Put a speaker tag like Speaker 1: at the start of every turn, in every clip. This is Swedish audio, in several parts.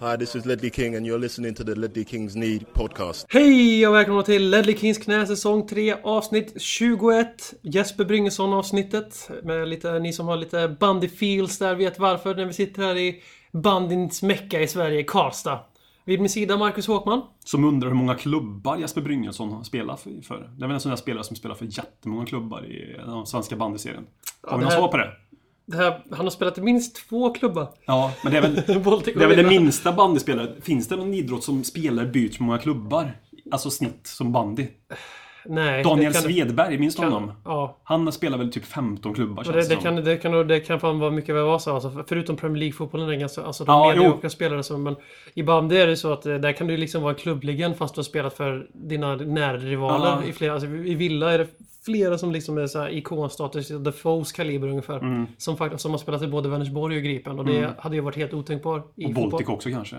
Speaker 1: Hi, this is Ledley King and you're listening to the Ledley Kings Need podcast.
Speaker 2: Hej och välkomna till Ledley Kings knä säsong 3 avsnitt 21. Jesper Bryngesson avsnittet. Med lite, ni som har lite bandy feels där vet varför när vi sitter här i bandins mecka i Sverige, Karlstad. Vid min sida Marcus Håkman.
Speaker 3: Som undrar hur många klubbar Jesper Bryngesson har spelat för. för. Det är väl en sån där spelare som spelar för jättemånga klubbar i den svenska bandyserien. Har vi
Speaker 2: det
Speaker 3: något
Speaker 2: här-
Speaker 3: svar på det?
Speaker 2: Det här, han har spelat i minst två klubbar.
Speaker 3: Ja, men det är väl
Speaker 2: Baltic
Speaker 3: det, är väl det
Speaker 2: Gorilla.
Speaker 3: minsta bandyspelare. Finns det någon idrott som spelare byts många klubbar? Alltså snitt som bandy.
Speaker 2: Nej.
Speaker 3: Daniel
Speaker 2: det kan-
Speaker 3: Svedberg, minns du honom?
Speaker 2: Ja.
Speaker 3: Han spelar väl typ 15 klubbar
Speaker 2: Och
Speaker 3: känns
Speaker 2: det, det,
Speaker 3: som.
Speaker 2: kan, det, kan, nog- det kan fan vara mycket väl vara så. Alltså, för- förutom Premier League-fotbollen är det ganska... Alltså, de
Speaker 3: Ja,
Speaker 2: mediokra spelare som... Men i bandy är det så att eh, där kan du liksom vara i klubbligan fast du har spelat för dina nära rivaler.
Speaker 3: Ja.
Speaker 2: I, flera, alltså, I Villa är det flera som liksom är så här ikonstatus, The Foes kaliber ungefär.
Speaker 3: Mm.
Speaker 2: Som, faktiskt, som har spelat i både Vänersborg och Gripen. Och det hade ju varit helt otänkbart i
Speaker 3: Och Baltic också kanske.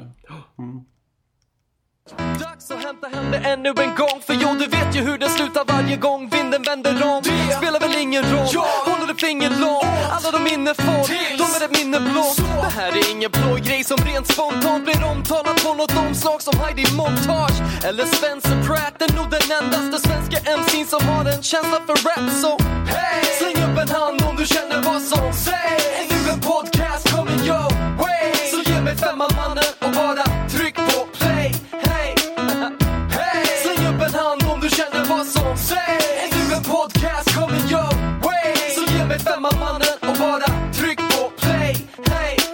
Speaker 4: Dags att hämta hem det ännu en gång För jo, du vet ju hur det slutar varje gång vinden vänder om Det spelar väl ingen roll, håller du finger långt Alla de minne får, de är ett minne blått Det här är ingen blå grej som rent spontant blir omtalat på något omslag som Heidi Montage eller Spencer Pratt är nog den endaste svenska MC'n som har en känsla för rap så hey! Släng upp en hand om du känner vad som sägs Är nu en podcast coming your way Så ge mig femman mannen och bara tryck på play Hey! Hey! Släng upp en hand om du känner vad som sägs Är nu en podcast coming your way Så ge mig femman mannen och bara tryck på play Hey!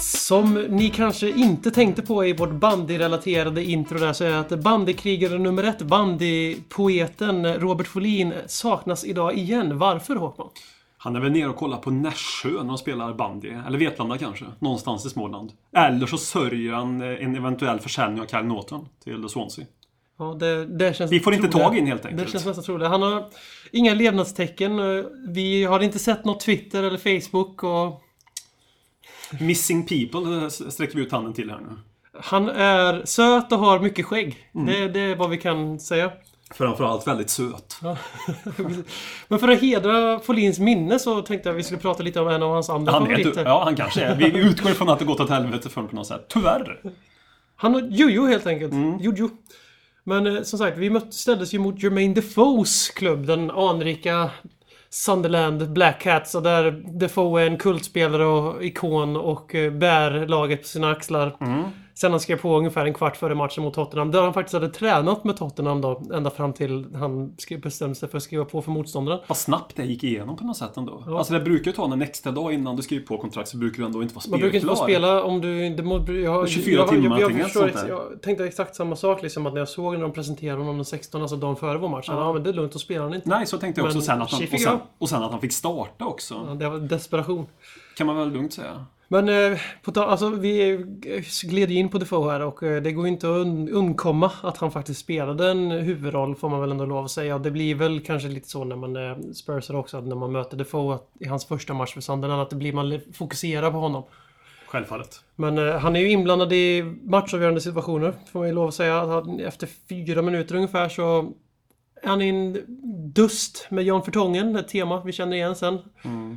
Speaker 2: Som ni kanske inte tänkte på i vårt bandyrelaterade intro där så är att bandykrigare nummer ett, bandypoeten Robert Folin saknas idag igen. Varför Håkman?
Speaker 3: Han är väl nere och kollar på Nässjö när de spelar bandy. Eller Vetlanda kanske. Någonstans i Småland. Eller så sörjer han eh, en eventuell försäljning av Kyle Norton till Swansea.
Speaker 2: Ja, det, det känns
Speaker 3: Vi får inte
Speaker 2: troligt.
Speaker 3: tag i en helt enkelt.
Speaker 2: Det känns nästan troligt. Han har inga levnadstecken. eh, Vi har inte sett något Twitter eller Facebook och
Speaker 3: Missing people eh, s- sträcker vi ut handen till här nu.
Speaker 2: han är söt och har mycket skägg.
Speaker 3: Mm.
Speaker 2: Det, det är vad vi kan säga.
Speaker 3: Framförallt väldigt söt.
Speaker 2: Men för att hedra Folins minne så tänkte jag att vi skulle prata lite om en av hans andra
Speaker 3: Han är,
Speaker 2: favoriter.
Speaker 3: ja, han kanske är. Vi utgår ifrån att det gått åt helvete för honom på något sätt. Tyvärr.
Speaker 2: Han och Jojo helt enkelt. Jojo. Men eh, som sagt, vi mötte, ställdes ju mot Jermaine Defoes klubb. Den anrika Sunderland Black Cats. Och där Defoe är en kultspelare och ikon och eh, bär laget på sina axlar. Sen han skrev på ungefär en kvart före matchen mot Tottenham. Där han faktiskt hade tränat med Tottenham då. Ända fram till han skrev- bestämde sig för att skriva på för motståndaren.
Speaker 3: Vad snabbt det gick igenom på något sätt ändå. Alltså det brukar ju ta en extra dag innan du skriver på kontrakt så brukar du ändå inte vara spelklar.
Speaker 2: Man brukar inte få spela om du inte mår... Jag,
Speaker 3: 24
Speaker 2: jag,
Speaker 3: timmar,
Speaker 2: jag, jag,
Speaker 3: antingen,
Speaker 2: förstår,
Speaker 3: sånt där.
Speaker 2: jag tänkte exakt samma sak liksom att när jag såg när de presenterade honom den 16, alltså dagen före vår match. Ja, men det är lugnt, då spelar han inte.
Speaker 3: Nej, så tänkte jag också
Speaker 2: Men
Speaker 3: sen att han,
Speaker 2: tji
Speaker 3: och sen,
Speaker 2: fick
Speaker 3: och sen att han fick starta också.
Speaker 2: Ja, Det var desperation.
Speaker 3: Kan man väl lugnt säga.
Speaker 2: Men eh, på ta- alltså, vi eh, gled ju in på Defoe här och eh, det går ju inte att un undkomma att han faktiskt spelade en huvudroll får man väl ändå lov att säga. Och det blir väl kanske lite så när man eh, spursar också, att när man möter Defoe att, i hans första match för Sunderland, att det blir man fokuserar på honom.
Speaker 3: Självfallet.
Speaker 2: Men eh, han är ju inblandad i matchavgörande situationer, får man ju lov att säga. Att han, efter fyra minuter ungefär så är han i en dust med Jan Vertongen, ett tema vi känner igen sen.
Speaker 3: Mm.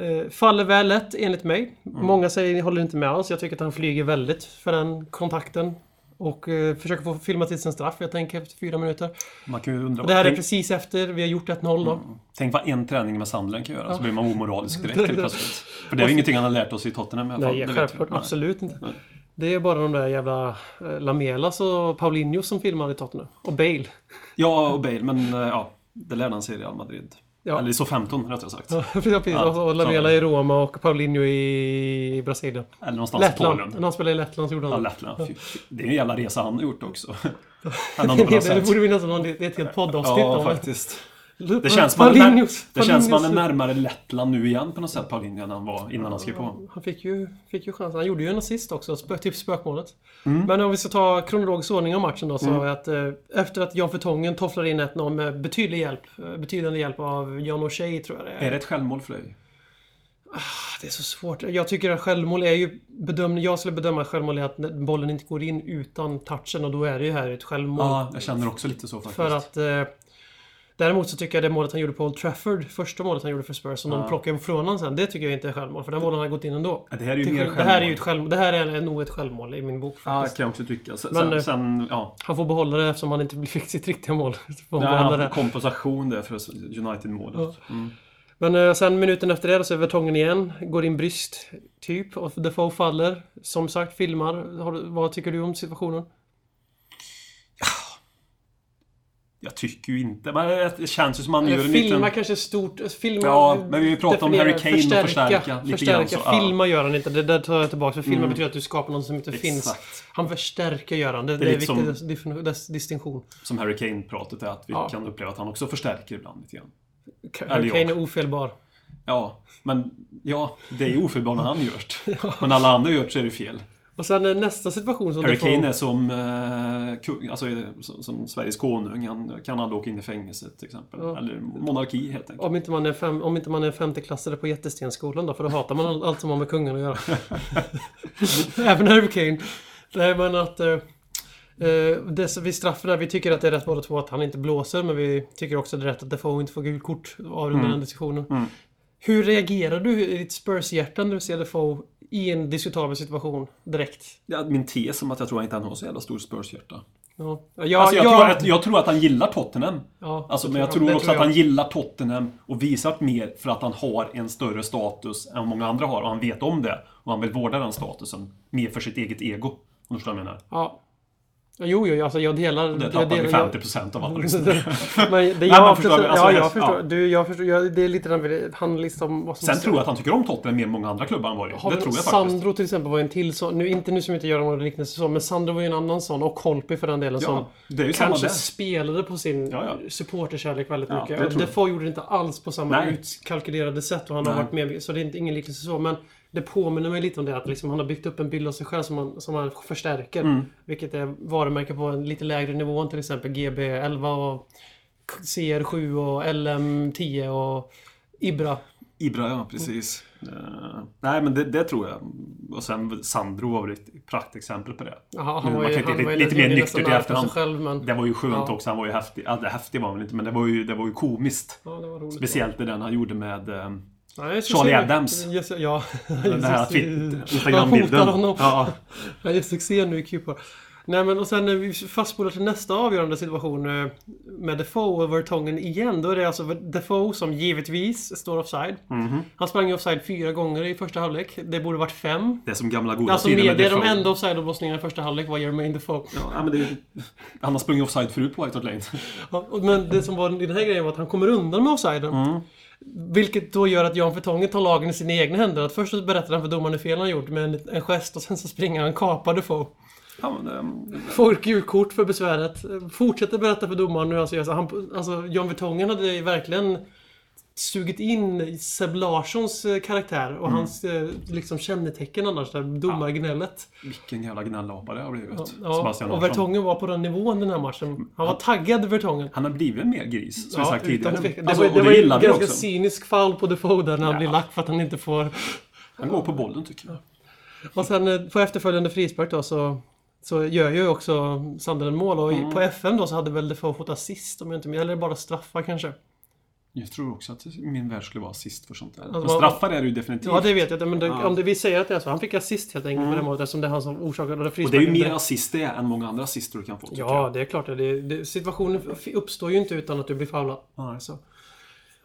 Speaker 2: Eh, faller väl lätt, enligt mig. Många säger, håller inte med alls. Jag tycker att han flyger väldigt för den kontakten. Och eh, försöker få filma till sin straff, jag tänker, efter fyra minuter.
Speaker 3: Man kan ju undra.
Speaker 2: Och det här är
Speaker 3: tänk,
Speaker 2: precis efter vi har gjort 1-0 då.
Speaker 3: Mm. tänk vad en träning med Sandlen kan göra så blir man omoralisk direkt helt plötsligt. För det är ju ingenting han har lärt oss i Tottenham i alla fall.
Speaker 2: Nej,
Speaker 3: det vet
Speaker 2: självklart.
Speaker 3: vi. Nej.
Speaker 2: Absolut inte. Det är bara de där jävla eh, Lamelas och Paulinho som filmar i Tottenham. Och Bale.
Speaker 3: Ja, och Bale, men eh, ja. Det lärde han sig i Real Madrid.
Speaker 2: Ja.
Speaker 3: Eller i så 15 rättare sagt.
Speaker 2: Ja, precis.
Speaker 3: Ja,
Speaker 2: och Lamela i Roma och Paulinho i Brasilien.
Speaker 3: Eller någonstans i
Speaker 2: Lettland. När
Speaker 3: Polen.
Speaker 2: han spelade i Lettland så gjorde
Speaker 3: Ja,
Speaker 2: han det.
Speaker 3: Lettland. Fy- fy- Det är en jävla resa han har gjort också. Han har nog kunnat
Speaker 2: det.
Speaker 3: säga-
Speaker 2: Det borde vi nästan ha ett helt poddavsnitt
Speaker 3: Ja,
Speaker 2: om.
Speaker 3: faktiskt.
Speaker 2: Lu-
Speaker 3: Det känns, man är,
Speaker 2: Paulinhos-
Speaker 3: det känns man är
Speaker 2: Paulinhos-
Speaker 3: närmare Lettland nu igen på något sätt, Paulinho, än han var innan han skrev på.
Speaker 2: Han fick ju, fick ju chansen. Han gjorde ju en assist också. Spö, typ spökmålet.
Speaker 3: Mm.
Speaker 2: Men om vi ska ta kronologisk ordning av matchen då. Så är att, eh, efter att Jan Vertongen tofflar in 1-0 med betydlig hjälp, eh, betydande hjälp av Jan O'Shea tror jag det är.
Speaker 3: Är det ett självmål för dig?
Speaker 2: Det är så svårt. Jag tycker att självmål är ju bedömning. Jag skulle bedöma att självmål är att bollen inte går in utan touchen och då är det ju här ett självmål.
Speaker 3: Ja, jag känner också lite så faktiskt.
Speaker 2: För att eh, Däremot så tycker jag det målet han gjorde på Old Trafford, första målet han gjorde för Spurs, som de plockade ifrån honom sen. Det tycker jag inte är självmål, för den bollen har gått in ändå.
Speaker 3: Ja, det här är ju
Speaker 2: Till
Speaker 3: mer
Speaker 2: skillnad- det här är ju
Speaker 3: självmål.
Speaker 2: ett självmål. Det här är nog ett självmål i min bok.
Speaker 3: Ja,
Speaker 2: faktiskt.
Speaker 3: kan jag också tycka. Sen,
Speaker 2: Men, eh,
Speaker 3: sen, sen ja.
Speaker 2: Han får behålla det eftersom han inte fick sitt riktiga mål. Så får han
Speaker 3: Ja,
Speaker 2: behålla
Speaker 3: han
Speaker 2: det.
Speaker 3: får kompensation där för United-målet.
Speaker 2: Men eh, sen minuten efter det så är Vertongen igen. Går in brist, typ. Och Defoe faller. Som sagt, filmar. Har, du- vad tycker du om situationen?
Speaker 3: Jag tycker ju inte... Men det känns ju som han gör en
Speaker 2: filma
Speaker 3: liten...
Speaker 2: kanske är stort. eh, Filma,
Speaker 3: Ja, men vi pratar om
Speaker 2: definiera,
Speaker 3: Harry Kane och förstärka lite
Speaker 2: förstärka.
Speaker 3: grann så, ja. Mm.
Speaker 2: filma gör han inte. Det där tar jag tillbaka. För filma betyder att du skapar något som inte
Speaker 3: Exakt.
Speaker 2: finns. Han förstärker gör han. Det, det,
Speaker 3: är
Speaker 2: är en
Speaker 3: lite
Speaker 2: viktig dis- dis- distinktion.
Speaker 3: Som Harry Kane-pratet är att vi
Speaker 2: Ja.
Speaker 3: kan uppleva att han också förstärker ibland lite grann.
Speaker 2: Harry
Speaker 3: jag.
Speaker 2: Kane är ofelbar.
Speaker 3: Ja, men ja, det är ju ofelbart när han gjort. Men alla andra gjort så är det fel.
Speaker 2: Och sen eh, nästa situation som
Speaker 3: Harry
Speaker 2: Defoe-
Speaker 3: Kane är som, eh, kung, alltså, är- som, som Sveriges konung. Han kan aldrig åka in i fängelse till exempel.
Speaker 2: Ja.
Speaker 3: Eller monarki helt enkelt.
Speaker 2: Om inte, man är fem, om inte man är femteklassare på Jättestensskolan då, för då hatar man all- allt som har med kungen att göra. Även Harry Kane. Nej men att... Eh, eh, det, som vi straffar där, vi tycker att det är rätt båda två att han inte blåser, men vi tycker också att det är rätt att Defoe inte får gult kort av under
Speaker 3: Mm.
Speaker 2: den diskussionen. Hur reagerar du i ditt Spurs-hjärta när du ser Defoe i en diskutabel situation direkt?
Speaker 3: Ja, min tes om att jag tror inte han har så jävla stor Spurs-hjärta.
Speaker 2: Ja, ja,
Speaker 3: Alltså, jag,
Speaker 2: ja.
Speaker 3: tror att, jag tror att han gillar Tottenham.
Speaker 2: Ja,
Speaker 3: alltså,
Speaker 2: det
Speaker 3: men jag
Speaker 2: tror
Speaker 3: tror
Speaker 2: jag. Det
Speaker 3: också
Speaker 2: tror
Speaker 3: att han
Speaker 2: jag.
Speaker 3: gillar Tottenham och visar mer för att han har en större status än många andra har. Och han vet om det. Och han vill vårda den statusen. Mer för sitt eget ego. Om du förstår vad jag menar.
Speaker 2: ja. Jo, jo, alltså jag delar...
Speaker 3: Det
Speaker 2: jag
Speaker 3: tappade
Speaker 2: delar- jag-
Speaker 3: 50% av alla
Speaker 2: Men
Speaker 3: lyssnare.
Speaker 2: det,
Speaker 3: man
Speaker 2: jag
Speaker 3: förstår,
Speaker 2: förstår,
Speaker 3: alltså,
Speaker 2: ja, jag
Speaker 3: yes,
Speaker 2: förstår.
Speaker 3: ja.
Speaker 2: Du, jag förstår. Jag, det är lite den det handlar liksom om vad som...
Speaker 3: Sen tror jag att han tycker om Tottenham mer än många andra klubbar han varit i. Det
Speaker 2: Har vi-
Speaker 3: tror jag faktiskt.
Speaker 2: Sandro till exempel var en till sån. Nu, inte nu som inte gör någon liknelse så, men Sandro var ju en annan sån. Och Holpi för den delen som
Speaker 3: Ja, det är ju samma
Speaker 2: kanske
Speaker 3: där.
Speaker 2: spelade på sin
Speaker 3: Ja, ja.
Speaker 2: supporterkärlek väldigt
Speaker 3: Ja, det
Speaker 2: mycket.
Speaker 3: tror jag.
Speaker 2: Defoe gjorde det inte alls på samma
Speaker 3: Nej.
Speaker 2: utkalkylerade sätt. Och han har
Speaker 3: Nej.
Speaker 2: varit med, så det är inte, ingen liknelse så. Men det påminner mig lite om det att liksom, han har byggt upp en bild av sig själv som han, som han förstärker.
Speaker 3: Mm.
Speaker 2: Vilket är varumärke på en lite lägre nivå än till exempel GB11 och CR7 och LM10 och Ibra.
Speaker 3: Ibra,
Speaker 2: Mm.
Speaker 3: ja precis. Eh, nej, men det, det tror jag. Och sen Sandro var väl ett praktexempel på det.
Speaker 2: Ja,
Speaker 3: Nu,
Speaker 2: han var
Speaker 3: man
Speaker 2: ju,
Speaker 3: kan inte-
Speaker 2: han var ju
Speaker 3: lite
Speaker 2: han
Speaker 3: mer
Speaker 2: gjorde
Speaker 3: nyktert
Speaker 2: nästan
Speaker 3: i
Speaker 2: allt för sig
Speaker 3: efterhand.
Speaker 2: Själv, men,
Speaker 3: Det var ju skönt
Speaker 2: Ja.
Speaker 3: också. Han var ju häftig. Ja, det häftig var han väl inte, men det var ju, det var ju komiskt.
Speaker 2: ja, det var roligt.
Speaker 3: Speciellt det den han gjorde med... eh,
Speaker 2: Nej, jag ska
Speaker 3: Charlie
Speaker 2: se-
Speaker 3: Adams.
Speaker 2: Jag ska- ja.
Speaker 3: Den här Twitter- Instagram-bilden.
Speaker 2: Han hotar honom.
Speaker 3: Ja.
Speaker 2: Han gör succé nu i Cupar. Nej men och sen när vi fastspolar till nästa avgörande situation eh, med Defoe och Vertongen igen. Då är det alltså Defoe som givetvis står offside.
Speaker 3: Mhm.
Speaker 2: Han sprang ju offside fyra gånger i första halvlek. Det borde varit fem.
Speaker 3: Det är som gamla goda
Speaker 2: Alltså
Speaker 3: tider
Speaker 2: med, det är de
Speaker 3: Defoe.
Speaker 2: enda offside-avblåsningarna i första halvlek var Jermaine Defoe.
Speaker 3: Ja, men det är, han har sprungit offside förut på White Hart Lane.
Speaker 2: Ja, och- Men det som var i den här grejen var att han kommer undan med offsiden.
Speaker 3: Mm.
Speaker 2: Vilket då gör att Jan Vertongen tar lagen i sina egna händer. Att först så berättar han för domaren hur fel han gjort med en, en gest och sen så springer han kapade få.
Speaker 3: Ja, men, ehm,
Speaker 2: Får gult kort för besväret. Fortsätter berätta för domaren nu alltså, alltså, han, alltså Jan Vertongen hade ju verkligen sugit in Seb Larssons eh, karaktär och
Speaker 3: Mm.
Speaker 2: hans eh, liksom kännetecken annars, där domargnället.
Speaker 3: vilken jävla gnällapa det har blivit.
Speaker 2: Ja,
Speaker 3: Sebastian
Speaker 2: och
Speaker 3: Larsson.
Speaker 2: Vertongen var på den nivån den här matchen. Han var taggad Vertongen.
Speaker 3: Han har blivit mer gris, som
Speaker 2: Ja,
Speaker 3: jag sagt
Speaker 2: utan
Speaker 3: tidigare.
Speaker 2: tvekan.
Speaker 3: Alltså,
Speaker 2: det var,
Speaker 3: och
Speaker 2: det var
Speaker 3: det
Speaker 2: ju
Speaker 3: gillar vi
Speaker 2: ganska
Speaker 3: också.
Speaker 2: cynisk foul på Defoe där när han blir lack för att han inte får...
Speaker 3: Han går på bollen, tycker jag.
Speaker 2: Och sen eh, på efterföljande frispark då så, så gör ju också Sandelen mål och i-
Speaker 3: Mm.
Speaker 2: på FM då så hade väl Defoe fått assist om jag inte minns Eller bara straffar kanske.
Speaker 3: Jag tror också att min värld skulle vara assist för sånt där. Men
Speaker 2: vad-
Speaker 3: straffar är det ju definitivt.
Speaker 2: Ja det vet jag inte, men det, om det, vi säger att det är så. Han fick assist helt enkelt på det målet eftersom det är han som orsakade det
Speaker 3: Mm. och det är ju
Speaker 2: frisparken.
Speaker 3: mer assist det är än många andra assister du kan få. tycker jag.
Speaker 2: Ja, det är klart. Det, det, situationen f- uppstår ju inte utan att du blir foulad.
Speaker 3: Nej.
Speaker 2: Så.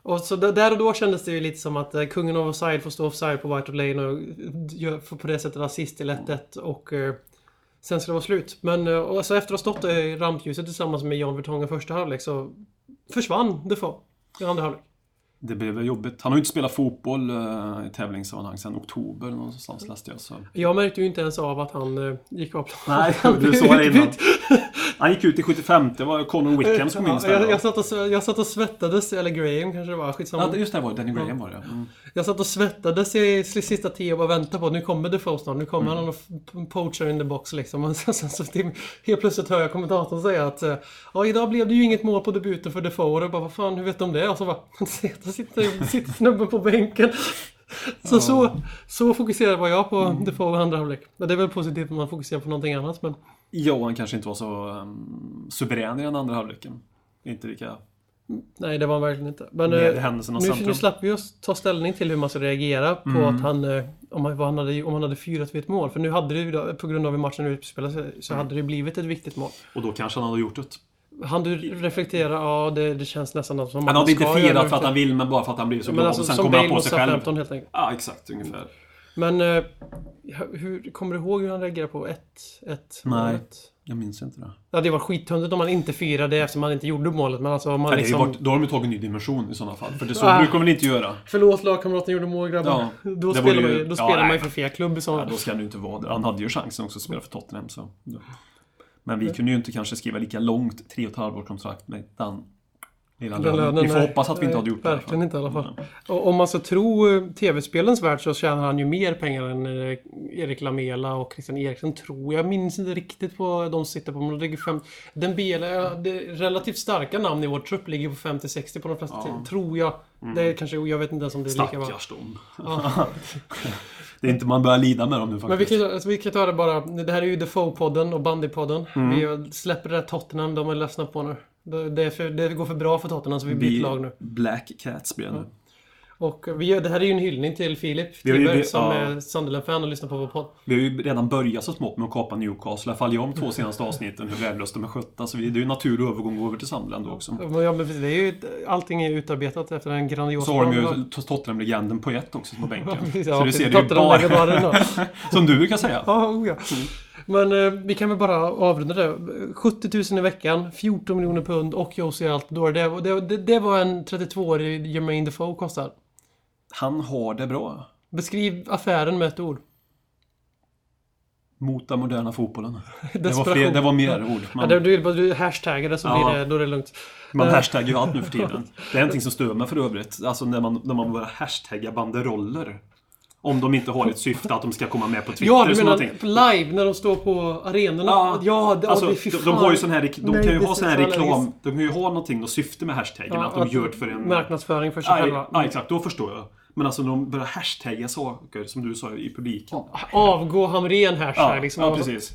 Speaker 2: Och så d- där och då kändes det ju lite som att eh, kungen av offside får stå offside på White Hart Lane och gör, får på det sättet assist till 1-1 och eh, sen ska det vara slut. Men eh, och så efter att ha stått där i rampljuset tillsammans med Jan Vertong i första halvlek så försvann Defoe i andra halvlek.
Speaker 3: Det blev jobbigt. Han har ju inte spelat fotboll eh, i tävlingssammanhang sedan oktober någonstans läste jag. Så.
Speaker 2: Jag märkte ju inte ens av att han eh, gick av planen.
Speaker 3: Nej, du sa det innan. Han gick ut i 75. Det var Connor Wickham som kom in
Speaker 2: Ja, jag, jag,
Speaker 3: istället.
Speaker 2: satt och, sve- jag satt och svettades, eller Graham kanske det var, skitsamma.
Speaker 3: Ja, just det, var det. Danny Graham var det. Mm.
Speaker 2: Jag satt och svettades i sista tio och bara väntade på att nu kommer Defoe snart. Nu kommer han och f- poacher in the box liksom. Och sen, sen så till, helt plötsligt hör jag kommentatorn säga att eh, ja, idag blev det ju inget mål på debuten för Defoe. Och jag bara, vad fan, hur vet de det? Och så bara, "Han sitter, sitter, sitter snubben på bänken. Så, så, så fokuserad var jag på Defoe i andra halvlek. Men det är väl positivt om man fokuserar på någonting annat. Men
Speaker 3: mm, Ja, han kanske inte var så um, suverän i den andra halvleken. Inte lika
Speaker 2: Nej, det var han verkligen inte. Men
Speaker 3: Med
Speaker 2: eh,
Speaker 3: händelsernas
Speaker 2: nu,
Speaker 3: centrum. Mm.
Speaker 2: nu slapp vi oss ta ställning till hur man ska reagera på att han... eh, Om han, vad han hade, om han hade fyrat vid ett mål. För nu hade det ju, då- på grund av hur matchen utspelade sig, så hade det blivit ett viktigt mål.
Speaker 3: Och då kanske han hade gjort det.
Speaker 2: Han du reflektera, ja det, det känns nästan som
Speaker 3: Han hade inte
Speaker 2: ska göra
Speaker 3: firat
Speaker 2: det.
Speaker 3: för att han vill, men bara för att han blir så
Speaker 2: Men
Speaker 3: glad.
Speaker 2: alltså,
Speaker 3: och sen
Speaker 2: som
Speaker 3: kommer han
Speaker 2: Bale
Speaker 3: på
Speaker 2: mot
Speaker 3: sig själv.
Speaker 2: Southampton helt enkelt.
Speaker 3: Ja, exakt. Ungefär.
Speaker 2: Men eh, hur, kommer du ihåg hur han reagerade på 1-1
Speaker 3: Nej.
Speaker 2: målet?
Speaker 3: Jag minns inte det.
Speaker 2: Ja, det var skittöntigt om han inte firade eftersom han inte gjorde målet. Men alltså om
Speaker 3: Ja,
Speaker 2: han
Speaker 3: det är ju
Speaker 2: liksom...
Speaker 3: vart, då har de ju tagit en ny dimension i sådana fall. För det så
Speaker 2: Ah.
Speaker 3: brukar man väl inte göra.
Speaker 2: Förlåt lagkamraten gjorde mål grabbar.
Speaker 3: Ja, det
Speaker 2: då
Speaker 3: var
Speaker 2: spelar
Speaker 3: ju-
Speaker 2: man ju då
Speaker 3: ja,
Speaker 2: spelar man ju
Speaker 3: nej.
Speaker 2: för fel klubb i så
Speaker 3: Ja, då ska han ju inte vara där. Han hade ju chansen också att spela för Tottenham. Så. Men vi kunde ju inte kanske skriva lika långt tre och ett halvår kontrakt med den lilla
Speaker 2: Den
Speaker 3: lönen.
Speaker 2: lönen,
Speaker 3: Vi får
Speaker 2: nej.
Speaker 3: hoppas att vi
Speaker 2: Nej,
Speaker 3: inte hade gjort det. i alla fall. Mm.
Speaker 2: Verkligen inte i alla fall. Och om man ska tro eh, tv-spelens värld så tjänar han ju mer pengar än eh, Erik Lamela och Christian Eriksen tror jag. Jag minns inte riktigt vad de sitter på. Men de ligger fem... Den Bela, det relativt starka namn i vår trupp ligger på 50-60 på de flesta till, tror jag. Det är kanske, jag vet inte ens om det är lika bra.
Speaker 3: Mm. Stackars dem. det är inte man börjar lida med dem nu
Speaker 2: Men vi
Speaker 3: faktiskt.
Speaker 2: kan, alltså, vi kan ta det bara. Det här är ju Defoe-podden och Bandy-podden.
Speaker 3: Mm.
Speaker 2: Vi släpper det där Tottenham, de är ledsna på nu. Det, det, är för, det går för bra för Tottenham så vi byter lag nu.
Speaker 3: Black Cats blir det nu.
Speaker 2: Och vi gör, det här är ju en hyllning till Filip
Speaker 3: Vi har ju-
Speaker 2: Tiberg
Speaker 3: vi-
Speaker 2: som
Speaker 3: ja.
Speaker 2: är Sunderland-fan och lyssnar på vår podd.
Speaker 3: Vi har ju redan börjat så smått med att kapa Newcastle. I alla fall jag om två senaste avsnitten, hur värdelöst de är skötta. Så vi, det är ju en naturlig övergång att gå över till Sunderland då också.
Speaker 2: Men Ja, men precis, det är ju, ett- allting är utarbetat efter en grandios
Speaker 3: Så har de
Speaker 2: plan.
Speaker 3: ju Tottenham-legenden Poet också på bänken.
Speaker 2: Ja,
Speaker 3: så det ser du ju bara...
Speaker 2: bara...
Speaker 3: Som du brukar säga.
Speaker 2: Ja, oh ja. Men eh, vi kan väl bara avrunda det. 70 000 i veckan, 14 miljoner pund och Josie allt då. Det, det, det, det var en 32-årig Jermaine Defoe kostar.
Speaker 3: Han har det bra.
Speaker 2: Beskriv affären med ett ord.
Speaker 3: Mm. Mot den moderna fotbollen. Det var,
Speaker 2: Desperation.
Speaker 3: fler, det var mer ord.
Speaker 2: Ja, du,
Speaker 3: Man,
Speaker 2: du, du hashtaggar det så
Speaker 3: Ja.
Speaker 2: blir det, då är det lugnt.
Speaker 3: man
Speaker 2: Eh,
Speaker 3: hashtaggar ju allt nu för tiden. Det är någonting som stör mig för övrigt. Alltså när man, när man börjar hashtagga banderoller. Om de inte har ett syfte att de ska komma med på Twitter.
Speaker 2: Ja, du
Speaker 3: eller
Speaker 2: menar
Speaker 3: någonting.
Speaker 2: live när de står på arenorna? Ja, det,
Speaker 3: alltså,
Speaker 2: ja, det, fy
Speaker 3: de,
Speaker 2: fan.
Speaker 3: de har ju sån här, de
Speaker 2: Nej,
Speaker 3: kan ju
Speaker 2: det
Speaker 3: ha
Speaker 2: är
Speaker 3: sån här
Speaker 2: så allergiskt.
Speaker 3: reklam. De kan ju ha någonting och syfte med hashtaggen.
Speaker 2: Ja,
Speaker 3: att de gör det för en...
Speaker 2: Marknadsföring för sig
Speaker 3: Ja,
Speaker 2: själva.
Speaker 3: ja, exakt. Då förstår jag. Men alltså när de börjar hashtagga saker, som du sa, i publiken.
Speaker 2: Avgå Hamrén hashtag
Speaker 3: Ja,
Speaker 2: liksom.
Speaker 3: ja, precis.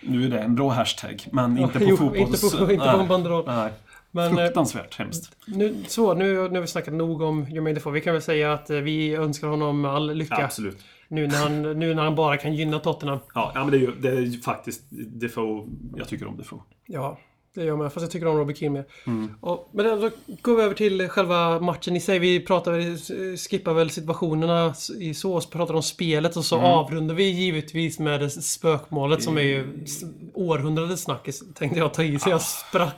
Speaker 3: Nu är det en bra hashtag, men inte på
Speaker 2: jo,
Speaker 3: fotbolls...
Speaker 2: inte på- inte på en
Speaker 3: Nej,
Speaker 2: banderoll.
Speaker 3: Nej.
Speaker 2: Men, eh,
Speaker 3: Fruktansvärt hemskt.
Speaker 2: Nu, så, nu, nu har vi snackat nog om Jermaine Defoe. Vi kan väl säga att eh, vi önskar honom all lycka.
Speaker 3: Absolut.
Speaker 2: Nu när, han, nu när han bara kan gynna Tottenham.
Speaker 3: Ja, ja, men det är ju det är ju faktiskt Defoe. Jag tycker om Defoe.
Speaker 2: Ja, det gör jag med. Fast jag tycker om Robbie Keane mer.
Speaker 3: Mm.
Speaker 2: Och, men då går vi över till själva matchen i sig. Vi pratar, väl- skippar väl situationerna i så, och pratar om spelet och så
Speaker 3: Mm.
Speaker 2: avrundar vi givetvis med det spökmålet som är
Speaker 3: Mm.
Speaker 2: ju s- århundradets snackis. Tänkte jag ta i
Speaker 3: Ah.
Speaker 2: så jag sprack.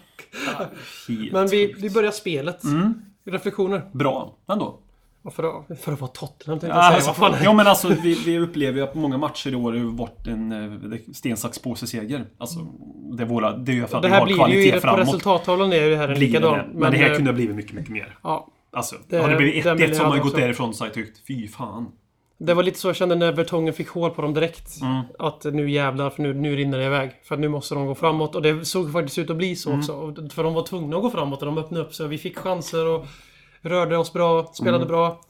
Speaker 3: Helt
Speaker 2: Men vi, vi börjar spelet.
Speaker 3: Mm.
Speaker 2: Reflektioner?
Speaker 3: bra ändå.
Speaker 2: Ja, För att, för att vara Tottenham tänkte jag säga.
Speaker 3: Alltså,
Speaker 2: Vad fan är
Speaker 3: jo, men alltså, vi, vi upplever ju att på många matcher i år har det varit en eh, sten, sax, påse seger. Alltså, det är, våra, det är ju för att
Speaker 2: det
Speaker 3: vi
Speaker 2: här
Speaker 3: har
Speaker 2: blir ju
Speaker 3: kvalitet
Speaker 2: på
Speaker 3: framåt.
Speaker 2: resultattavlan är ju det här en
Speaker 3: Blir det.
Speaker 2: likadan.
Speaker 3: Men, det här
Speaker 2: eh,
Speaker 3: kunde ha blivit mycket, mycket mer.
Speaker 2: ja,
Speaker 3: Alltså,
Speaker 2: Det-
Speaker 3: hade det blivit
Speaker 2: den vill
Speaker 3: 1-1
Speaker 2: jag
Speaker 3: så har man ju
Speaker 2: hade
Speaker 3: gått
Speaker 2: också.
Speaker 3: därifrån så har jag tyckt fy fan.
Speaker 2: Det var lite så jag kände när Vertongen fick hål på dem direkt. Att nu jävlar, för nu, nu rinner det iväg. För att nu måste de gå framåt. Och det såg faktiskt ut att bli så också. Och- För de var tvungna att gå framåt och de öppnade upp sig. Vi fick chanser och rörde oss bra, spelade bra.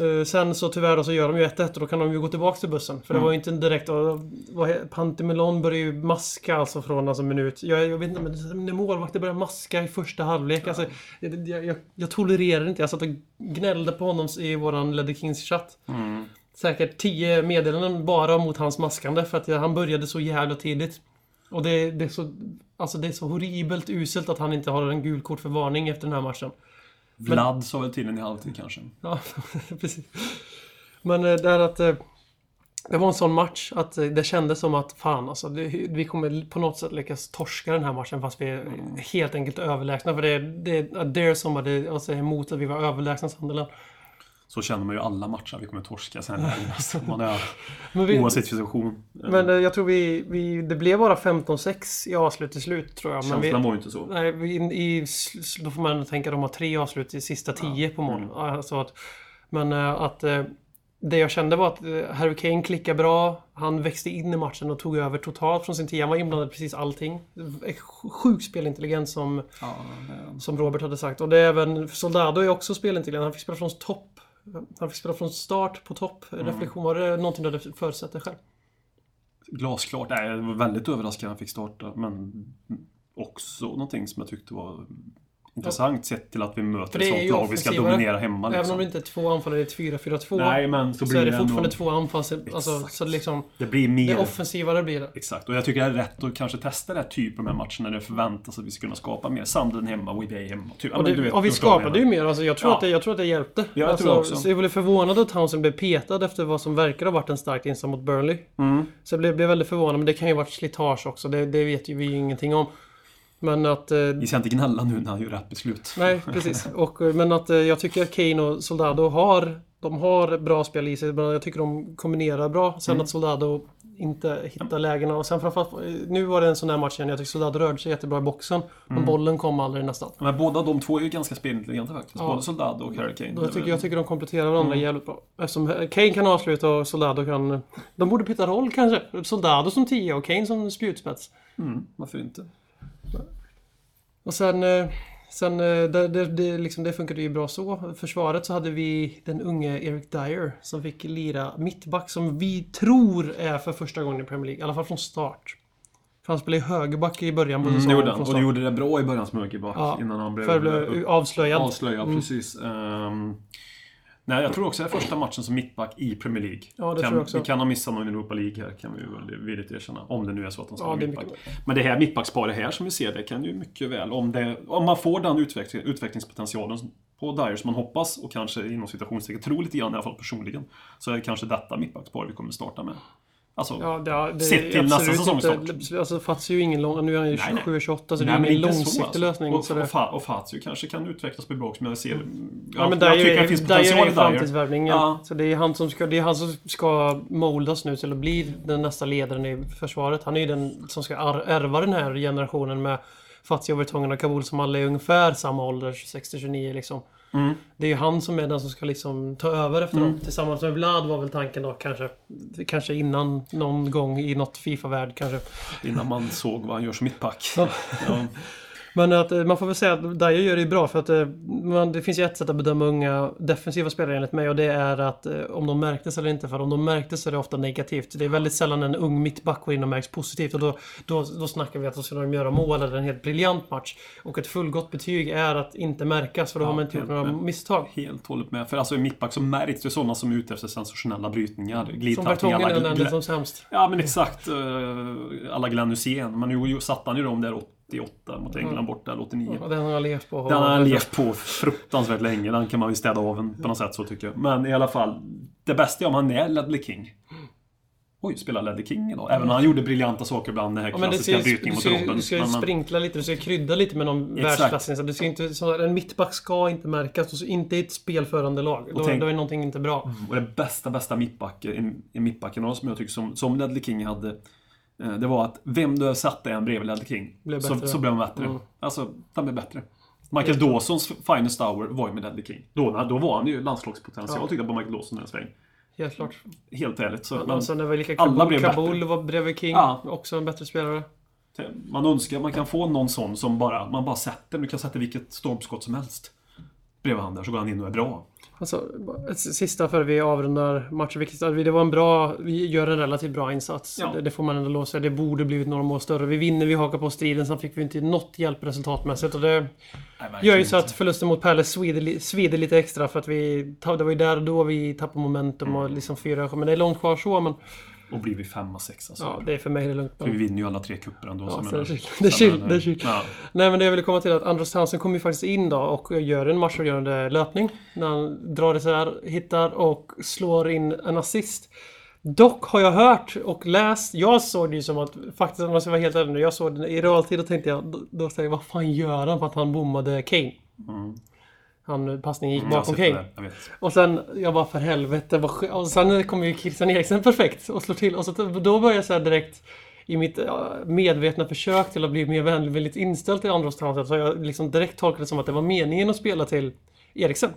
Speaker 2: Eh, sen så tyvärr då så gör de ju 1-1 och då kan de ju gå tillbaka till bussen. För det var ju inte en direkt... och vad he- Panty Melon började ju maska alltså från alltså minut... Jag, jag vet inte, men när målvakter börjar maska i första halvlek. Alltså, jag, jag, jag, jag tolererar inte. Jag satt och gnällde på honom i våran Ledder Kings-chatt säkert 10 meddelanden bara mot hans maskande för att jag- han började så jävla tidigt. Och det, det, är så, alltså det är så horribelt uselt att han inte har en gul kort för varning efter den här matchen.
Speaker 3: Vlad sa väl till en i halvtid kanske.
Speaker 2: Ja, precis. Men eh, det här att... eh, Det var en sån match att eh, det kändes som att fan alltså, det, vi kommer på något sätt lyckas torska den här matchen fast vi är helt enkelt överlägsna. För det, det är somebody alltså, emot att vi var överlägsna Sunderland.
Speaker 3: Så känner man ju alla matcher. Vi kommer torska sen. Alltså, man är,
Speaker 2: Men vi-
Speaker 3: oavsett situation.
Speaker 2: Men eh, jag tror vi, vi... Det blev bara 15-6 i avslut till slut tror jag. Men vi,
Speaker 3: Känslan var ju inte så.
Speaker 2: Nej, vi- in- i, sl- sl- då får man tänka att de har tre avslut i sista tio på mål. Alltså att, men eh, att eh, det jag kände var att eh, Harry Kane klickade bra. Han växte in i matchen och tog över totalt från sin tia. Han var inblandad i precis allting. Eh, Sj- Sjuk spelintelligens som, som Robert hade sagt. Och det är även Soldado är också spelintelligent. Han fick spela från topp. Han fick spela från start på topp. Reflektion, var det någonting du hade förutsett dig själv?
Speaker 3: Glasklart. Nej, jag var väldigt överraskad när han fick starta. Men också någonting som jag tyckte var intressant sett till att vi möter
Speaker 2: det
Speaker 3: ett
Speaker 2: är
Speaker 3: sånt
Speaker 2: ju
Speaker 3: lag vi ska
Speaker 2: offensivare.
Speaker 3: dominera
Speaker 2: Även
Speaker 3: hemma.
Speaker 2: om
Speaker 3: Liksom.
Speaker 2: det inte är två anfallare i ett 4-4-2.
Speaker 3: Nej, men så
Speaker 2: så,
Speaker 3: blir
Speaker 2: är det
Speaker 3: det
Speaker 2: fortfarande
Speaker 3: ändå-
Speaker 2: två anfall. Alltså,
Speaker 3: Exakt.
Speaker 2: så liksom,
Speaker 3: Det blir
Speaker 2: det
Speaker 3: mer...
Speaker 2: offensivare blir det.
Speaker 3: Exakt, och jag tycker det är rätt att kanske testa den här typen av matcher när det förväntas att vi ska kunna skapa mer. Sandelen hemma, Wibay hemma. Typ. Ja,
Speaker 2: Och,
Speaker 3: men
Speaker 2: det,
Speaker 3: du vet,
Speaker 2: och vi
Speaker 3: förstår vad jag
Speaker 2: skapade ju
Speaker 3: menar.
Speaker 2: mer. Alltså, jag, tror
Speaker 3: Ja.
Speaker 2: att det, jag tror att det hjälpte.
Speaker 3: jag
Speaker 2: alltså,
Speaker 3: tror också.
Speaker 2: Så jag blev förvånad att Townsend blev petad efter vad som verkar ha varit en stark insats mot Burnley.
Speaker 3: Mm.
Speaker 2: Så jag blev, blev väldigt förvånad. Men det kan ju ha varit slitage också. Det, det vet ju vi ingenting om. Men att... Eh,
Speaker 3: Vi ska inte gnälla nu när han gör rätt beslut.
Speaker 2: nej, precis. Och, eh, men att eh, jag tycker att Kane och Soldado har... De har bra spel i sig. Men jag tycker de kombinerar bra. Sen att Soldado inte hittar lägena. Och sen framförallt... eh, Nu var det en sån här match igen. Jag tycker Soldado rörde sig jättebra i boxen. Men bollen kom aldrig nästan.
Speaker 3: Men båda de två är ju ganska spelintelligenta faktiskt. Både Soldado och Harry Kane.
Speaker 2: Jag tycker, jag tycker de kompletterar varandra jävligt bra. Eftersom eh, Kane kan avsluta och Soldado kan... De borde byta roll kanske. Soldado som tia och Kane som spjutspets.
Speaker 3: Varför inte?
Speaker 2: Och sen... eh, Sen, eh, det, det, det, liksom, det funkade ju bra så. Försvaret så hade vi den unge Eric Dyer som fick lira mittback som vi tror är för första gången i Premier League. I alla fall från start. För han spelade ju högerback i början på
Speaker 3: Det
Speaker 2: säsongen.
Speaker 3: Mm, gjorde han.
Speaker 2: från
Speaker 3: Och det
Speaker 2: start.
Speaker 3: gjorde det bra i början som högerback.
Speaker 2: Ja,
Speaker 3: innan han blev,
Speaker 2: För att bli avslöjad.
Speaker 3: avslöjad.
Speaker 2: Mm.
Speaker 3: Precis. Ehm, nej, jag tror också det är första matchen som mittback i Premier League.
Speaker 2: Ja, det
Speaker 3: kan,
Speaker 2: tror jag också.
Speaker 3: Vi kan ha missat någon Europa League här, kan vi väl villigt erkänna. Om det nu är så att han ska
Speaker 2: Ja,
Speaker 3: vara
Speaker 2: det är
Speaker 3: mittback.
Speaker 2: mycket
Speaker 3: Men det här mittbacksparet här som vi ser, det kan ju mycket väl, om, det, om man får den utveckling, utvecklingspotentialen på Dyer som man hoppas, och kanske inom citationstecken tror lite grann i alla fall personligen, så är det kanske detta mittbackspar vi kommer starta med. Alltså,
Speaker 2: Ja, det, ja, det
Speaker 3: Sett
Speaker 2: är
Speaker 3: till nästa
Speaker 2: absolut
Speaker 3: säsongstart.
Speaker 2: inte- Alltså Fats är ju ingen lång... Nu är han ju
Speaker 3: Nej, nej.
Speaker 2: 27 28 så
Speaker 3: Nej,
Speaker 2: det är
Speaker 3: men
Speaker 2: ju ingen
Speaker 3: inte så,
Speaker 2: långsiktig
Speaker 3: alltså.
Speaker 2: lösning.
Speaker 3: Och,
Speaker 2: så det...
Speaker 3: och, Fa- och Fazio kanske kan utvecklas på bra som jag ser.
Speaker 2: Ja, men
Speaker 3: jag
Speaker 2: Dyer
Speaker 3: tycker
Speaker 2: är,
Speaker 3: det finns
Speaker 2: Dyer är
Speaker 3: potential
Speaker 2: ju
Speaker 3: i Dyer.
Speaker 2: framtidsvärvningen.
Speaker 3: Ja.
Speaker 2: Så det är, han som ska, det är han som ska moldas nu till att bli den nästa ledaren i försvaret. Han är ju den som ska ar- ärva den här generationen med Fatih Vertongen och Kabul som alla är ungefär samma ålder, 26-29 liksom.
Speaker 3: Mm.
Speaker 2: Det är ju han som är den som ska liksom ta över efter dem. Tillsammans med Vlad var väl tanken då kanske. Kanske innan någon gång i något Fifa-värld kanske.
Speaker 3: Innan man såg vad han gör som mittback.
Speaker 2: Ja.
Speaker 3: Ja.
Speaker 2: Men att, eh, man får väl säga att Dyer gör det bra för att eh, man, det finns ju ett sätt att bedöma unga defensiva spelare enligt mig och det är att eh, om de märktes eller inte. För om de märktes så är det ofta negativt. Det är väldigt sällan en ung mittback går in och märks positivt och då, då, då snackar vi att då ska de göra mål eller en helt briljant match. Och ett fullgott betyg är att inte märkas för då har man inte gjort
Speaker 3: helt
Speaker 2: några
Speaker 3: med.
Speaker 2: misstag.
Speaker 3: Helt hållet med. För alltså en mittback som märks, det är sådana som är ute efter sensationella brytningar.
Speaker 2: Som
Speaker 3: Glidtackningar.
Speaker 2: Vertongen är
Speaker 3: alla
Speaker 2: den enda
Speaker 3: gla-
Speaker 2: som sämst.
Speaker 3: Ja men exakt. eh, Alla Glenn Hysén. Men nu satte han ju dem där 88 mot
Speaker 2: Mm.
Speaker 3: England borta, eller 89.
Speaker 2: Och den har jag levt på.
Speaker 3: Den har han levt på fruktansvärt länge. Den kan man ju städa av en, på något sätt så tycker jag. Men i alla fall. Det bästa är om han är Ledley King. Oj, spelar Ledley King idag? Även om han gjorde briljanta saker ibland. Den här
Speaker 2: Ja, men det
Speaker 3: klassiska
Speaker 2: ska, ju-
Speaker 3: brytningen
Speaker 2: du,
Speaker 3: mot
Speaker 2: ska, ju-
Speaker 3: Robben.
Speaker 2: du ska ju
Speaker 3: Men- men-
Speaker 2: sprinkla lite, du ska ju krydda lite med någon
Speaker 3: Exakt.
Speaker 2: världsklassinsats. Du ska inte, så, en mittback ska inte märkas, och så inte i ett spelförande lag. Då,
Speaker 3: tänk- Mm.
Speaker 2: då är någonting inte bra.
Speaker 3: Och det bästa, bästa mittback, i, i mittbacken av som jag tycker som, som Ledley King hade. eh, Det var att vem du satte en bredvid Ledley King
Speaker 2: Blev
Speaker 3: så,
Speaker 2: bättre.
Speaker 3: så blev han bättre.
Speaker 2: Mm.
Speaker 3: Alltså, han blev bättre. Michael Dawsons finest hour var ju med Ledley King. Då, när- då var han ju landslagspotential
Speaker 2: Ja.
Speaker 3: tyckte jag på Michael Dawson i en sväng.
Speaker 2: Helt klart. Alltså,
Speaker 3: Helt ärligt. Så,
Speaker 2: Och
Speaker 3: man,
Speaker 2: sen är väl lika
Speaker 3: alla
Speaker 2: Kabul,
Speaker 3: blev bättre.
Speaker 2: Kabul var bredvid King.
Speaker 3: Ja.
Speaker 2: Också en bättre spelare.
Speaker 3: man önskar att man kan få någon sån som bara, man bara sätter. Du kan sätta vilket stormskott som helst. Bredvid han där så går han in och är bra.
Speaker 2: Alltså, ett sista före vi avrundar matchen. Vilket, att vi- det var en bra... Vi gör en relativt bra insats.
Speaker 3: Ja.
Speaker 2: Det, det får man ändå lov att säga. Det borde blivit några mål större. Vi vinner, vi hakar på striden. Sen fick vi inte något hjälp resultatmässigt. Och det,
Speaker 3: Nej,
Speaker 2: gör
Speaker 3: verkligen
Speaker 2: ju så
Speaker 3: inte.
Speaker 2: att förlusten mot Palace svider, li- svider lite extra för att vi... ta- Det var ju där och då vi tappade momentum
Speaker 3: Mm.
Speaker 2: och liksom fyra... Men det är långt kvar så men...
Speaker 3: Och blir vi femma, sexa så.
Speaker 2: Ja, det är för mig det är lugnt.
Speaker 3: Vi
Speaker 2: Men,
Speaker 3: vinner ju alla tre cuper ändå. så
Speaker 2: ja,
Speaker 3: jag
Speaker 2: så det är chill. Det
Speaker 3: menar-
Speaker 2: är chill.
Speaker 3: menar-
Speaker 2: Det är chill.
Speaker 3: Ja.
Speaker 2: Nej men det jag ville komma till är att Andros Townsend kommer ju faktiskt in då och gör en matchavgörande löpning. När han drar isär, hittar och slår in en assist. Dock har jag hört och läst, jag såg det ju som att, faktiskt om jag ska vara helt ärlig nu, jag såg det i realtid och tänkte jag, då, då tänkte jag vad fan gör han för att han bommade Kane? Han, passningen gick
Speaker 3: Mm, jag har
Speaker 2: bakom
Speaker 3: sett
Speaker 2: Kane.
Speaker 3: det där, Jag vet.
Speaker 2: Och sen, jag bara för helvete vad sk- Och sen kommer ju Christian Eriksen perfekt och slår till. Och så, då börjar jag så här direkt i mitt ja, medvetna försök till att bli mer vänligt inställd till andra Townsend så har jag liksom direkt tolkat det som att det var meningen att spela till Eriksen.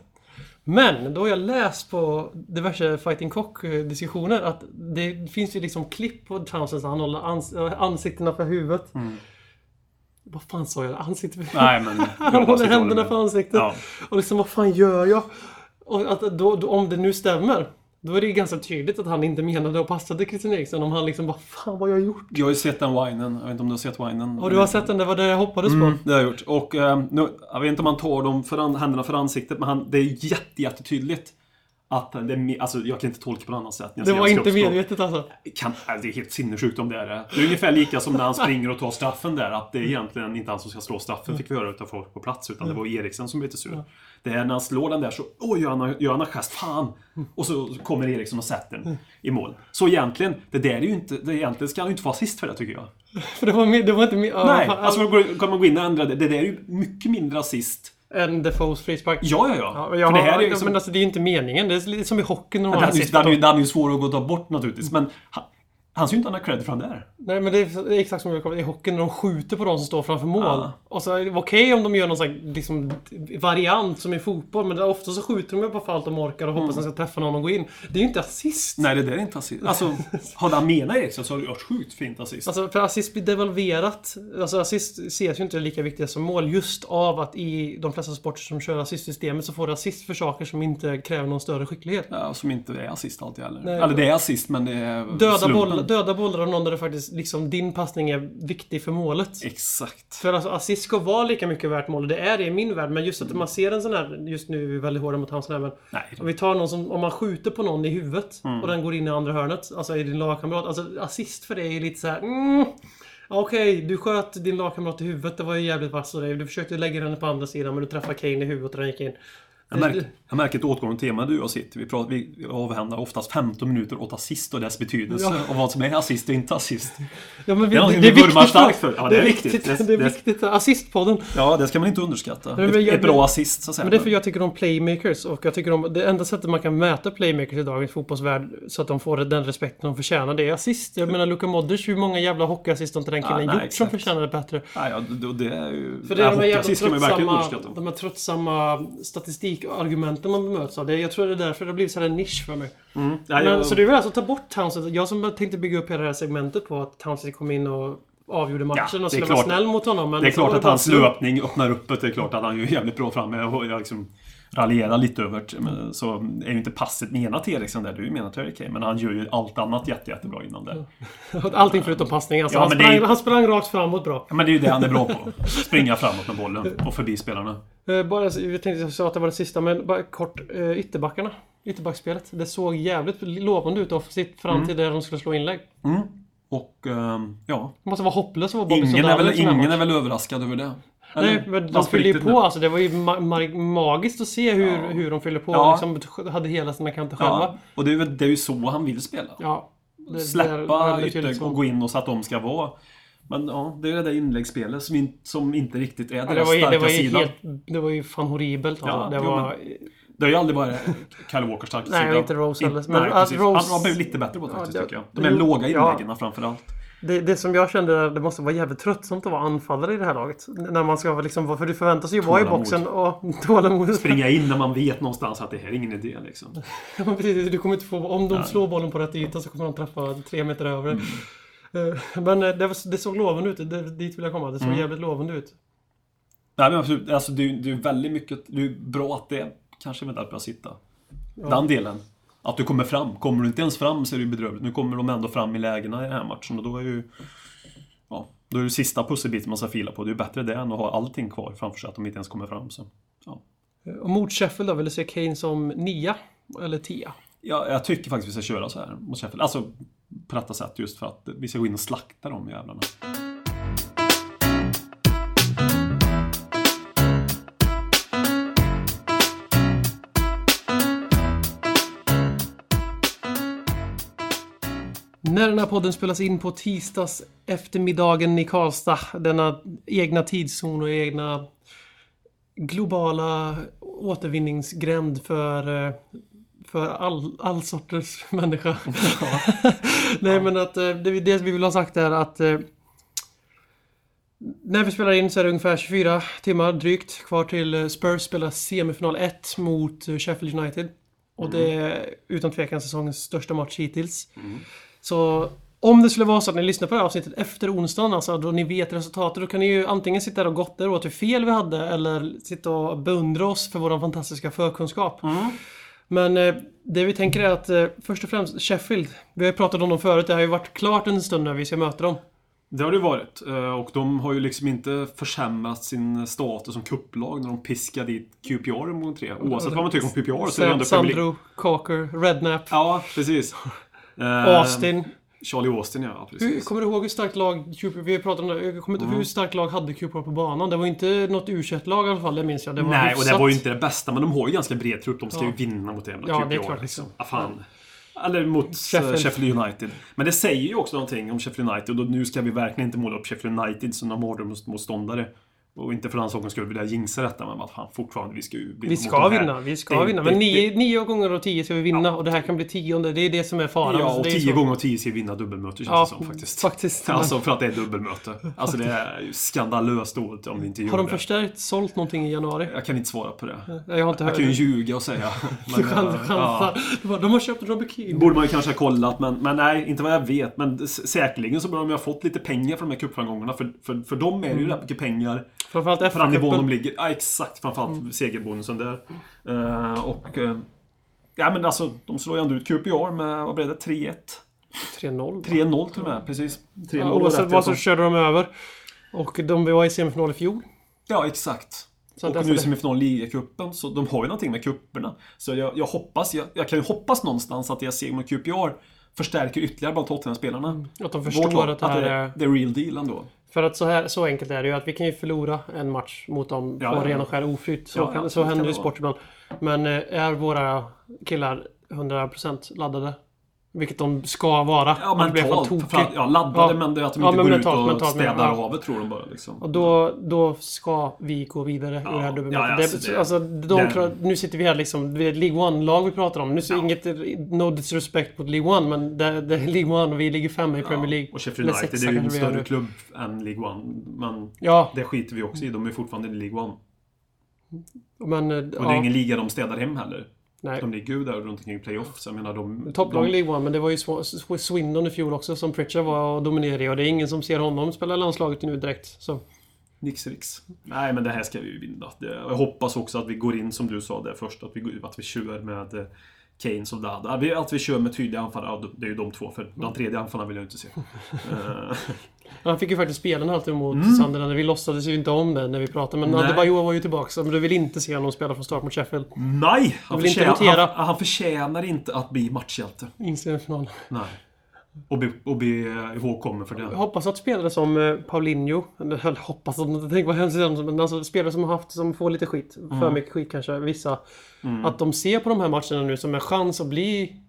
Speaker 2: Men då har jag läst på diverse Fighting Cock eh, diskussioner att det finns ju liksom klipp på Townsend så han håller ans- eh, ansiktena för huvudet. Vad fan sa jag? Ansiktet för
Speaker 3: Nej, men...
Speaker 2: Han håller händerna för
Speaker 3: ansiktet.
Speaker 2: ansiktet.
Speaker 3: Ja.
Speaker 2: Och liksom, vad fan gör jag? Och att, då, då, om det nu stämmer. Då är det ju ganska tydligt att han inte menade att passa till Christian Eriksen om han liksom bara Fan vad jag har gjort.
Speaker 3: Jag har ju sett den winen. Jag vet inte om du har sett winen?
Speaker 2: Och du har sett den, det var det jag hoppades på.
Speaker 3: Mm, det har jag gjort. Och eh, nu, jag vet inte om han tar dem för an, händerna för ansiktet, men han, det är jätte, jättetydligt. Att det är, me- alltså, jag kan inte tolka på något annat sätt. när jag
Speaker 2: Det
Speaker 3: ser
Speaker 2: var
Speaker 3: hans
Speaker 2: inte
Speaker 3: kroppsspråk.
Speaker 2: medvetet alltså.
Speaker 3: Kan, alltså, det är helt sinnessjukt om det är det. Det är ungefär lika som när han springer och tar straffen där. Att det är egentligen inte han som ska slå straffen, fick vi höra utav folk på plats. Utan det var Eriksen som blev lite sur. Det är när han slår den där så, åh, gör han, gör han en gest, fan! Och så kommer Eriksen och sätter den i mål. Så egentligen, det där är ju inte, det egentligen ska han ju inte få assist för det tycker jag.
Speaker 2: För det var, med, det var inte med,
Speaker 3: Nej, alltså går- kommer man gå in och ändra det. Det där är ju mycket mindre assist.
Speaker 2: En Defoes frispark.
Speaker 3: Ja, ja,
Speaker 2: Ja,
Speaker 3: ja.
Speaker 2: men jag
Speaker 3: för det här
Speaker 2: har,
Speaker 3: är ju liksom,
Speaker 2: Men alltså det är ju inte meningen. Det är lite som i hockeyn när de
Speaker 3: den,
Speaker 2: har
Speaker 3: är, ju-
Speaker 2: assist.
Speaker 3: den, är, ju- den är ju svår att gå och ta bort naturligtvis. Men han, han ser ju inte han har cred för han där.
Speaker 2: Nej men det är, det är exakt som jag kommer i hockeyn när de skjuter på de som står framför mål.
Speaker 3: Ja.
Speaker 2: Och så är det okej om de gör någon sån här, liksom, variant som i fotboll. Men det- ofta så skjuter de ju bara för allt de orkar och hoppas att de ska träffa någon och gå in. Det är ju inte assist.
Speaker 3: Mm. Nej, det där är inte assist. Alltså, hade han menat Eriksson så hade det varit sjukt fint assist.
Speaker 2: Alltså, för assist blir devalverat. Alltså assist ses ju inte lika viktiga som mål just av att i de flesta sporter som kör assistsystemet så får du assist för saker som inte kräver någon större skicklighet.
Speaker 3: Ja, som inte är assist alltid heller.
Speaker 2: Nej.
Speaker 3: Eller det är assist, men det är
Speaker 2: Döda,
Speaker 3: slumpen.
Speaker 2: boll, döda bollar av någon där det faktiskt liksom din passning är viktig för målet.
Speaker 3: Exakt.
Speaker 2: För alltså assist ska vara lika mycket värt mål och det är det i min värld. Men just att man ser en sån här, just nu är vi väldigt hårda mot hans men
Speaker 3: Mm. Nej. Mm.
Speaker 2: om vi tar någon som, om man skjuter på någon i huvudet och den går in i andra hörnet, alltså i din lagkamrat. Alltså assist för dig är lite så här. Mm, ja, Okej, du sköt din lagkamrat i huvudet. Det var ju jävligt vass av dig. Du försökte lägga den på andra sidan men du träffade Kane i huvudet och den gick in.
Speaker 3: Jag märker, jag märker ett återkommande tema du och jag sitter. Vi, pratar, vi avhandlar oftast 15 minuter åt assist och dess betydelse. Och vad som är assist och inte assist.
Speaker 2: Ja, men vi,
Speaker 3: Det är någonting vi vurmar starkt för. Ja, det är viktigt.
Speaker 2: Det är
Speaker 3: Det-
Speaker 2: viktigt. Assistpodden.
Speaker 3: Ja, det ska man inte underskatta.
Speaker 2: Men
Speaker 3: Ett,
Speaker 2: jag-
Speaker 3: ett bra assist, så att säga.
Speaker 2: Men det är för jag tycker om playmakers och jag tycker om... Det enda sättet man kan mäta playmakers i dagens fotbollsvärld så att de får den respekten de förtjänar, det är assist. Jag menar Luka Modric, hur många jävla hockeyassist har inte den
Speaker 3: Ja,
Speaker 2: killen
Speaker 3: nej,
Speaker 2: gjort som
Speaker 3: exakt.
Speaker 2: förtjänar det bättre?
Speaker 3: Ja, ja, det, det är ju...
Speaker 2: För det är
Speaker 3: Nej,
Speaker 2: de här jävla
Speaker 3: assist kan man ju verkligen
Speaker 2: tröttsamma,
Speaker 3: underskatta.
Speaker 2: de här tröttsamma statistikargumenten man bemöts av. Det, jag tror det är därför det har blivit så här en nisch för mig.
Speaker 3: Nej,
Speaker 2: Men,
Speaker 3: jag-
Speaker 2: Så du vill alltså ta bort Townsend? Jag som tänkte bygga upp hela det här segmentet på att Townsend kom in och avgjorde matchen
Speaker 3: det är
Speaker 2: och skulle vara
Speaker 3: klart.
Speaker 2: snäll mot honom. Men
Speaker 3: Det är
Speaker 2: så
Speaker 3: klart
Speaker 2: var
Speaker 3: att
Speaker 2: bara
Speaker 3: hans
Speaker 2: slump.
Speaker 3: löpning öppnar upp det. Det är klart att han är ju jävligt bra framme. Jag, jag liksom raljerar lite över det. men Så är ju inte passet menat till Eriksen där. Du är ju menat till Harry Kane. Men han gör ju allt annat jätte, jättebra innan det.
Speaker 2: Allting förutom passning. Alltså,
Speaker 3: Ja,
Speaker 2: han,
Speaker 3: men det
Speaker 2: sprang,
Speaker 3: är-
Speaker 2: han sprang rakt framåt bra.
Speaker 3: Ja, men det är ju det han är bra på. Springa framåt med bollen och förbi spelarna.
Speaker 2: Eh, Bara, jag tänkte jag sa att det var det sista, men bara kort. eh, Ytterbackarna. Ytterbackspelet. Det såg jävligt lovande ut offensivt fram till där de skulle slå inlägg.
Speaker 3: Och ehm, ja,
Speaker 2: Det måste vara hopplöst att vara Bobby
Speaker 3: ingen är,
Speaker 2: Sandal i
Speaker 3: väl,
Speaker 2: en sån här
Speaker 3: ingen
Speaker 2: match.
Speaker 3: är väl överraskad över det.
Speaker 2: Nej,
Speaker 3: Eller?
Speaker 2: men de
Speaker 3: Han
Speaker 2: fyllde ju
Speaker 3: riktigt
Speaker 2: på
Speaker 3: nu.
Speaker 2: alltså. Det var ju ma- ma- magiskt att se hur, hur de fyllde på.
Speaker 3: Ja.
Speaker 2: och Liksom, hade hela sina kanter
Speaker 3: Ja,
Speaker 2: själva.
Speaker 3: och det är, väl, det är ju så han vill spela.
Speaker 2: Ja. Det- liksom- det är
Speaker 3: släppa
Speaker 2: väldigt tydligt
Speaker 3: ytter
Speaker 2: så.
Speaker 3: och gå in och så att de ska vara... Men ja, det är det där inläggsspelet som, in, som inte riktigt är
Speaker 2: Ja, det,
Speaker 3: deras
Speaker 2: var ju,
Speaker 3: starka
Speaker 2: det, var ju
Speaker 3: sida.
Speaker 2: helt, det var ju fan horribelt alltså.
Speaker 3: Ja,
Speaker 2: det
Speaker 3: jo,
Speaker 2: var,
Speaker 3: Det har ju aldrig varit Kyle Walkers starka
Speaker 2: Nej,
Speaker 3: sida.
Speaker 2: inte Rose heller.
Speaker 3: Men
Speaker 2: Men
Speaker 3: nej,
Speaker 2: att
Speaker 3: precis.
Speaker 2: Rose-
Speaker 3: Han har blivit lite bättre på det
Speaker 2: Ja,
Speaker 3: faktiskt,
Speaker 2: det-
Speaker 3: tycker jag. De här
Speaker 2: det-
Speaker 3: låga
Speaker 2: ja.
Speaker 3: inläggen framförallt.
Speaker 2: Det, det som jag kände, där, det måste vara jävligt tröttsamt att vara anfallare i det här laget. N- När man ska vara liksom, vara- för du förväntas ju vara i
Speaker 3: Tålamod.
Speaker 2: boxen och tålamod.
Speaker 3: Springa in när man vet någonstans att det här är ingen idé liksom.
Speaker 2: Ja, men precis, du kommer inte få, om de slår bollen på rätt yta så kommer de träffa tre meter över.
Speaker 3: Mm.
Speaker 2: Eh, Men eh, det, var, det såg lovande ut, det, dit vill jag komma. Det såg jävligt lovande ut.
Speaker 3: Nej men absolut, alltså det är ju- det är ju väldigt mycket, det är ju bra att det kanske är där bra sitta. Den delen. Att du kommer fram. Kommer du inte ens fram så är det ju bedrövligt. Nu kommer de ändå fram i lägena i den här matchen och då är ju... Ja, då är det sista pusselbiten man ska fila på. Det är ju bättre det än att ha allting kvar framför sig, att de inte ens kommer fram. Så. Ja.
Speaker 2: Eh, Och mot Sheffield då, vill du se Kane som nia? Eller tia?
Speaker 3: Ja, jag tycker faktiskt vi ska köra så här mot Sheffield. Alltså på detta sätt just för att vi ska gå in och slakta de jävlarna.
Speaker 2: När den här podden spelas in på tisdags eftermiddagen i Karlstad, denna egna tidszon och egna globala återvinningsgränd för, eh, för all, all sorters människa. Nej men att eh, det, det vi vill ha sagt är att eh, när vi spelar in så är det ungefär 24 timmar drygt kvar till eh, Spurs spelar semifinal 1 mot eh, Sheffield United. Och det är utan tvekan säsongens största match hittills. Så om det skulle vara så att ni lyssnar på det här avsnittet efter onsdagen, alltså då ni vet resultatet, då kan ni ju antingen sitta där och gotta
Speaker 3: Mm.
Speaker 2: er åt hur fel vi hade eller sitta och beundra oss för vår fantastiska förkunskap. Men eh, det vi tänker är att eh, först och främst Sheffield. Vi har ju pratat om dem förut. Det har ju varit klart en stund när vi ska möta dem.
Speaker 3: Det har det varit. Eh, Och de har ju liksom inte försämrat sin status som kupplag när de piskade dit QPR mot tre. Oavsett vad man tycker om QPR så är det ändå Premier League.
Speaker 2: Sandro, Cocker, Redknapp,
Speaker 3: Ja, precis. Eh,
Speaker 2: Austin.
Speaker 3: Charlie Austin, ja.
Speaker 2: Hur,
Speaker 3: Precis.
Speaker 2: kommer du ihåg hur starkt lag Cooper, vi pratade om det, jag kommer inte
Speaker 3: Mm.
Speaker 2: ihåg hur starkt lag hade Cooper på banan? Det var inte något u lag i alla fall, det minns jag. Det var
Speaker 3: Nej, och
Speaker 2: hyfsat.
Speaker 3: det var ju inte det bästa, men de har ju ganska bred trupp. De ska ju
Speaker 2: Ja.
Speaker 3: vinna mot det jävla
Speaker 2: Ja,
Speaker 3: QPR.
Speaker 2: det är klart, liksom.
Speaker 3: liksom. Ah, fan. Eller mot eh,
Speaker 2: Sheffield.
Speaker 3: Sheffield United. Men det säger ju också någonting om Sheffield United och nu ska vi verkligen inte måla upp Sheffield United som några mardrömsmotståndare. Och inte för den sakens skull vill jag jinxa detta, men vad fan, fortfarande, vi ska ju vinna
Speaker 2: Vi
Speaker 3: mot
Speaker 2: ska
Speaker 3: de här.
Speaker 2: vinna, vi ska
Speaker 3: Det-
Speaker 2: vinna.
Speaker 3: det-
Speaker 2: Men nio, nio gånger av tio ska vi vinna och det här kan bli tionde. Det är det som är faran.
Speaker 3: Ja,
Speaker 2: Så
Speaker 3: och
Speaker 2: det är
Speaker 3: tio
Speaker 2: så-
Speaker 3: gånger av tio ska vi vinna dubbelmöte känns
Speaker 2: Ja,
Speaker 3: det som faktiskt.
Speaker 2: faktiskt.
Speaker 3: Alltså för att det är dubbelmöte. Alltså det är ju skandalöst dåligt om vi inte
Speaker 2: Har
Speaker 3: gjorde
Speaker 2: de
Speaker 3: det.
Speaker 2: förstärkt, sålt någonting i januari?
Speaker 3: Jag kan inte svara på det.
Speaker 2: Jag har inte
Speaker 3: Jag
Speaker 2: hört
Speaker 3: kan ju
Speaker 2: det.
Speaker 3: ljuga och säga.
Speaker 2: Du
Speaker 3: Men,
Speaker 2: chans-
Speaker 3: eh, ja.
Speaker 2: chansar. Du bara, De har köpt Robbie Keane.
Speaker 3: Borde man ju kanske ha kollat, men, men nej, inte vad jag vet. Men s- säkerligen så borde de ju ha fått lite pengar för de här cupframgångarna. För, för, för dem är det
Speaker 2: Mm.
Speaker 3: ju rätt mycket pengar
Speaker 2: Framförallt
Speaker 3: för den nivån de
Speaker 2: FA-cupen.
Speaker 3: ligger. Ja, exakt. Framförallt
Speaker 2: Mm.
Speaker 3: segerbonusen där. Eh, och... eh, ja, men alltså, de slår ju ändå ut QPR med, vad blev det? 3-1?
Speaker 2: 3-0.
Speaker 3: 3-0 till och med, precis. 3-0
Speaker 2: Ja,
Speaker 3: var
Speaker 2: Oavsett
Speaker 3: rätt,
Speaker 2: vad så
Speaker 3: jag sa.
Speaker 2: körde de över. Och de var i semifinal i fjol.
Speaker 3: Ja, exakt.
Speaker 2: Så
Speaker 3: och
Speaker 2: därför
Speaker 3: nu i
Speaker 2: det-
Speaker 3: semifinal i ligacupen, så de har ju någonting med cuperna. Så jag, jag hoppas, jag, jag kan ju hoppas någonstans att jag ser mot QPR förstärker ytterligare bland Tottenham-spelarna.
Speaker 2: Att de
Speaker 3: Vårt
Speaker 2: förstår
Speaker 3: lag,
Speaker 2: att det här är...
Speaker 3: det är real deal ändå.
Speaker 2: För att så, här, så enkelt är det ju att vi kan ju förlora en match mot dem
Speaker 3: Ja,
Speaker 2: på
Speaker 3: ja.
Speaker 2: ren och skär oflyt. Så,
Speaker 3: Ja, ja,
Speaker 2: kan,
Speaker 3: det
Speaker 2: så
Speaker 3: kan
Speaker 2: händer ju i
Speaker 3: det
Speaker 2: sport ibland. Men eh, är våra killar 100% laddade? Vilket de ska vara.
Speaker 3: Ja,
Speaker 2: om det blir fan
Speaker 3: mentalt.
Speaker 2: tokigt.
Speaker 3: framförallt. Ja, laddade,
Speaker 2: Ja.
Speaker 3: men det är att de
Speaker 2: Ja,
Speaker 3: inte
Speaker 2: men
Speaker 3: går
Speaker 2: mentalt,
Speaker 3: ut och
Speaker 2: mentalt menar jag.
Speaker 3: städar
Speaker 2: Ja.
Speaker 3: havet tror de bara. Liksom.
Speaker 2: Och då, då ska vi gå vidare ur det här dubbelmötet.
Speaker 3: ja,
Speaker 2: det,
Speaker 3: alltså
Speaker 2: alltså,
Speaker 3: det-
Speaker 2: de,
Speaker 3: den-
Speaker 2: klar- nu sitter vi här liksom, det är ett League One-lag vi pratar om. Nu så inget, no disrespect mot League One, men det, det är League One och vi ligger femma i Premier League.
Speaker 3: Ja, och Sheffield
Speaker 2: Eller
Speaker 3: United
Speaker 2: sexa
Speaker 3: är ju en
Speaker 2: kanske vi är
Speaker 3: större
Speaker 2: nu.
Speaker 3: klubb än League One. Men
Speaker 2: Ja,
Speaker 3: det skiter vi också i. De är fortfarande i League One.
Speaker 2: men... eh,
Speaker 3: Och
Speaker 2: ja,
Speaker 3: det är ingen liga de städar hem heller.
Speaker 2: nej.
Speaker 3: De ligger ju där runt omkring playoff. Så jag menar de...
Speaker 2: Topplag i
Speaker 3: de-
Speaker 2: League One, men det var ju sw- sw- Swindon i fjol också som Pritchard var och dominerade i. Och det är ingen som ser honom spela i landslaget nu direkt. Så.
Speaker 3: Nix rix. Nej, men det här ska vi ju vinna. Det- Jag hoppas också att vi går in, som du sa där först, att vi, går- att vi kör med eh, Keynes och Dada. Att vi, att vi kör med tydliga anfallare. Ja, det är ju de två, för
Speaker 2: Mm.
Speaker 3: de tredje anfallarna vill jag inte se. Eh,
Speaker 2: Han fick ju faktiskt spela en halvtimme mot Sunderland. Vi låtsades ju inte om det när vi pratade. Men
Speaker 3: Mm. Nej.
Speaker 2: Adebayor var ju tillbaka. så- Men du vill inte se honom spela från start mot Sheffield.
Speaker 3: Nej! Han,
Speaker 2: vill inte
Speaker 3: förtjänar,
Speaker 2: notera.
Speaker 3: han, han förtjänar inte att bli matchhjälte.
Speaker 2: Inser en final.
Speaker 3: Nej. Och bli, och bli eh, ihågkommen för
Speaker 2: Jag
Speaker 3: det.
Speaker 2: hoppas att spelare som eh, Paulinho, eller jag hoppas att, tänk vad hemskt det är, men alltså spelare som har haft, som får lite skit,
Speaker 3: Mm.
Speaker 2: för mycket skit kanske, vissa. Att de ser på de här matcherna nu som en chans att bli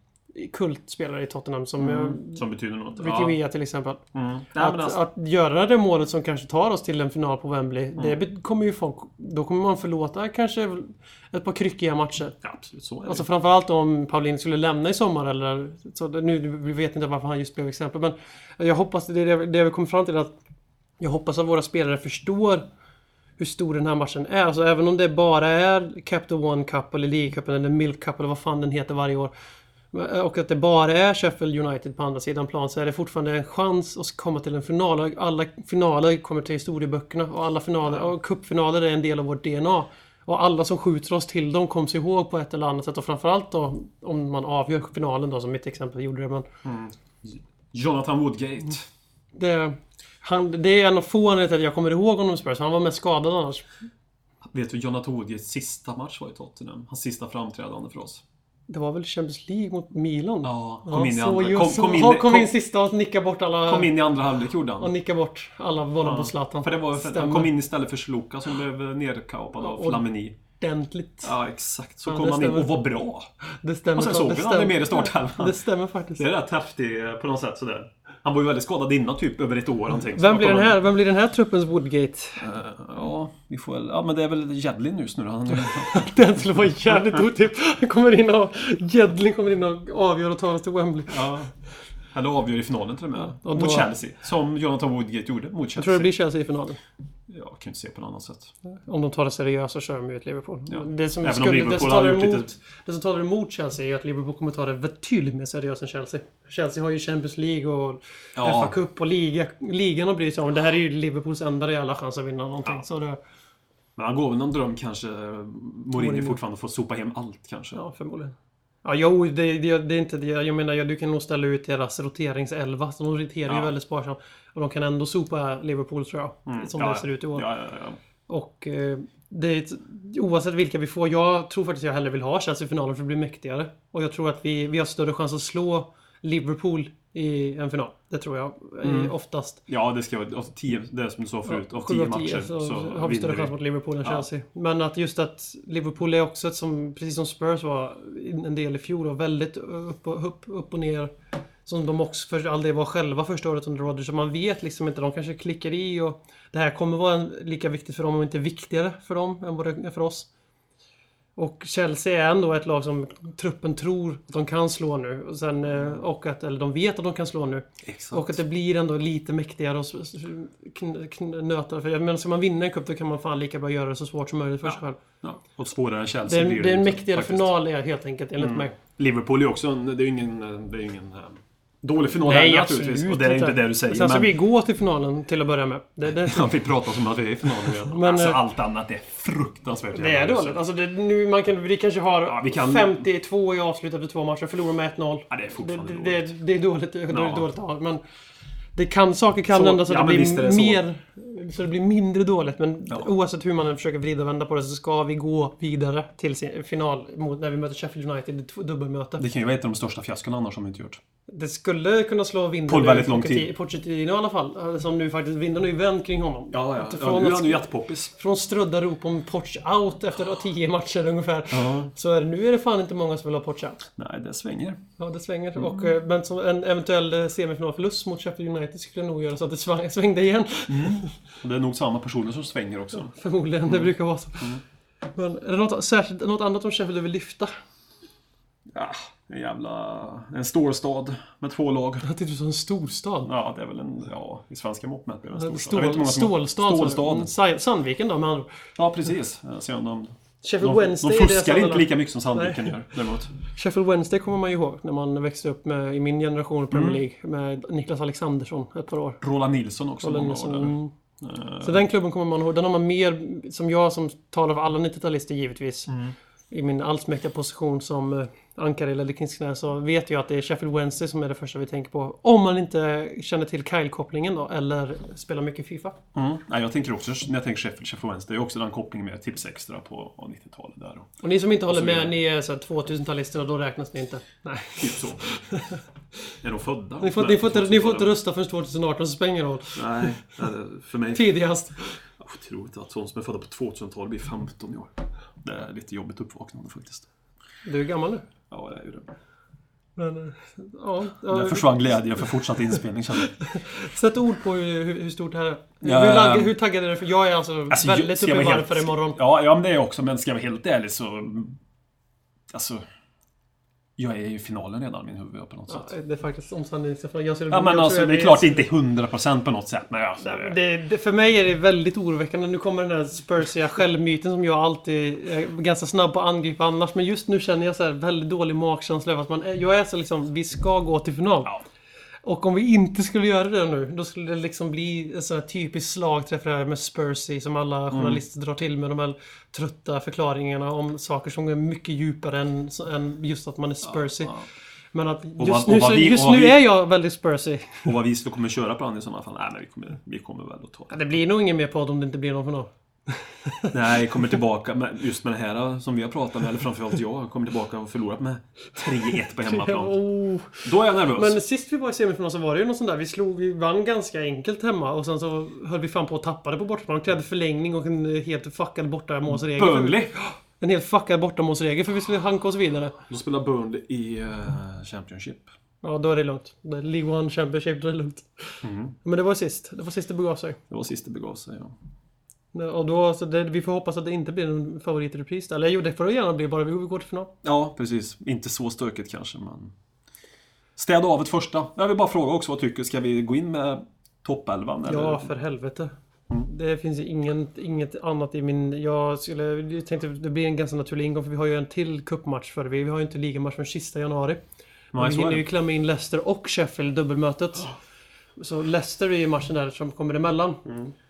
Speaker 2: kultspelare i Tottenham. Som mm.
Speaker 3: Som betyder något.
Speaker 2: Vitivia till exempel.
Speaker 3: Mm. Nej, men
Speaker 2: Att,
Speaker 3: alltså,
Speaker 2: att göra det målet som kanske tar oss till en final på Wembley,
Speaker 3: Mm.
Speaker 2: det be- kommer ju folk... Då kommer man förlåta kanske ett par kryckiga matcher.
Speaker 3: ja, absolut, så är det.
Speaker 2: Alltså framförallt om Paulinho skulle lämna i sommar eller... Så, det- nu vi vet inte varför han just blev exempel, men... Jag hoppas, det är det, det vi kommer fram till, att... Jag hoppas att våra spelare förstår hur stor den här matchen är. Alltså även om det bara är Capital One Cup eller League Cup eller Milk Cup eller vad fan den heter varje år. eh, Och att det bara är Sheffield United på andra sidan plan så är det fortfarande en chans att komma till en final. Och Alla finaler kommer till historieböckerna och alla finaler och cupfinaler är en del av vårt DNA. Och alla som skjuter oss till dem kommer sig ihåg på ett eller annat sätt och framförallt då om man avgör finalen då som mitt exempel gjorde det. Men
Speaker 3: Jonathan Woodgate.
Speaker 2: det, han, det är en av få anledningar till att jag kommer ihåg honom i Spurs. Han var mest skadad annars.
Speaker 3: Vet du, Jonathan Woodgates sista match var i Tottenham. Hans sista framträdande för oss.
Speaker 2: Det var väl Champions League mot Milan?
Speaker 3: Ja, kom in i
Speaker 2: så
Speaker 3: andra-
Speaker 2: ju-
Speaker 3: kom-
Speaker 2: så-
Speaker 3: kom in i-
Speaker 2: ha- kom
Speaker 3: kom-
Speaker 2: in sista och nicka bort alla...
Speaker 3: Kom in i andra halvlek gjorde han.
Speaker 2: Och nicka bort alla bollar på Zlatan.
Speaker 3: För det var, för han
Speaker 2: Stämmer.
Speaker 3: kom in istället för Sloka som blev nerkapad av
Speaker 2: och-
Speaker 3: Flamini.
Speaker 2: Ordentligt.
Speaker 3: Ja, exakt. Så
Speaker 2: Ja,
Speaker 3: kom
Speaker 2: det
Speaker 3: han in
Speaker 2: stämmer.
Speaker 3: och var bra.
Speaker 2: Det stämmer.
Speaker 3: Och sen
Speaker 2: fan.
Speaker 3: såg
Speaker 2: det
Speaker 3: vi han aldrig mer i
Speaker 2: Det
Speaker 3: startelvan.
Speaker 2: stämmer faktiskt.
Speaker 3: Det är rätt häftigt eh, på något sätt sådär. Han var ju väldigt skadad innan, typ över ett år. någonting. Så
Speaker 2: Vem
Speaker 3: då
Speaker 2: blir,
Speaker 3: kom
Speaker 2: den
Speaker 3: han-
Speaker 2: här, vem blir den här truppens Woodgate?
Speaker 3: Eh, Ja, vi får väl... Ja, men det är väl Jedlin just nu då. Han,
Speaker 2: Den skulle vara jävligt otippat. Han kommer in och... Jedlin kommer in och avgör och tar oss till Wembley.
Speaker 3: ja, eller avgör i finalen till och med.
Speaker 2: och
Speaker 3: mot
Speaker 2: då-
Speaker 3: Chelsea. Som Jonathan Woodgate gjorde mot Chelsea.
Speaker 2: Jag tror det blir Chelsea i finalen.
Speaker 3: Ja, kan inte se på något annat sätt.
Speaker 2: Om de tar det seriöst så kör de ju ett Liverpool.
Speaker 3: Ja.
Speaker 2: Det, som
Speaker 3: Även om
Speaker 2: skulle, det,
Speaker 3: Liverpool
Speaker 2: som
Speaker 3: har
Speaker 2: talar
Speaker 3: gjort
Speaker 2: emot,
Speaker 3: lite-
Speaker 2: det som talar emot Chelsea är att Liverpool kommer ta det betydligt mer seriöst än Chelsea. Chelsea har ju Champions League och
Speaker 3: Ja.
Speaker 2: FA Cup och liga, ligan att bry sig om. Det här är ju Liverpools enda reella chans att vinna någonting. Så det,
Speaker 3: Men han går väl någon dröm kanske. Mourinho fortfarande eh, får sopa hem allt kanske.
Speaker 2: ja, förmodligen. Ja, jo, det, det, det är inte det. Jag menar, ja, du kan nog ställa ut deras roteringselva. Så de roterar ju
Speaker 3: Ja.
Speaker 2: väldigt sparsamt. Och de kan ändå sopa Liverpool, tror jag. Som
Speaker 3: Mm. ja,
Speaker 2: det ser ut i år.
Speaker 3: Ja, ja, ja.
Speaker 2: Och eh, det är ett, oavsett vilka vi får. Jag tror faktiskt jag hellre vill ha Chelsea i finalen för att bli mäktigare. Och jag tror att vi, vi har större chans att slå Liverpool i en final. Det tror jag eh,
Speaker 3: Mm.
Speaker 2: oftast.
Speaker 3: ja, det ska vara... Alltså, tio, det är som du sa förut. Av
Speaker 2: Sju
Speaker 3: tio
Speaker 2: av tio
Speaker 3: matcher
Speaker 2: så,
Speaker 3: så,
Speaker 2: har vi större
Speaker 3: vinner
Speaker 2: chans mot Liverpool än
Speaker 3: Ja.
Speaker 2: Chelsea. Men att just att Liverpool är också ett som, precis som Spurs var en del i fjol, och väldigt upp och, upp, upp och ner. Som de också för all del var själva första året under Rodgers. Så man vet liksom inte, de kanske klickar i och det här kommer vara en, lika viktigt för dem, om inte viktigare för dem än vad det är för oss. Och Chelsea är ändå ett lag som truppen tror att de kan slå nu. Och, sen, eh, och att, eller de vet att de kan slå nu.
Speaker 3: Exakt.
Speaker 2: Och att det blir ändå lite mäktigare och s- s- kn- kn- nöta. För jag menar, ska man vinna en cup då kan man fan lika bra göra det så svårt som möjligt för sig själv.
Speaker 3: Ja, och svårare än
Speaker 2: Det
Speaker 3: Chelsea
Speaker 2: är,
Speaker 3: blir
Speaker 2: en- det är en
Speaker 3: inte,
Speaker 2: mäktigare
Speaker 3: faktiskt. Mm.
Speaker 2: final är helt enkelt, enligt mig.
Speaker 3: Liverpool är ju också en, det är ju ingen, det är ju ingen eh, dålig final
Speaker 2: Nej,
Speaker 3: heller,
Speaker 2: absolut
Speaker 3: naturligtvis. Och det är inte det du säger.
Speaker 2: Sen ska
Speaker 3: men-
Speaker 2: vi gå till finalen till att börja med. Det, det,
Speaker 3: Ja, vi pratar som att vi är i finalen redan.
Speaker 2: Men,
Speaker 3: alltså,
Speaker 2: eh,
Speaker 3: allt annat är fruktansvärt
Speaker 2: det är
Speaker 3: jävla
Speaker 2: dåligt.
Speaker 3: uselt.
Speaker 2: Alltså det, nu, man kan, vi kanske har
Speaker 3: vi kan-
Speaker 2: 52 i avslut efter två matcher, förlorar med 1-0.
Speaker 3: Ja, det är
Speaker 2: Det,
Speaker 3: fortfarande
Speaker 2: det,
Speaker 3: dåligt.
Speaker 2: det, det är dåligt. Det är
Speaker 3: Ja.
Speaker 2: dåligt av, men det kan, saker kan
Speaker 3: Så-
Speaker 2: ändras så
Speaker 3: ja,
Speaker 2: det
Speaker 3: men
Speaker 2: blir
Speaker 3: visst är det så.
Speaker 2: mer... Så det blir mindre dåligt. Men
Speaker 3: Ja.
Speaker 2: oavsett hur man än försöker vrida och vända på det så ska vi gå vidare till sin- final mot, när vi möter Sheffield United i ett dubbelmöte.
Speaker 3: Det kan ju vara ett av de största fiaskona annars som vi inte gjort.
Speaker 2: Det skulle kunna slå vinden
Speaker 3: På
Speaker 2: ur
Speaker 3: väldigt lång
Speaker 2: Pochetti-
Speaker 3: tid.
Speaker 2: Pochettino i alla fall. eh, Som nu faktiskt, vinden har ju vänt kring honom. Att
Speaker 3: ja
Speaker 2: Från,
Speaker 3: nu är han ju
Speaker 2: att,
Speaker 3: jättepoppis.
Speaker 2: från strödda rop om Poch out efter tio matcher ungefär. Så är det, nu är det fan inte många som vill ha Poch out.
Speaker 3: Nej, det svänger.
Speaker 2: Ja, det svänger.
Speaker 3: Mm.
Speaker 2: Och, eh, men som en eventuell eh, semifinalförlust mot Sheffield United skulle nog göra så att det svang, svängde igen.
Speaker 3: Och det är nog samma personer som svänger också.
Speaker 2: Förmodligen,
Speaker 3: Mm.
Speaker 2: det brukar vara så. Men är det något, särskilt, något annat om Sheffield du vill lyfta?
Speaker 3: Ja, en jävla... En stor stad med två lag.
Speaker 2: Att det är en storstad.
Speaker 3: Ja, det är väl en... Ja, i svenska mått mätt blir det
Speaker 2: Stål,
Speaker 3: en stor stad. Jag vet inte hur många som-
Speaker 2: stålstad. Mm.
Speaker 3: Stålstad.
Speaker 2: Sa- Sandviken då med andra ord.
Speaker 3: Ja, precis. Jag ser om de...
Speaker 2: Sheffield
Speaker 3: De,
Speaker 2: Wednesday
Speaker 3: de
Speaker 2: är deras
Speaker 3: fuskar
Speaker 2: andra
Speaker 3: inte
Speaker 2: lag.
Speaker 3: lika mycket som Sandviken gör, däremot.
Speaker 2: Sheffield Wednesday kommer man ju ihåg när man växte upp med, i min generation i Premier
Speaker 3: Mm.
Speaker 2: League med Niklas Alexandersson ett par år.
Speaker 3: Roland Nilsson också.
Speaker 2: Roland
Speaker 3: många år
Speaker 2: Nilsson.
Speaker 3: där.
Speaker 2: Mm. Så den klubben kommer man ihåg. Den har man mer, som jag som talar för alla 90-talister givetvis, i min allsmäktiga position som eh, ankare i Ledderkinsknä så vet jag att det är Sheffield Wednesday som är det första vi tänker på. Om man inte känner till Kyle-kopplingen då, eller spelar mycket Fifa.
Speaker 3: Mm. Nej, jag tänker också, när jag tänker Sheffield, Sheffield Wednesday, det är också den kopplingen med Tips Extra på 90-talet där. Och
Speaker 2: Och ni som inte håller
Speaker 3: vidare.
Speaker 2: med, ni är så här 2000-talister och då räknas ni inte. Nej.
Speaker 3: typ så. är de födda?
Speaker 2: Ni får,
Speaker 3: Nej,
Speaker 2: ni får, inte, ni får inte
Speaker 3: 2000-talet.
Speaker 2: rösta förrän 2018, så spelar ingen roll.
Speaker 3: Nej, nej, det- för mig...
Speaker 2: Tidigast.
Speaker 3: Otroligt att de som är födda på 2000-talet blir 15 i år. Det är lite jobbigt uppvaknande faktiskt.
Speaker 2: Du är gammal nu.
Speaker 3: Ja, det är ju det.
Speaker 2: Men, eh, ja,
Speaker 3: Där
Speaker 2: ja,
Speaker 3: försvann glädjen för fortsatt inspelning känner jag.
Speaker 2: sätt ord på hur, hur- hur stort det här är.
Speaker 3: Ja.
Speaker 2: hur, lagg, hur taggad är du? För jag är alltså,
Speaker 3: Alltså, jag-
Speaker 2: väldigt
Speaker 3: ska
Speaker 2: uppe
Speaker 3: jag
Speaker 2: i
Speaker 3: vara
Speaker 2: varv för
Speaker 3: helt-
Speaker 2: imorgon.
Speaker 3: Ja, ja, men det är jag också. Men ska jag vara helt ärlig så... Alltså... Jag är ju i finalen redan i min huvud på något
Speaker 2: Ja,
Speaker 3: sätt.
Speaker 2: det är faktiskt omsanningsförfarande. Jag skulle-
Speaker 3: Ja,
Speaker 2: jag
Speaker 3: men
Speaker 2: tror
Speaker 3: alltså
Speaker 2: jag
Speaker 3: det är
Speaker 2: blir-
Speaker 3: klart inte 100% på något sätt. Men alltså,
Speaker 2: Nej, men Det, det, för mig är det väldigt oroväckande. Nu kommer den här spursiga självmyten som jag alltid är ganska snabb på att angripa annars. Men just nu känner jag så här väldigt dålig magkänsla över att man är, jag är så liksom, vi ska gå till final.
Speaker 3: Ja.
Speaker 2: Och om vi inte skulle göra det nu, då skulle det liksom bli en sån här typisk slagträff det här med Spursy som
Speaker 3: Mm.
Speaker 2: alla journalister drar till med de här trötta förklaringarna om saker som är mycket djupare än, än just att man är Spursy. Men att
Speaker 3: vad-
Speaker 2: just
Speaker 3: och
Speaker 2: nu,
Speaker 3: vad
Speaker 2: så,
Speaker 3: vi- och
Speaker 2: just
Speaker 3: vad
Speaker 2: nu
Speaker 3: vi-
Speaker 2: är jag väldigt Spursy.
Speaker 3: Och vad vi skulle kommer köra på den i sådana fall? Nej, men vi kommer, vi kommer väl att ta
Speaker 2: Ja,
Speaker 3: det.
Speaker 2: Det blir nog ingen mer podd om det inte blir någon final.
Speaker 3: Nej, kommer tillbaka med, just med det här eh, som vi har pratat med, eller framförallt jag, kommer tillbaka och förlorat med 3-1 på hemmaplan.
Speaker 2: Oh.
Speaker 3: Då är jag nervös.
Speaker 2: Men sist vi var i semifinal så var det ju något sånt där. Vi, slog, vi vann ganska enkelt hemma och sen så höll vi fan på att tappa det på bortaplan. Krävde förlängning och en helt fuckad bortamålsregel.
Speaker 3: Burnley!
Speaker 2: En helt fuckad bortamålsregel för vi skulle hanka oss vidare.
Speaker 3: De spelar Burnley i eh, Championship.
Speaker 2: Ja, då är det lugnt. Det är League One Championship, då är det lugnt. Men det var sist. Det var sist det begav sig.
Speaker 3: Det var sist det begav sig, ja.
Speaker 2: Och då, så det, vi får hoppas att det inte blir en favoritrepris. där. Eller jo, det får det gärna bli bara vi går till final.
Speaker 3: Ja, precis. Inte så stökigt kanske, men... Städa av ett första. Jag vill bara fråga också, vad tycker Ska vi gå in med toppelvan? eller?
Speaker 2: Ja, för helvete. Det finns ju ingen, inget annat i min... Jag, skulle, jag tänkte det blir en ganska naturlig ingång för vi har ju en till cupmatch för vi, vi har ju inte ligamatch från sista januari.
Speaker 3: Nej,
Speaker 2: Men vi
Speaker 3: så är
Speaker 2: hinner
Speaker 3: det.
Speaker 2: ju klämma in Leicester och Sheffield i dubbelmötet. Så Leicester är ju matchen där som kommer emellan.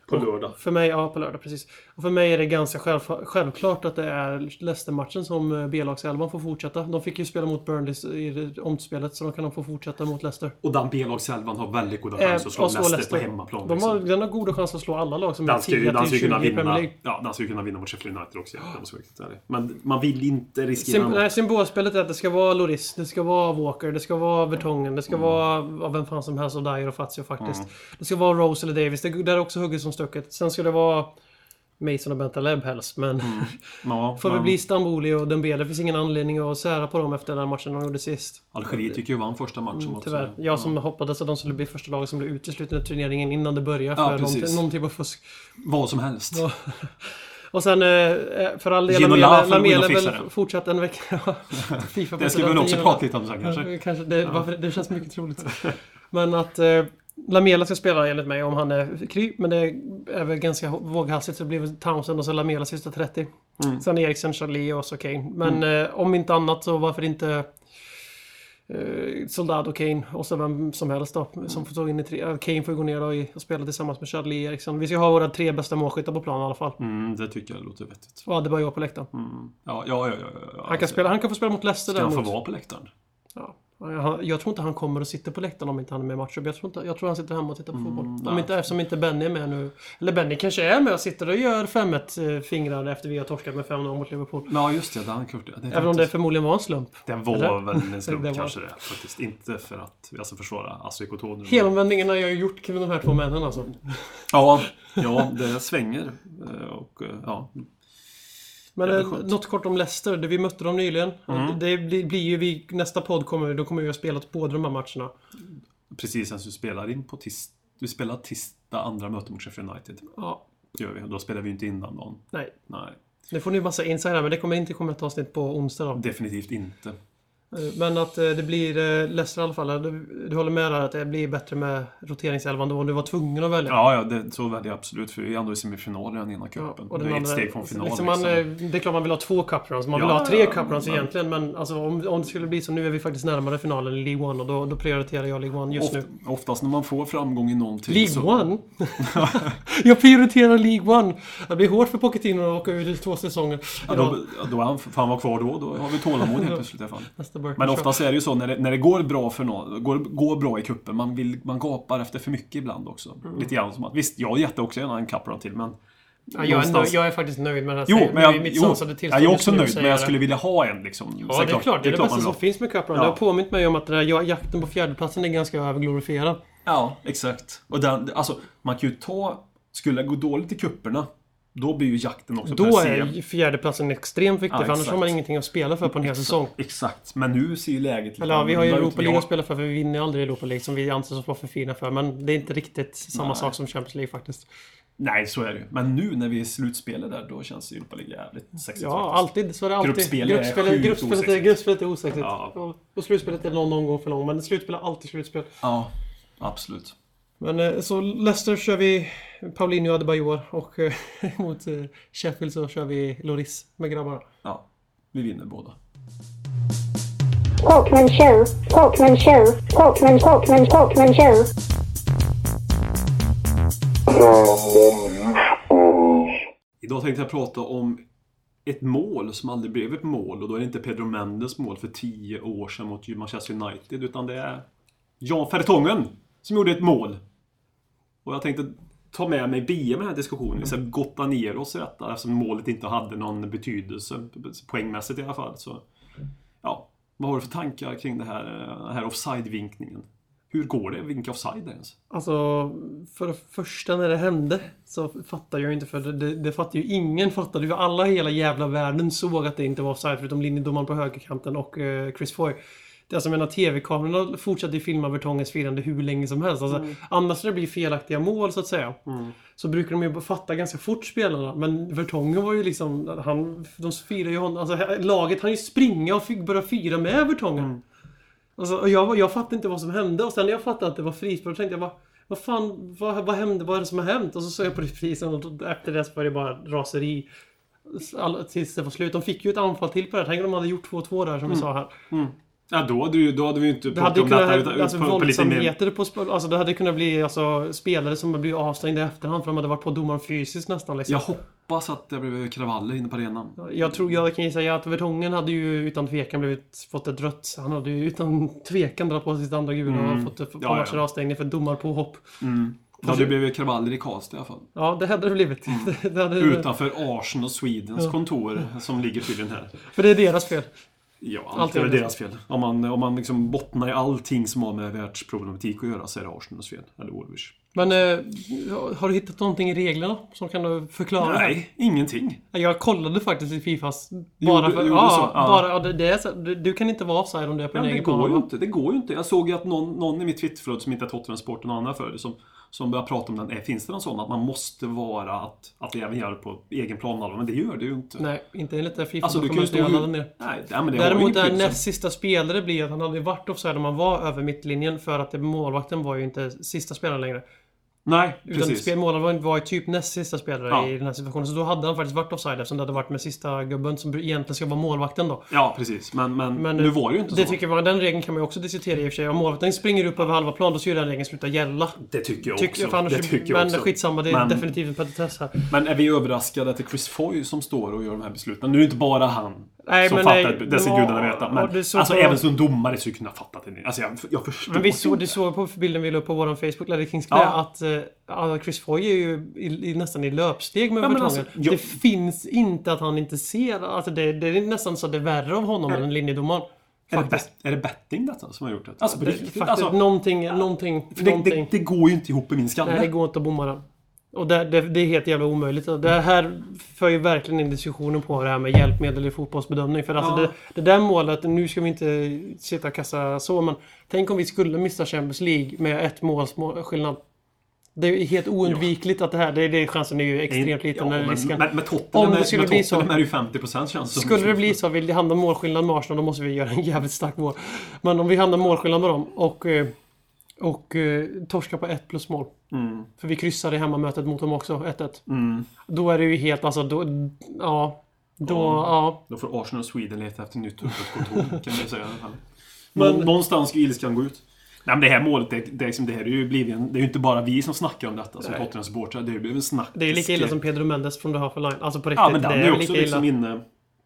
Speaker 3: På lördag.
Speaker 2: För mig, ja på lördag precis. Och för mig är det ganska själv, självklart att det är Leicester-matchen som eh, B-lagselvan får fortsätta. De fick ju spela mot Burnley i det- omspelet så de kan de få fortsätta mot Leicester.
Speaker 3: Och den B-lagselvan har väldigt goda
Speaker 2: Eh,
Speaker 3: chanser att slå
Speaker 2: och slå
Speaker 3: Leicester på
Speaker 2: Leicester.
Speaker 3: hemmaplan.
Speaker 2: De
Speaker 3: liksom.
Speaker 2: har, den har goda chanser att slå alla lag som är
Speaker 3: Den ska ju, den ska ju
Speaker 2: 10-20
Speaker 3: kunna
Speaker 2: i Premier
Speaker 3: vinna,
Speaker 2: League.
Speaker 3: ja, den ska ju kunna vinna mot Sheffield United också. Ja. så viktigt är det. Men man vill inte riskera
Speaker 2: Symp-
Speaker 3: något.
Speaker 2: nej, symbolspelet är att det ska vara Loris, det ska vara Walker, det ska vara Vertongen, det ska
Speaker 3: Mm.
Speaker 2: vara ja, vem fan som helst av Dyer och Fazio faktiskt. Det ska vara Rose eller Davis, det, där är också hugget som stucket. Sen ska det vara Mason och Bentaleb helst, men...
Speaker 3: Mm. Ja,
Speaker 2: Får vi
Speaker 3: men
Speaker 2: bli Istanbuli och Dembele. Det finns ingen anledning att sära på dem efter den matchen de gjorde sist.
Speaker 3: Algeriet tycker ju vann första matchen också.
Speaker 2: Mm, Tyvärr. Jag som hoppades att de skulle bli första laget som blev uteslutna ur turneringen innan det började.
Speaker 3: Ja,
Speaker 2: För någon,
Speaker 3: precis.
Speaker 2: någon typ av fusk.
Speaker 3: Vad som helst.
Speaker 2: Och sen eh, för all del,
Speaker 3: Ginola
Speaker 2: Lamela-
Speaker 3: får gå in och
Speaker 2: Lamela
Speaker 3: fixa
Speaker 2: väl
Speaker 3: det.
Speaker 2: fortsatt en vecka. FIFA
Speaker 3: Det ska vi väl också prata lite om sen kanske.
Speaker 2: Kanske. Det, varför, det känns mycket troligt. Men att eh, Lamela ska spela enligt mig om han är kry. Men det är väl ganska våghalsigt så det blir väl Townsend och så Lamela sista 30. Sen Eriksen, Charlie och så Kane. Men eh, om inte annat så varför inte eh, Soldado, Kane och så vem som helst då, som får stå in i tre. eh, Kane får ju gå ner då i, och spela tillsammans med Charlie Eriksen. Vi ska ha våra tre bästa målskyttar på plan i alla fall.
Speaker 3: Mm, det tycker jag låter vettigt.
Speaker 2: Och Adebayor på läktaren.
Speaker 3: Ja, ja, ja. ja, ja, ja.
Speaker 2: Han kan, spela, han kan få spela mot Leicester
Speaker 3: Mm, alltså, Ska han få
Speaker 2: däremot.
Speaker 3: vara på läktaren?
Speaker 2: Ja. Han- Jag tror inte han kommer och sitter på läktaren om inte han är med i matcher. Jag tror, inte, jag tror han sitter hemma och tittar på fotboll. Om
Speaker 3: Mm, nej.
Speaker 2: inte, eftersom inte Benny är med nu. Eller Benny kanske är med och sitter och gör 5-1 eh, fingrar efter vi har torskat med 5-0 mot Liverpool.
Speaker 3: Ja, just det. Det hade han gjort. Det,
Speaker 2: Även om det förmodligen var en slump.
Speaker 3: det var
Speaker 2: Eller?
Speaker 3: väl en slump
Speaker 2: Det var-
Speaker 3: kanske det. Faktiskt. Inte för att alltså, försvara Asik och Tony.
Speaker 2: Helomvändningen har jag ju gjort kring de här två männen alltså.
Speaker 3: Ja, ja, det svänger. Eh, Och, eh, ja.
Speaker 2: Men
Speaker 3: Ja, det är
Speaker 2: eh,
Speaker 3: skönt. Mm.
Speaker 2: något kort om Leicester. Det- Vi mötte dem nyligen. Det blir, blir ju vi, nästa podd kommer, då kommer vi ha spelat båda de här matcherna.
Speaker 3: Precis, sen så spelar in på tis, du spelar tisdag andra möte mot Sheffield United.
Speaker 2: Ja,
Speaker 3: Gör vi. Då spelar vi ju inte innan dagen.
Speaker 2: nej.
Speaker 3: Nej,
Speaker 2: Nu får ni massa insight här, men det kommer inte komma ett avsnitt på onsdag då.
Speaker 3: definitivt inte.
Speaker 2: Eh, Men att eh, det blir eh, Leicester i alla fall. Du, du håller med där att det blir bättre med roteringselvan då om du var tvungen att välja.
Speaker 3: Ja, ja det, så väljer jag absolut. För vi är ändå i semifinal i den ena cupen.
Speaker 2: och
Speaker 3: det
Speaker 2: den
Speaker 3: är ett
Speaker 2: andra-
Speaker 3: steg från final.
Speaker 2: liksom
Speaker 3: Liksom
Speaker 2: man, eh, Det är klart man vill ha två cup runs. Man vill
Speaker 3: Ja,
Speaker 2: ha tre
Speaker 3: ja,
Speaker 2: cup runs
Speaker 3: men-
Speaker 2: egentligen. Men alltså, om, om det skulle bli så, nu är vi faktiskt närmare finalen i League One och då, då prioriterar jag League One just
Speaker 3: Oft,
Speaker 2: nu.
Speaker 3: oftast när man får framgång i någonting
Speaker 2: League
Speaker 3: så...
Speaker 2: One? jag prioriterar League One! Det blir hårt för Pochettino att åka ur i två säsonger.
Speaker 3: Ja, då, då är han, får han vara kvar då. Då har vi tålamod helt plötsligt i alla fall.
Speaker 2: Nästa Burton
Speaker 3: Men
Speaker 2: Show.
Speaker 3: oftast är det ju så när det, när det går bra för någon, går, går bra i kuppen man, vill, man gapar efter för mycket ibland också.
Speaker 2: Mm.
Speaker 3: Lite grann som att, visst, jag jätte också gärna en cup run till, men...
Speaker 2: Ja, jag, är nöjd,
Speaker 3: någonstans-
Speaker 2: jag är faktiskt nöjd med den här
Speaker 3: Jo,
Speaker 2: serien.
Speaker 3: men
Speaker 2: Det är
Speaker 3: jag,
Speaker 2: mitt
Speaker 3: jo,
Speaker 2: sansade
Speaker 3: jag
Speaker 2: tillstånd
Speaker 3: är
Speaker 2: just
Speaker 3: också
Speaker 2: nu,
Speaker 3: nöjd,
Speaker 2: säger
Speaker 3: men jag
Speaker 2: det.
Speaker 3: skulle vilja ha en liksom. Så
Speaker 2: Ja, det är klart. Det är det
Speaker 3: man
Speaker 2: bästa
Speaker 3: vill
Speaker 2: som
Speaker 3: ha.
Speaker 2: finns med Cup Run.
Speaker 3: Ja.
Speaker 2: Det har påmint mig om att den där ja- jakten på fjärdeplatsen är ganska överglorifierad.
Speaker 3: Ja, exakt. Och den, alltså, man kan ju ta... Skulle det gå dåligt i kupperna då blir ju jakten också
Speaker 2: Då
Speaker 3: per se-
Speaker 2: är ju fjärdeplatsen extremt viktig,
Speaker 3: Ja,
Speaker 2: för annars
Speaker 3: exakt.
Speaker 2: har man ingenting att spela för på en hel säsong.
Speaker 3: Exakt, men nu ser ju läget lite
Speaker 2: Eller ja, vi har ju
Speaker 3: annorlunda
Speaker 2: Europa
Speaker 3: ut.
Speaker 2: League
Speaker 3: Ja,
Speaker 2: att spela för, för vi vinner aldrig Europa League som vi anses vara för fina för. Men det är inte riktigt samma sak som Champions League faktiskt.
Speaker 3: Nej, så är det ju. Men nu när vi är i slutspelet där, då känns Europa League jävligt sexigt
Speaker 2: Ja,
Speaker 3: faktiskt.
Speaker 2: alltid. Så är det alltid.
Speaker 3: Gruppspel är
Speaker 2: gruppspelet,
Speaker 3: sjukt
Speaker 2: gruppspelet, är,
Speaker 3: osexigt.
Speaker 2: gruppspelet är osexigt.
Speaker 3: Ja.
Speaker 2: Och, och slutspelet är någon, någon gång för långt, men slutspel är alltid slutspel.
Speaker 3: Ja, absolut.
Speaker 2: Men eh, så Leicester kör vi Paulinho Adebayor och eh, mot eh, Sheffield så kör vi Loris med grabbarna.
Speaker 3: Ja, vi vinner båda.
Speaker 5: Pokemon Show, Pokemon Show, Pokemon, Pokemon, Pokemon Show.
Speaker 3: Idag tänkte jag prata om ett mål som aldrig blev ett mål och då är det inte Pedro Mendes mål för tio år sedan mot Manchester United utan det är Jan Fertongen som gjorde ett mål. Och jag tänkte ta med mig BM i den här diskussionen, så gotta ner oss i detta eftersom målet inte hade någon betydelse, poängmässigt i alla fall. Så, ja, vad har du för tankar kring det här, den här offside-vinkningen? Hur går det att vinka offside ens?
Speaker 2: Alltså, för det första när det hände så fattar jag inte för det, det, det fattar ju ingen fattade ju. Alla i hela jävla världen såg att det inte var offside förutom linjedomaren på högerkanten och eh, Chris Foy. Det är alltså, jag menar TV-kamerorna fortsatte ju filma Vertongens firande hur länge som helst. Alltså, Annars när det blir felaktiga mål så att säga. Så brukar de ju fatta ganska fort spelarna. Men Vertongen var ju liksom... Han, de firade ju honom. Alltså, laget han ju springa och fick börja fira med Vertongen. Alltså, och jag, var- jag fattade inte vad som hände och sen när jag fattade att det var frispark tänkte jag bara vad fan, vad, vad hände, vad är det som har hänt? Och så såg jag på reprisen och då- efter det så var det bara raseri.
Speaker 3: Mm.
Speaker 2: All, tills det var slut. De fick ju ett anfall till på det här. Tänk om de hade gjort 2-2 där som vi sa här.
Speaker 3: Ja, då hade, ju, då hade vi ju inte
Speaker 2: Det hade
Speaker 3: pratat
Speaker 2: ju
Speaker 3: om detta
Speaker 2: kunnat
Speaker 3: utan
Speaker 2: ha alltså,
Speaker 3: på, på lite mer...
Speaker 2: våldsamheter på sp- Alltså det hade kunnat bli alltså, spelare som blir avstängda i efterhand för de hade varit på domaren fysiskt nästan liksom.
Speaker 3: Jag hoppas att det blev kravaller inne på arenan.
Speaker 2: Jag tror, jag kan ju säga att Vertongen hade ju utan tvekan blivit, fått ett rött. Han hade ju utan tvekan dragit på sig sitt andra gula och fått ett
Speaker 3: Mm. Ja,
Speaker 2: par
Speaker 3: ja.
Speaker 2: matcher avstängning för domarpåhopp.
Speaker 3: Det hade ju blivit kravaller i Karlstad i alla fall.
Speaker 2: Ja, det hade det blivit.
Speaker 3: Mm.
Speaker 2: Det, det hade,
Speaker 3: Utanför Arsen och Swedens kontor som ligger tydligen här.
Speaker 2: För det är deras fel.
Speaker 3: Ja, allt
Speaker 2: Allt
Speaker 3: är
Speaker 2: är
Speaker 3: väl
Speaker 2: det.
Speaker 3: deras fel. Om man, om man liksom bottnar i allting som har med världsproblematik att göra så är det Arsenals fel. Eller Wolves.
Speaker 2: Men eh, har du hittat någonting i reglerna som kan förklara?
Speaker 3: Nej, ingenting.
Speaker 2: Jag kollade faktiskt i Fifas.
Speaker 3: Gjorde-
Speaker 2: Bara för...
Speaker 3: gjorde
Speaker 2: ja,
Speaker 3: så? Ja.
Speaker 2: Bara, ja, det, det är så, du, du kan inte vara offside om du är på
Speaker 3: Ja,
Speaker 2: din
Speaker 3: det
Speaker 2: egen
Speaker 3: går
Speaker 2: plan.
Speaker 3: ju
Speaker 2: va?
Speaker 3: inte. Det går ju inte. Jag såg ju att någon, någon i mitt Twitterflöde som inte är Tottenham-sporten och annan följer som, som började prata om den. Eh, Finns det någon sån att man måste vara att, att det även gör på egen plan? Men det gör det ju inte.
Speaker 2: Nej, inte enligt det Fifa.
Speaker 3: Alltså, du kan ju stå
Speaker 2: dokumentet jag
Speaker 3: hur-
Speaker 2: laddade ner.
Speaker 3: Nej, nej, men det var ju
Speaker 2: Däremot
Speaker 3: inte
Speaker 2: är
Speaker 3: liksom-
Speaker 2: näst sista spelare blir att han hade varit offside om han var över mittlinjen för att det, målvakten var ju inte sista spelaren längre.
Speaker 3: Nej,
Speaker 2: Utan
Speaker 3: precis.
Speaker 2: spel, målvakten var ju typ näst sista spelare
Speaker 3: Ja.
Speaker 2: i den här situationen. Så då hade han faktiskt varit offside eftersom det hade varit med sista gubben som egentligen ska vara målvakten då.
Speaker 3: Ja, precis. Men, men,
Speaker 2: Men
Speaker 3: nu var det ju inte
Speaker 2: det
Speaker 3: så.
Speaker 2: Tycker man, den regeln kan man ju också diskutera i och för sig. Om målvakten springer upp över halva plan då ska ju den regeln sluta gälla.
Speaker 3: Det tycker jag
Speaker 2: Tyck,
Speaker 3: också.
Speaker 2: för annars,
Speaker 3: det tycker jag
Speaker 2: men
Speaker 3: också.
Speaker 2: skitsamma, det är
Speaker 3: Men-
Speaker 2: definitivt en petitess här.
Speaker 3: Men är vi överraskade att det är Chris Foy som står och gör de här besluten? Nu är det inte bara han
Speaker 2: Nej,
Speaker 3: som
Speaker 2: men
Speaker 3: fattar,
Speaker 2: nej,
Speaker 3: det ska
Speaker 2: ja,
Speaker 3: gudarna veta. Men
Speaker 2: ja, det är så
Speaker 3: alltså
Speaker 2: bra.
Speaker 3: även som domare skulle jag kunna fatta det. Alltså jag, jag förstår
Speaker 2: Men vi såg,
Speaker 3: inte.
Speaker 2: du såg på bilden vi la upp på vår Facebook, Ladder Kings Clay,
Speaker 3: Ja.
Speaker 2: att eh, ja, Chris Foy är ju i, i, nästan i löpsteg med
Speaker 3: Ja, men
Speaker 2: Vertongen.
Speaker 3: alltså, jag-
Speaker 2: Det finns inte att han inte ser. Alltså det, det är nästan så att det är värre av honom än linjedomaren.
Speaker 3: Är det,
Speaker 2: Faktiskt.
Speaker 3: bet, är det betting detta som har gjort det? Alltså på riktigt.
Speaker 2: Faktiskt,
Speaker 3: Alltså,
Speaker 2: någonting, någonting,
Speaker 3: för det,
Speaker 2: någonting.
Speaker 3: det, det går ju inte ihop i min skalle.
Speaker 2: Nej, det går inte att bomma den. Och det, det, det är helt jävla omöjligt. Det här för ju verkligen in diskussionen på det här med hjälpmedel i fotbollsbedömning. För alltså
Speaker 3: Ja.
Speaker 2: det, det där målet, nu ska vi inte sitta och kassa så, men tänk om vi skulle missa Champions League med ett måls mål- skillnad. Det är ju helt oundvikligt att det här, det, det chansen är ju extremt liten.
Speaker 3: Ja,
Speaker 2: den
Speaker 3: men,
Speaker 2: risken.
Speaker 3: men, men Tottenham,
Speaker 2: Om det
Speaker 3: är-
Speaker 2: skulle
Speaker 3: med
Speaker 2: bli
Speaker 3: Tottenham
Speaker 2: så.
Speaker 3: är det ju 50% känns det som. liksom
Speaker 2: Skulle det bli så, vill det hamna målskillnad med Arsenal, då måste vi göra en jävligt stark mål. Men om vi hamnar målskillnad med dem och, eh, och eh, torskar på ett plus mål.
Speaker 3: Mm.
Speaker 2: För vi kryssar i hemmamötet mot dem också, 1-1. Då är det ju helt, alltså då... Ja. Då, ja.
Speaker 3: Då får Arsenal och Sweden leta efter nytt huvudkontor kan vi säga i alla fall. Men... Någonstans ska ilskan gå ut. Nej men det här målet, det, det, är liksom, det här är ju blivit en, Det är ju inte bara vi som snackar om detta som Tottenham-supportrar. Det har ju blivit en snack.
Speaker 2: Det är lika illa som Pedro Mendes från The Half Line. Alltså på riktigt.
Speaker 3: Ja men den
Speaker 2: det
Speaker 3: är,
Speaker 2: är
Speaker 3: också liksom inne...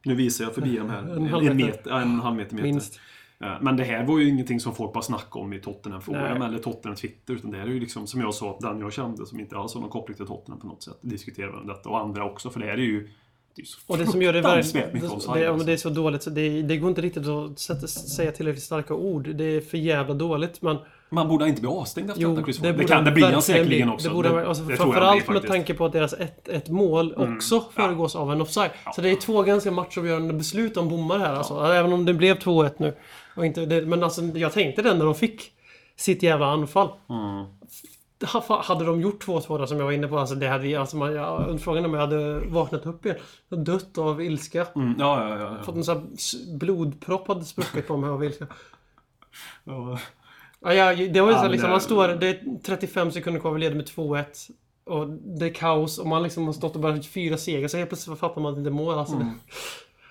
Speaker 3: Nu visar jag förbi de här. En,
Speaker 2: halv
Speaker 3: en,
Speaker 2: meter.
Speaker 3: meter, ja, en halv meter. meter.
Speaker 2: Minst.
Speaker 3: Eh, Men det här var ju ingenting som folk bara snackade om i Tottenham Forum
Speaker 2: Nej.
Speaker 3: eller Tottenham Twitter. Utan det här är ju liksom, som jag sa, den jag kände som inte alls har någon koppling till Tottenham på något sätt. Diskuterade om detta. Och andra också, för det här är ju... Det är ju så
Speaker 2: Och det som gör det
Speaker 3: fruktansvärt
Speaker 2: verkligen...
Speaker 3: mycket
Speaker 2: Det,
Speaker 3: offside,
Speaker 2: det, ja, men
Speaker 3: alltså.
Speaker 2: det är så dåligt så det, det går inte riktigt att sätta, säga tillräckligt starka ord. Det är för jävla dåligt men...
Speaker 3: Man borde inte bli avstängd efter detta, Chris Ford. Det,
Speaker 2: borde
Speaker 3: kan, det blir han
Speaker 2: verkligen
Speaker 3: säkerligen
Speaker 2: bli.
Speaker 3: också.
Speaker 2: Det borde, han- alltså,
Speaker 3: det tror jag han
Speaker 2: framförallt
Speaker 3: blir
Speaker 2: med
Speaker 3: faktiskt. Mm.
Speaker 2: tanke på att deras 1-1 mål också föregås av en offside. Så det är två ganska matchavgörande beslut om bommar här alltså. Även om det blev 2-1 nu. Och inte, det, men alltså, jag tänkte det när de fick sitt jävla anfall.
Speaker 3: Mm.
Speaker 2: Ha- fa- Hade de gjort 2-2 där som jag var inne på, alltså det hade, ju- alltså man, jag, frågan är om jag hade vaknat upp igen. Jag hade Dött av ilska.
Speaker 3: Mm, ja, ja, ja, ja.
Speaker 2: Fått en sån här s- blodpropp hade spruckit på mig av ilska.
Speaker 3: ja.
Speaker 2: Ja, ja, det var ju så
Speaker 3: Han,
Speaker 2: här, liksom,
Speaker 3: eh,
Speaker 2: man står, det är 35 sekunder kvar, vi leder med 2-1. Och det är kaos och man liksom har stått och bara haft fyra segrar så helt plötsligt fattar man att det inte är mål. Alltså, det,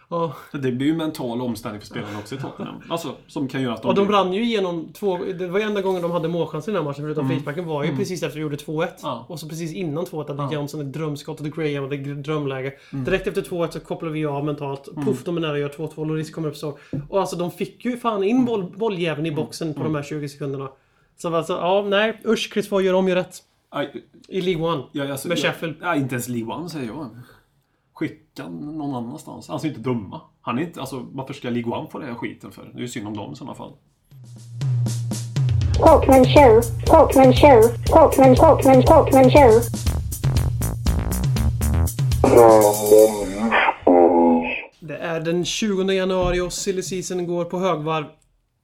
Speaker 2: ja.
Speaker 3: Det blir ju en mental omställning för spelarna också i Tottenham. Alltså, som kan göra att de...
Speaker 2: Och de
Speaker 3: blir-
Speaker 2: brann ju igenom två... Det var ju enda gången de hade målchans i den här matchen förutom frisparken var ju precis efter vi gjorde 2-1.
Speaker 3: Ja.
Speaker 2: Och så precis innan 2-1 hade Johnson ett drömskott och Graham hade ett drömläge. Direkt efter 2-1 så kopplar vi av mentalt. Puff, de är nära att göra 2-2. Loris kommer upp så. Och alltså de fick ju fan in boll, bolljäveln i boxen på de här 20 sekunderna. Så alltså, ja, nej. Usch, Chris Foy gör om, gör rätt.
Speaker 3: Aj,
Speaker 2: I League One.
Speaker 3: ja, alltså,
Speaker 2: Med
Speaker 3: jag-
Speaker 2: Sheffield.
Speaker 3: Ja, inte ens Lee One säger jag. Skicka någon annanstans. Han ska ju inte döma. Han är inte... Alltså, varför ska Lee One få den här skiten för? Det är ju synd om dem i sådana fall.
Speaker 5: Portman Show, Portman Show, Portman, Portman, Portman Show.
Speaker 2: Det är den 20 januari och silly season går på högvarv.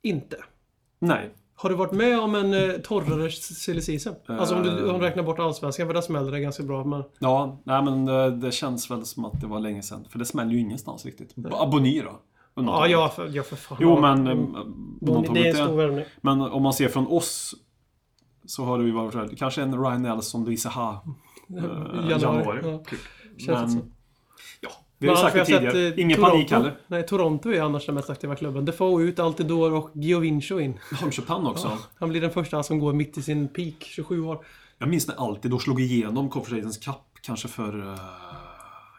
Speaker 2: Inte.
Speaker 3: Nej.
Speaker 2: Har du varit med om en eh, torrare silly season?
Speaker 3: Eh.
Speaker 2: Alltså om du, om du räknar bort allsvenskan, för där smäller det ganska bra. Men
Speaker 3: Ja, nej men det, det känns väl som att det var länge sedan. För det smäller ju ingenstans riktigt. Abonnier då.
Speaker 2: ja,
Speaker 3: Undantaget.
Speaker 2: ja, för, ja, för fan.
Speaker 3: Jo,
Speaker 2: Ja,
Speaker 3: men...
Speaker 2: mm,
Speaker 3: Mm.
Speaker 2: det är en stor värvning.
Speaker 3: Men om man ser från oss så har det ju varit så här, kanske en Ryan Nelson, Luisa Ha. eh,
Speaker 2: Januari. Ja.
Speaker 3: typ.
Speaker 2: Känns det
Speaker 3: Men,
Speaker 2: så.
Speaker 3: ja, Vi har ju
Speaker 2: Men
Speaker 3: sagt det
Speaker 2: annars har jag
Speaker 3: tidigare.
Speaker 2: sett, eh,
Speaker 3: Ingen panik heller.
Speaker 2: Nej, Toronto är annars den mest aktiva klubben. Defoe ut, Altidor och Giovinco in.
Speaker 3: Har de Chopin också?
Speaker 2: Han blir den första som går mitt i sin peak, 27 år.
Speaker 3: Jag minns när alltid då slog igenom Conversations Cup, kanske för... Uh,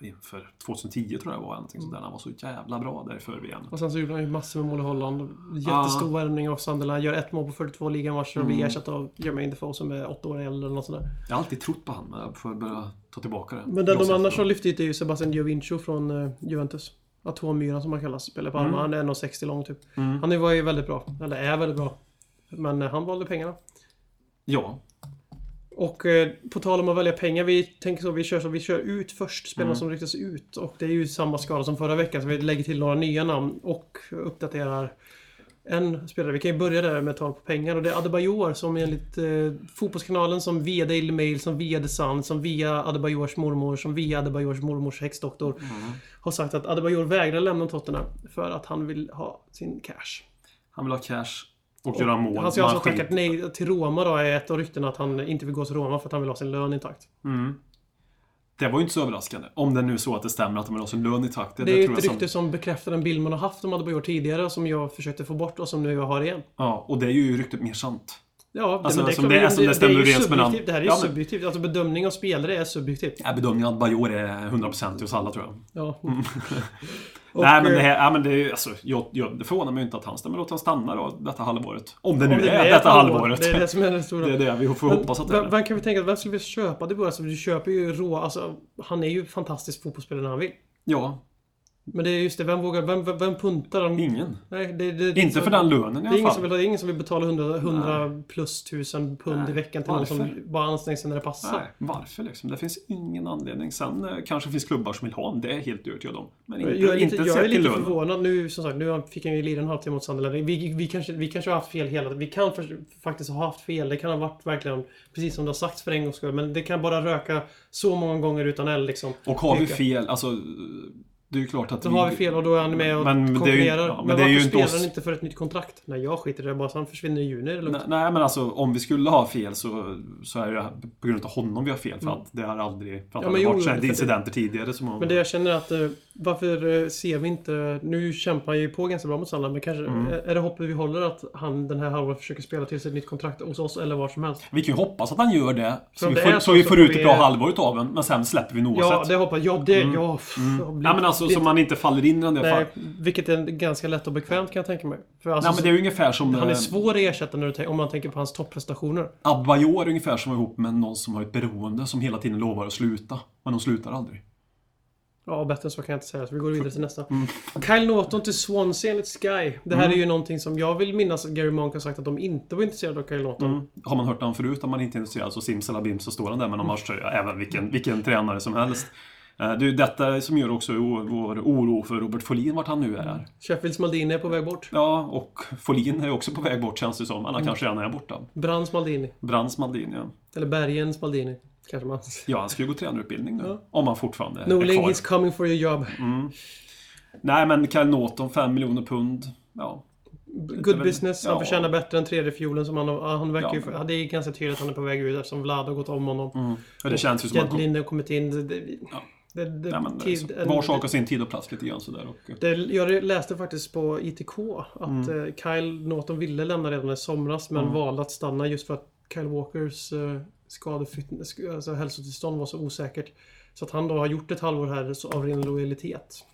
Speaker 3: inför 2010 tror jag var, någonting sånt där. Han var så jävla bra därför igen.
Speaker 2: Och sen så gjorde han ju massor med mål i Holland. Jättestor värvning av Sunderland. Gör ett mål på 42 ligamatcher och blir ersatt av Jermaine Defoe som är 8 år äldre eller något sånt där.
Speaker 3: Jag har alltid trott på han, men jag får börja ta tillbaka det.
Speaker 2: Men den de
Speaker 3: Blåsa
Speaker 2: annars har
Speaker 3: efter.
Speaker 2: lyft ut är ju Sebastian Giovinco från eh, Juventus. Atommyran som han kallas. Spelar på Parma. Han är 1,60 lång typ. Han var ju väldigt bra. Eller är väldigt bra. Men eh, han valde pengarna.
Speaker 3: Ja.
Speaker 2: Och eh, på tal om att välja pengar, vi tänker så vi kör så vi kör ut först spelarna som ryktas ut. Och det är ju samma skala som förra veckan, så vi lägger till några nya namn och uppdaterar en spelare. Vi kan ju börja där med tal på pengar och det är Adebayor som enligt eh, Fotbollskanalen, som via Daily Mail, som via The Sun, som via Adebayors mormor, som via Adebayors mormors häxdoktor har sagt att Adebayor vägrar lämna Tottenham för att han vill ha sin cash.
Speaker 3: Han vill ha cash och, göra mål.
Speaker 2: Han ska alltså ha
Speaker 3: Man skiter-
Speaker 2: skickat nej till Roma då, är ett av ryktena att han inte vill gå till Roma för att han vill ha sin lön intakt.
Speaker 3: Det var ju inte så överraskande. Om det nu är så att det stämmer att de vill ha sin lön i takt. Det,
Speaker 2: Det är ju
Speaker 3: tror
Speaker 2: ett
Speaker 3: jag
Speaker 2: rykte som... bekräftar en bild man har haft om Adebayor tidigare som jag försökte få bort och som nu jag har igen.
Speaker 3: Ja, och det är ju ryktet mer sant.
Speaker 2: Ja,
Speaker 3: Alltså,
Speaker 2: men
Speaker 3: som
Speaker 2: klart,
Speaker 3: det är-
Speaker 2: men
Speaker 3: som det stämmer
Speaker 2: är ju
Speaker 3: överens med namn.
Speaker 2: subjektivt. Det här är ju
Speaker 3: Ja, men-
Speaker 2: subjektivt. Alltså bedömning av spelare är subjektivt.
Speaker 3: Jag bedömer att Bajor är 100% hos alla tror jag.
Speaker 2: Ja. Och,
Speaker 3: Nej men
Speaker 2: eh,
Speaker 3: det här, ja, men det är ju, alltså, jag, jag, det förvånar mig inte att han stämmer. Låt han stanna då, detta halvåret. Om det nu
Speaker 2: om eh, det
Speaker 3: är,
Speaker 2: ett
Speaker 3: detta
Speaker 2: halvår,
Speaker 3: halvåret.
Speaker 2: Det är det som är det stora.
Speaker 3: Det är det, vi får
Speaker 2: Men
Speaker 3: hoppas att det är
Speaker 2: vem-
Speaker 3: det.
Speaker 2: Vem kan vi tänka att vem skulle vi köpa det alltså, Du köper ju rå... Alltså, han är ju fantastisk fotbollsspelare när han vill.
Speaker 3: Ja,
Speaker 2: Men det är just det, vem vågar... Vem, vem, vem puntar? Om,
Speaker 3: ingen.
Speaker 2: Nej, det, det, det,
Speaker 3: Inte för den lönen i
Speaker 2: Det är, ingen
Speaker 3: alla
Speaker 2: som
Speaker 3: fall.
Speaker 2: vill, det är ingen som vill betala 100, 100 plus tusen pund i veckan till någon
Speaker 3: Varför?
Speaker 2: som bara anstränger sig när det passar.
Speaker 3: Nej, varför liksom? Det finns ingen anledning. Sen eh, kanske finns klubbar som vill ha honom, det är jag helt övertygad om. Men inte,
Speaker 2: Jag är lite,
Speaker 3: inte
Speaker 2: jag är
Speaker 3: sett till
Speaker 2: lite
Speaker 3: lönen.
Speaker 2: förvånad nu som sagt. Nu fick han ju lida en halvtimme mot Sunderland. Vi, vi, kanske, vi kanske har haft fel hela Vi kan för, faktiskt ha haft fel. Det kan ha varit verkligen precis som det har sagts för en gångs skull. Men det kan bara röka så många gånger utan eld liksom.
Speaker 3: Och har vi
Speaker 2: Tycker jag.
Speaker 3: fel, alltså... Det är ju klart att
Speaker 2: Då har vi fel och då är han med och
Speaker 3: Men det är ju-
Speaker 2: konkurrerar.
Speaker 3: ja, men
Speaker 2: men,
Speaker 3: det är
Speaker 2: varför
Speaker 3: ju inte
Speaker 2: spelar
Speaker 3: oss-
Speaker 2: han inte för ett nytt kontrakt? Nej, jag skiter i det bara. Så han försvinner i juni. Eller
Speaker 3: Nej, nej, men alltså om vi skulle ha fel så, så är det på grund av honom vi har fel. För att det har aldrig... För
Speaker 2: Mm.
Speaker 3: att
Speaker 2: Ja, men
Speaker 3: det har
Speaker 2: jo,
Speaker 3: varit sådana
Speaker 2: för det-
Speaker 3: incidenter tidigare som har...
Speaker 2: Men det jag känner är att eh, varför eh, ser vi inte... Nu kämpar han ju på ganska bra mot Sunderland men kanske...
Speaker 3: Mm.
Speaker 2: Är är det hoppet vi håller att han den här halvåret försöker spela till sig ett nytt kontrakt hos oss eller var som helst?
Speaker 3: Vi kan ju hoppas att han gör det. Så
Speaker 2: om
Speaker 3: vi,
Speaker 2: det
Speaker 3: får,
Speaker 2: är
Speaker 3: så,
Speaker 2: så
Speaker 3: vi
Speaker 2: så
Speaker 3: får
Speaker 2: får
Speaker 3: ut ett
Speaker 2: vi-
Speaker 3: bra halvår utav den, men sen släpper vi den oavsett.
Speaker 2: Ja, det hoppas jag. Det... Ja, pff, jag blir-
Speaker 3: Nej Mm. men alltså så man inte faller in i den där
Speaker 2: Nej,
Speaker 3: fall.
Speaker 2: vilket är ganska lätt och bekvämt kan jag tänka mig. För alltså,
Speaker 3: Nej men det är ju ungefär som...
Speaker 2: Han är
Speaker 3: eh,
Speaker 2: svår att ersätta när du tänker, om man tänker på hans topprestationer.
Speaker 3: Adebayor är ungefär som att vara ihop med någon som har ett beroende som hela tiden lovar att sluta. Men de slutar aldrig.
Speaker 2: Ja, bättre än så kan jag inte säga. Så vi går vidare till nästa.
Speaker 3: Mm.
Speaker 2: Kyle Norton till Swansea enligt Sky. Det här är ju någonting som jag vill minnas att Gary Monk har sagt att de inte var intresserade av Kyle Norton.
Speaker 3: Har man hört den förut, om man inte är intresserad, så simsalabim så står han där med någon matchtröja. Även vilken, vilken tränare som helst. Eh, Det är ju detta som gör också o- vår oro för Robert Folin, vart han nu är.
Speaker 2: Sheffields Maldini är på väg bort.
Speaker 3: Ja, och Folin är ju också på väg bort känns det som.
Speaker 2: Mm.
Speaker 3: Eller han kanske redan är borta.
Speaker 2: Brands Maldini.
Speaker 3: Brands Maldini, ja.
Speaker 2: Eller Bergens Maldini. Kanske man...
Speaker 3: Ja, han ska ju gå tränarutbildning nu. Om han fortfarande är
Speaker 2: Norling,
Speaker 3: kvar. Mm.
Speaker 2: he's coming for your job.
Speaker 3: Nej, men Kyle Norton, 5 miljoner pund. Ja.
Speaker 2: Good business. Han
Speaker 3: Ja.
Speaker 2: förtjänar bättre än tredje fiolen som han... Han verkar ju...
Speaker 3: Ja. Mm.
Speaker 2: ja, Det är ganska tydligt att han är på väg ut eftersom Vlad har gått om honom.
Speaker 3: Och det känns ju som att...
Speaker 2: Gedlin har kommit in. Det, det,
Speaker 3: Ja.
Speaker 2: det, det,
Speaker 3: Nej, men, det är
Speaker 2: tid,
Speaker 3: så. Var sak har sin tid och plats lite grann sådär. Och,
Speaker 2: det, jag läste faktiskt på ITK att
Speaker 3: Mm.
Speaker 2: eh, Kyle Norton ville lämna redan i somras men valde att stanna just för att Kyle Walkers eh, skadefyt- sk- alltså, hälsotillstånd var så osäkert. Så att han då har gjort ett halvår här så- av ren lojalitet.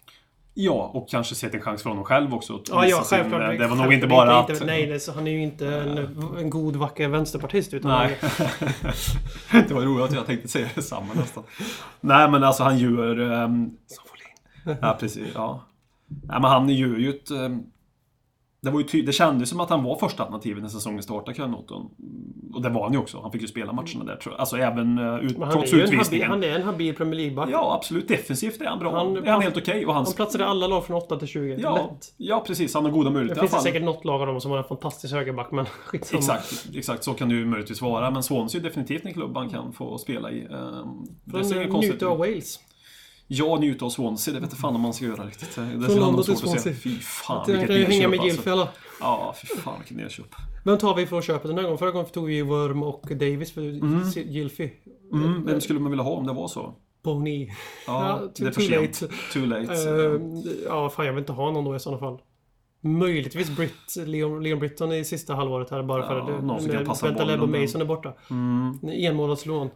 Speaker 3: Ja, och kanske sett en chans för honom själv också. att
Speaker 2: Ja,
Speaker 3: visa
Speaker 2: ja,
Speaker 3: sin-
Speaker 2: självklart.
Speaker 3: det var nog
Speaker 2: självklart
Speaker 3: inte bara att...
Speaker 2: inte- nej, det, är så han är ju inte en, en god, vacker vänsterpartist. Utan
Speaker 3: Nej. det var roligt att jag tänkte säga detsamma nästan. Nej, men alltså han gör... ehm, Ja, precis. Ja. Nej, men han gör ju ett... ehm, Det, var ju ty- det kändes som att han var första alternativet när säsongen startade, Kyle Norton. Och det var han ju också. Han fick ju spela matcherna där, tror jag. Alltså även eh, ut,
Speaker 2: Mm. Men han,
Speaker 3: trots
Speaker 2: är ju en habil,
Speaker 3: utvisningen.
Speaker 2: han är en habil Premier League-back.
Speaker 3: Ja, absolut. Defensivt är han bra.
Speaker 2: Han-
Speaker 3: är han helt okej. Och han...
Speaker 2: Han platsar i alla lag från 8 till 20.
Speaker 3: Ja,
Speaker 2: Lätt.
Speaker 3: ja, precis. Han har goda
Speaker 2: Det
Speaker 3: möjligheter
Speaker 2: finns det säkert något lag av dem som har en fantastisk högerback, men skitsamma.
Speaker 3: Exakt, exakt, så kan det ju möjligtvis vara. Men Swansea är definitivt en klubb man kan få spela i. Ehm, Det ser inget
Speaker 2: Från
Speaker 3: konstigt
Speaker 2: njuta av
Speaker 3: ut.
Speaker 2: Wales.
Speaker 3: Ja, njuta av Swansea, det vet jag fan om man ska göra riktigt. Det är
Speaker 2: London
Speaker 3: ändå
Speaker 2: till
Speaker 3: svårt att se.
Speaker 2: Swansea.
Speaker 3: Fy fan
Speaker 2: Den
Speaker 3: vilket
Speaker 2: kan ju hänga med
Speaker 3: nedköp
Speaker 2: Gilfy
Speaker 3: alltså.
Speaker 2: alla.
Speaker 3: Ja, fy fan vilket nedköp.
Speaker 2: Vem tar vi från köpet den här gången? Förra gången tog vi ju Worm och Davis för Gilfy.
Speaker 3: Mm, vem skulle man vilja ha om det var så?
Speaker 2: Boney.
Speaker 3: Ja,
Speaker 2: Ja,
Speaker 3: det är för
Speaker 2: too
Speaker 3: sent.
Speaker 2: late.
Speaker 3: Too late.
Speaker 2: Eh, ja, fan jag vill inte ha någon då i sådana fall. Möjligtvis Britt, Leon, Leon Britton i sista halvåret här bara för
Speaker 3: Ja,
Speaker 2: att det-
Speaker 3: någon som kan
Speaker 2: när
Speaker 3: passa
Speaker 2: Benta
Speaker 3: bollen, Mm.
Speaker 2: Leb och
Speaker 3: men-
Speaker 2: Mason är borta. Enmånadslån.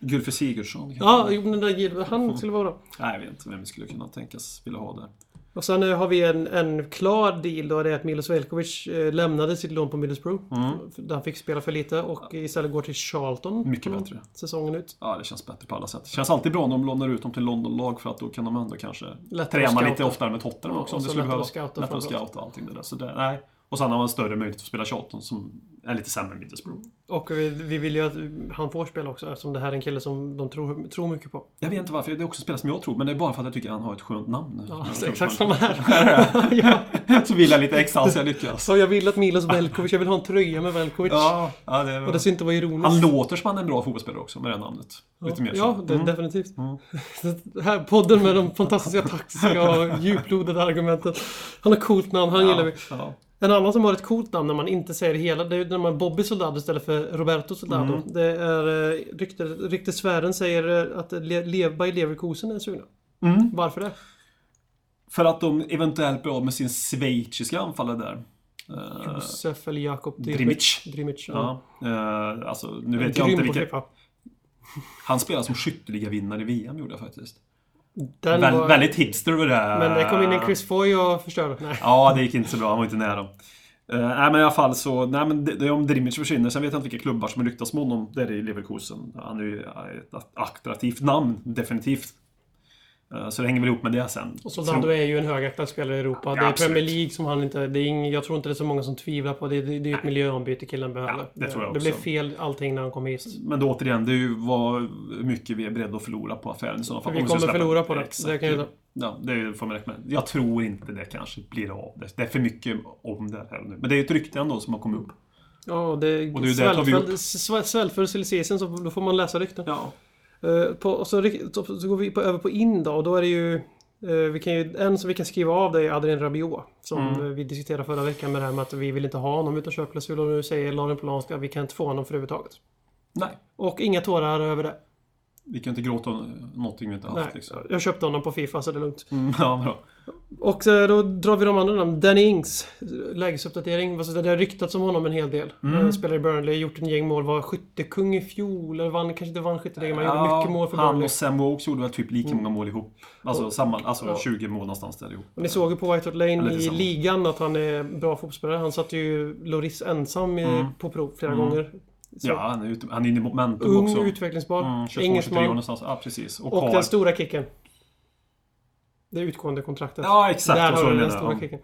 Speaker 3: Gylfi Sigurdsson kanske?
Speaker 2: Ja, jo, men den där Gil- han skulle vara bra.
Speaker 3: Nej, jag vet inte vem vi skulle kunna tänkas vilja ha där.
Speaker 2: Och sen eh, har vi en, en klar deal då. Det är att Milos Velkovic eh, lämnade sitt lån på Middlesbrough. Mm. Där han fick spela för lite och istället går till Charlton.
Speaker 3: Mycket bättre.
Speaker 2: Säsongen ut.
Speaker 3: Ja, det känns bättre på alla sätt. Det känns alltid bra när de lånar ut dem till Londonlag för att då kan de ändå kanske
Speaker 2: Lättare att
Speaker 3: träna
Speaker 2: scouta.
Speaker 3: lite oftare med Tottenham
Speaker 2: Ja,
Speaker 3: också
Speaker 2: och
Speaker 3: om det
Speaker 2: så
Speaker 3: skulle
Speaker 2: lättare
Speaker 3: behövas.
Speaker 2: att scouta
Speaker 3: Lättare att
Speaker 2: framförallt.
Speaker 3: scouta och allting det där. Så det, nej. Och sen har man större möjlighet att spela Charlton som är lite sämre än Middlesbrough.
Speaker 2: Och vi, vi vill ju att han får spela också eftersom det här är en kille som de tror, tror mycket på.
Speaker 3: Jag vet inte varför, det är också en spelare som jag tror, men det är bara för att jag tycker han har ett skönt namn.
Speaker 2: Ja,
Speaker 3: Jag
Speaker 2: alltså,
Speaker 3: tror
Speaker 2: exakt
Speaker 3: man-
Speaker 2: samma här. ja.
Speaker 3: Så vill jag lite extra så jag lyckas.
Speaker 2: Så jag vill att Milos Velkovic, jag vill ha en tröja med Velkovic.
Speaker 3: Ja, ja, det
Speaker 2: Och det
Speaker 3: är...
Speaker 2: ska inte vara ironiskt.
Speaker 3: Han låter som han är en bra fotbollsspelare också med det här namnet. Lite mer så. Mm.
Speaker 2: Ja, det, definitivt. Det här podden med de fantastiska taktiska och djuplodade argumenten. Han har coolt namn, han gillar vi.
Speaker 3: Ja.
Speaker 2: En annan som har ett coolt namn när man inte säger det hela, det är ju när man Bobby Soldado istället för Roberto Soldado.
Speaker 3: Mm.
Speaker 2: Det är... eh, Rykte, ryktesfären säger eh, att Le- Levi Leverkusen är sugna.
Speaker 3: Mm.
Speaker 2: Varför det?
Speaker 3: Eh, För att de eventuellt blir av med sin schweiziska anfallare där.
Speaker 2: Josef eller Jakob
Speaker 3: Drimic.
Speaker 2: Drimic, ja.
Speaker 3: Ja. eh, alltså, nu vet jag
Speaker 2: Grym
Speaker 3: inte
Speaker 2: på
Speaker 3: vilka...
Speaker 2: klippa.
Speaker 3: Han spelar som skytteligavinnare i VM gjorde jag faktiskt.
Speaker 2: Den
Speaker 3: Väl,
Speaker 2: var-
Speaker 3: Väldigt Ah. hipster var det. här.
Speaker 2: Men det kom in en Chris Foy och förstörde. Nej.
Speaker 3: Ja, det gick inte så bra. Han var inte nära. Eh, nej men i alla fall så, nej men det, det är om Drimic försvinner. Sen vet jag inte vilka klubbar som ryktas om honom där i Leverkusen. Han är ju eh, ett att- attraktivt namn, definitivt. Eh, så det hänger väl ihop med det sen.
Speaker 2: Och Soldado
Speaker 3: Tror-
Speaker 2: är ju en högaktad spelare i Europa. det är
Speaker 3: absolut.
Speaker 2: Premier League som han inte... Det är ing, jag tror inte det är så många som tvivlar på. Det, det, det är ett miljöombyte killen behöver.
Speaker 3: Ja, det tror jag
Speaker 2: Det blev
Speaker 3: också.
Speaker 2: fel allting när han kom hit.
Speaker 3: Men då återigen, det är ju vad mycket vi är beredda att förlora på affären i sådana fall.
Speaker 2: Vi
Speaker 3: Om ska
Speaker 2: kommer
Speaker 3: släppa-
Speaker 2: förlora på det. Det kan jag-
Speaker 3: Ja, det får man räkna med. Jag tror inte det kanske blir av. Det Det är för mycket om det här nu. Men det är ju ett rykte ändå som har kommit upp.
Speaker 2: Ja, det,
Speaker 3: Och det är ju det tar vi upp.
Speaker 2: svält- svält för silly season, så då får man läsa rykten.
Speaker 3: Ja.
Speaker 2: Eh, på, och så, ryk- så, så går vi på, över på in då. Och då är det ju... eh, vi kan ju en som vi kan skriva av det är Adrien Rabiot. Som
Speaker 3: Mm.
Speaker 2: eh, vi diskuterade förra veckan med det här med att vi vill inte ha honom utan köpklausul. Och nu säger Lauren Polanski att vi kan inte få honom för överhuvudtaget.
Speaker 3: Nej,
Speaker 2: Och inga tårar över det.
Speaker 3: vi kan inte gråta om någonting vi inte haft
Speaker 2: Nej,
Speaker 3: liksom.
Speaker 2: jag köpte honom på Fifa så det är lugnt.
Speaker 3: Mm, ja, bra.
Speaker 2: Och så, då drar vi de andra namnen. Danny Ings, lägesuppdatering. Alltså, det har ryktats om honom en hel del. Mm. Spelar i Burnley, gjort en gäng mål, var skyttekung i fjol. Eller vann, kanske inte vann skytteligan, men gjorde mycket mål för
Speaker 3: Han
Speaker 2: Burnley.
Speaker 3: och Sam Wokes gjorde väl typ lika många mål ihop. Alltså, samma, alltså
Speaker 2: ja.
Speaker 3: 20 mål någonstans där ihop.
Speaker 2: Och ni såg ju på White Hart Lane
Speaker 3: Eller
Speaker 2: i
Speaker 3: tillsammans.
Speaker 2: ligan att han är bra fotbollsspelare. Han satte ju Loris ensam i,
Speaker 3: Mm.
Speaker 2: på prov flera gånger. Så,
Speaker 3: Ja, han är, ute, han är inne i momentum
Speaker 2: ung,
Speaker 3: också.
Speaker 2: utvecklingsbar.
Speaker 3: Mm, 22, 23 år
Speaker 2: engelsman.
Speaker 3: någonstans. Ja, precis. Och,
Speaker 2: Och
Speaker 3: har...
Speaker 2: den stora kicken. Det utgående kontraktet.
Speaker 3: Ja, exakt.
Speaker 2: Där
Speaker 3: Och så
Speaker 2: har du
Speaker 3: menar
Speaker 2: den
Speaker 3: jag.
Speaker 2: stora
Speaker 3: Ja.
Speaker 2: kicken.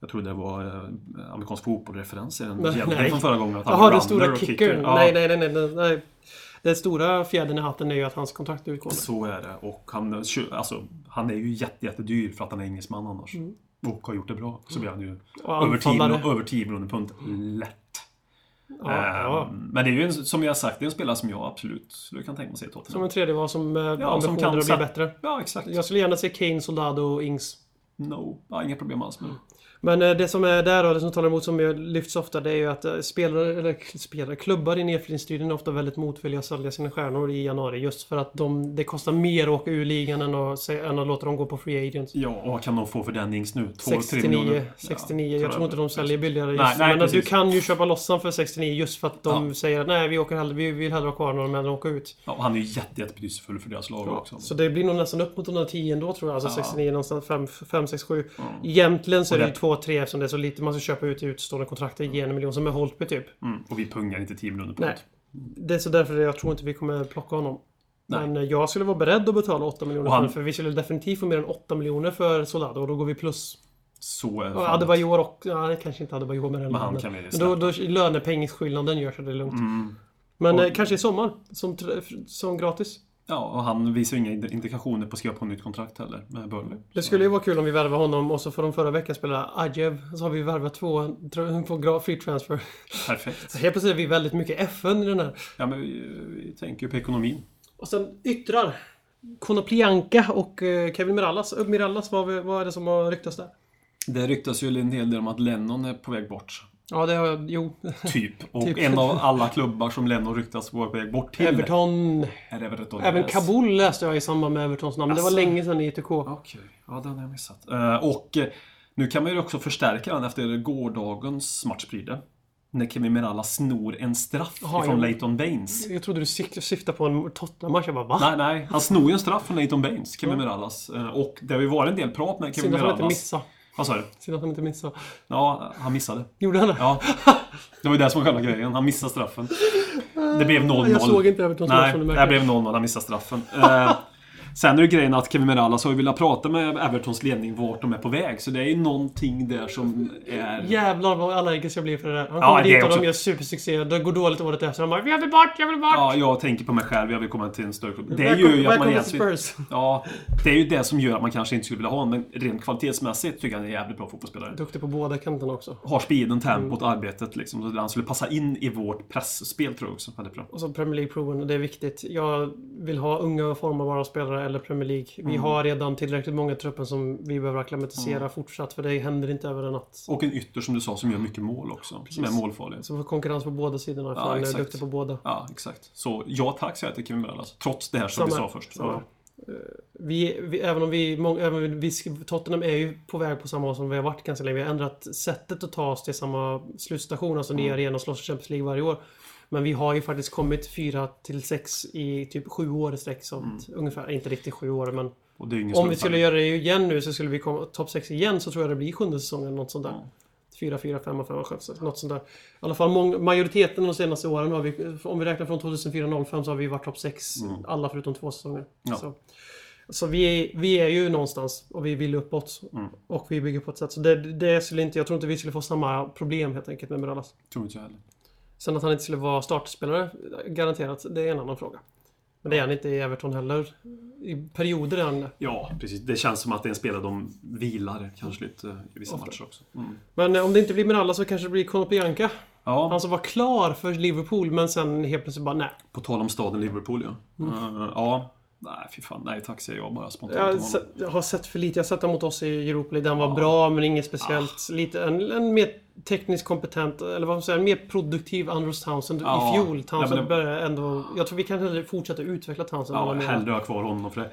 Speaker 3: Jag trodde det var eh, amerikansk fotbollreferens i den
Speaker 2: Nej.
Speaker 3: hjälten från förra gången. att han
Speaker 2: Jaha,
Speaker 3: var
Speaker 2: den
Speaker 3: runner
Speaker 2: stora
Speaker 3: och
Speaker 2: kickern.
Speaker 3: typ. Ja,
Speaker 2: Nej, nej, nej, nej, nej, nej. Den stora fjädern i hatten är ju att hans kontrakt utgår.
Speaker 3: Så är det. Och han, kö- alltså, han är ju jätte, jättedyr för att han är engelsman annars. Och har gjort det bra. Så blir han ju
Speaker 2: Mm. Och
Speaker 3: över 10
Speaker 2: anfallare.
Speaker 3: över 10 miljoner pund. Lätt.
Speaker 2: Ja, ja.
Speaker 3: Ehm, Men det är ju en, som jag har sagt, det är en spelare som jag absolut skulle kan tänka mig se i
Speaker 2: Som
Speaker 3: Tottenham.
Speaker 2: en tredje var som eh,
Speaker 3: Ja, som
Speaker 2: ambitioner
Speaker 3: kan
Speaker 2: att bli
Speaker 3: sätta-
Speaker 2: bättre.
Speaker 3: Ja, exakt.
Speaker 2: Jag skulle gärna se Kane, Soldado och Ings.
Speaker 3: No. Ja, inga problem alls med det.
Speaker 2: Men eh, det som är där och det som talar emot som jag lyfts ofta det är ju att eh, spelare, eller k- spelare, klubbar i nedflyttningsstriden är ofta väldigt motvilliga att sälja sina stjärnor i januari. Just för att de, det kostar mer att åka ur ligan än att, se- än att låta dem gå på free agents.
Speaker 3: Ja, och vad kan de få för Dennings nu? 2-3
Speaker 2: 69,
Speaker 3: miljoner?
Speaker 2: 69. jag tror inte de säljer billigare just.
Speaker 3: Nej, nej,
Speaker 2: men att du
Speaker 3: precis.
Speaker 2: kan ju köpa loss han för 69 just för att de säger att nej, vi, åker hellre, vi vill hellre ha kvar honom än att åka ut.
Speaker 3: Ja, och han är ju jätte, jättebetydelsefull för deras lag också.
Speaker 2: Så det blir nog nästan upp mot 110 ändå tror jag. Alltså
Speaker 3: Ja.
Speaker 2: 69 någonstans, 5, 5 6, 7. Egentligen så är
Speaker 3: Och
Speaker 2: det ju
Speaker 3: det-
Speaker 2: 2-3 eftersom det är så lite man ska köpa ut i utstående kontrakter i en miljon som är Holtby typ.
Speaker 3: Mm. Och vi pungar inte 10 miljoner
Speaker 2: Nej.
Speaker 3: pund.
Speaker 2: Det är så därför jag tror inte vi kommer plocka honom.
Speaker 3: Nej.
Speaker 2: Men eh, jag skulle vara beredd att betala 8 miljoner
Speaker 3: Och han-
Speaker 2: för- för vi skulle definitivt få mer än 8 miljoner för Soldado och då går vi plus.
Speaker 3: Så är
Speaker 2: Ja,
Speaker 3: fallet.
Speaker 2: Adebayor och... Ja, det kanske inte Adebayor med den
Speaker 3: Men han
Speaker 2: lönen.
Speaker 3: kan vi ju Mm.
Speaker 2: Men då, då lönepengingsskillnaden gör så det är lugnt. Men eh, kanske i sommar, som, tr- som gratis.
Speaker 3: Ja, och han visar ju inga ind- indikationer på att skriva på nytt kontrakt heller med Burnley.
Speaker 2: Det skulle ju vara kul om vi värvar honom och så får de förra veckan spela Ajev. Så har vi värvat två tr- på gra- free transfer.
Speaker 3: Perfekt.
Speaker 2: Helt plötsligt är vi väldigt mycket FN i den här.
Speaker 3: Ja, men vi, vi tänker ju på ekonomin.
Speaker 2: Och sen yttrar Konoplianka och eh, Kevin Mirallas. Eh, Mirallas, vad, vi- vad är det som har ryktats där?
Speaker 3: Det ryktas ju en hel del om att Lennon är på väg bort.
Speaker 2: Ja, det har jag... Jo.
Speaker 3: Typ. Och
Speaker 2: Typ.
Speaker 3: en av alla klubbar som Lennon ryktas vara på väg bort till
Speaker 2: Everton.
Speaker 3: är Everton.
Speaker 2: Även
Speaker 3: Yes.
Speaker 2: Kabul läste jag i samband med Evertons namn. Det
Speaker 3: Asså.
Speaker 2: var länge sedan i E ITK.
Speaker 3: Okej, ja den har jag missat. Eh, och eh, nu kan man ju också förstärka den efter gårdagens matchpride. När Kevin Miralla snor en straff
Speaker 2: Jaha,
Speaker 3: från
Speaker 2: ja.
Speaker 3: Leighton Baines.
Speaker 2: Jag trodde du sik- syftade på en Tottenham-match. Jag bara va?
Speaker 3: Nej, nej. Han snor ju en straff från Leighton Baines, Kevin Mirallas. Eh, och det har ju varit en del prat med Kevin
Speaker 2: Synd att han inte
Speaker 3: Mirallas.
Speaker 2: missade.
Speaker 3: Vad sa du?
Speaker 2: Synd att han inte missade.
Speaker 3: Ja, han missade.
Speaker 2: Gjorde han det?
Speaker 3: Ja. Det var ju det som var själva grejen. Han missade straffen. Det blev 0-0.
Speaker 2: Jag såg inte Evertons match
Speaker 3: Nej,
Speaker 2: som du
Speaker 3: det
Speaker 2: märker.
Speaker 3: blev 0-0. Han missade straffen. Eh, sen är ju grejen att Kevin Mirallas har ju velat prata med Evertons ledning vart de är på väg. Så det är ju någonting där som är...
Speaker 2: Jävlar vad allergisk jag blir för det där. Han
Speaker 3: Ja,
Speaker 2: kommer
Speaker 3: det
Speaker 2: dit och
Speaker 3: också.
Speaker 2: de gör supersuccé. Det går dåligt året efter. Han bara “Jag vill bort, jag vill bort!”
Speaker 3: Ja, jag tänker på mig själv. Jag vill komma till en större klubb. Det är
Speaker 2: Välkommen-
Speaker 3: ju att man
Speaker 2: välkommen till
Speaker 3: egentligen...
Speaker 2: Spurs.
Speaker 3: Ja, det är ju det som gör att man kanske inte skulle vilja ha honom. Men rent kvalitetsmässigt tycker jag han är en jävligt bra fotbollsspelare.
Speaker 2: Duktig på båda kanterna också.
Speaker 3: Har speeden, tempot,
Speaker 2: Mm.
Speaker 3: arbetet liksom. Så Han skulle passa in i vårt pressspel tror jag också. Väldigt bra.
Speaker 2: Och så Premier League-proven, det är viktigt. Jag vill ha unga formbara spelare eller Premier League. Vi
Speaker 3: Mm.
Speaker 2: har redan tillräckligt många i truppen som vi behöver acklimatisera fortsatt, för det händer inte över en natt.
Speaker 3: Och en ytter som du sa
Speaker 2: Mm.
Speaker 3: som gör mycket mål också. Som är målfarlig.
Speaker 2: Så vi får konkurrens på båda sidorna, för han är
Speaker 3: exakt.
Speaker 2: duktig på båda.
Speaker 3: Ja, exakt. Så ja tack säger jag till Kevin Mirallas. Trots det här som
Speaker 2: Samma-
Speaker 3: vi sa först.
Speaker 2: samma.
Speaker 3: Ja.
Speaker 2: Vi, vi, även om vi, mång- även om vi, sk- Tottenham är ju på väg på samma håll som vi har varit ganska länge. Vi har ändrat sättet att ta oss till samma slutstation, alltså nya arena och slåss för Champions League varje år. Men vi har ju faktiskt kommit fyra till sex i typ sju år i sträck. sånt. Ungefär, inte riktigt sju år men
Speaker 3: Och det är ju ingen
Speaker 2: Om vi
Speaker 3: slump
Speaker 2: skulle
Speaker 3: heller.
Speaker 2: göra det igen nu så skulle vi komma topp 6 igen så tror jag det blir sjunde säsongen. Något sånt där. fyra fyra femma femma 5, Något sånt där. I alla fall mång- majoriteten de senaste åren har vi, om vi räknar från 2004-05 så har vi varit topp 6 alla förutom två säsonger.
Speaker 3: Ja.
Speaker 2: Så, så vi, är, vi är ju någonstans och vi vill uppåt. Och vi bygger på ett sätt. Så det, det skulle inte, jag tror inte vi skulle få samma problem helt enkelt med Mirallas.
Speaker 3: Tror inte jag heller.
Speaker 2: Sen att han inte skulle vara startspelare, garanterat, det är en annan fråga. Men det är han inte i Everton heller. I perioder är han det.
Speaker 3: Ja, precis. Det känns som att det är en spelare de vilar kanske lite eh, i vissa matcher också. Mm.
Speaker 2: Men eh, om det inte blir Miralla så kanske det blir Konoplyanka.
Speaker 3: Ja.
Speaker 2: Han som var klar för Liverpool men sen helt plötsligt bara nej.
Speaker 3: På tal om staden Liverpool ja.
Speaker 2: Mm.
Speaker 3: Eh, ja. Nej, fy fan. Nej tack säger jag bara spontant.
Speaker 2: Jag,
Speaker 3: om
Speaker 2: har
Speaker 3: honom.
Speaker 2: sett- jag har sett för lite. Jag har sett honom mot oss i Europa League. Den var bra men
Speaker 3: Ah.
Speaker 2: inget speciellt. Lite, en, en mer tekniskt kompetent, eller vad man säger, en mer produktiv Andros Townsend
Speaker 3: Ja.
Speaker 2: i fjol.
Speaker 3: Ja,
Speaker 2: Townsend
Speaker 3: men det-
Speaker 2: började ändå... Jag tror vi kan hellre fortsätta utveckla Townsend.
Speaker 3: Ja,
Speaker 2: än vad jag menar.
Speaker 3: hellre ha kvar honom för det.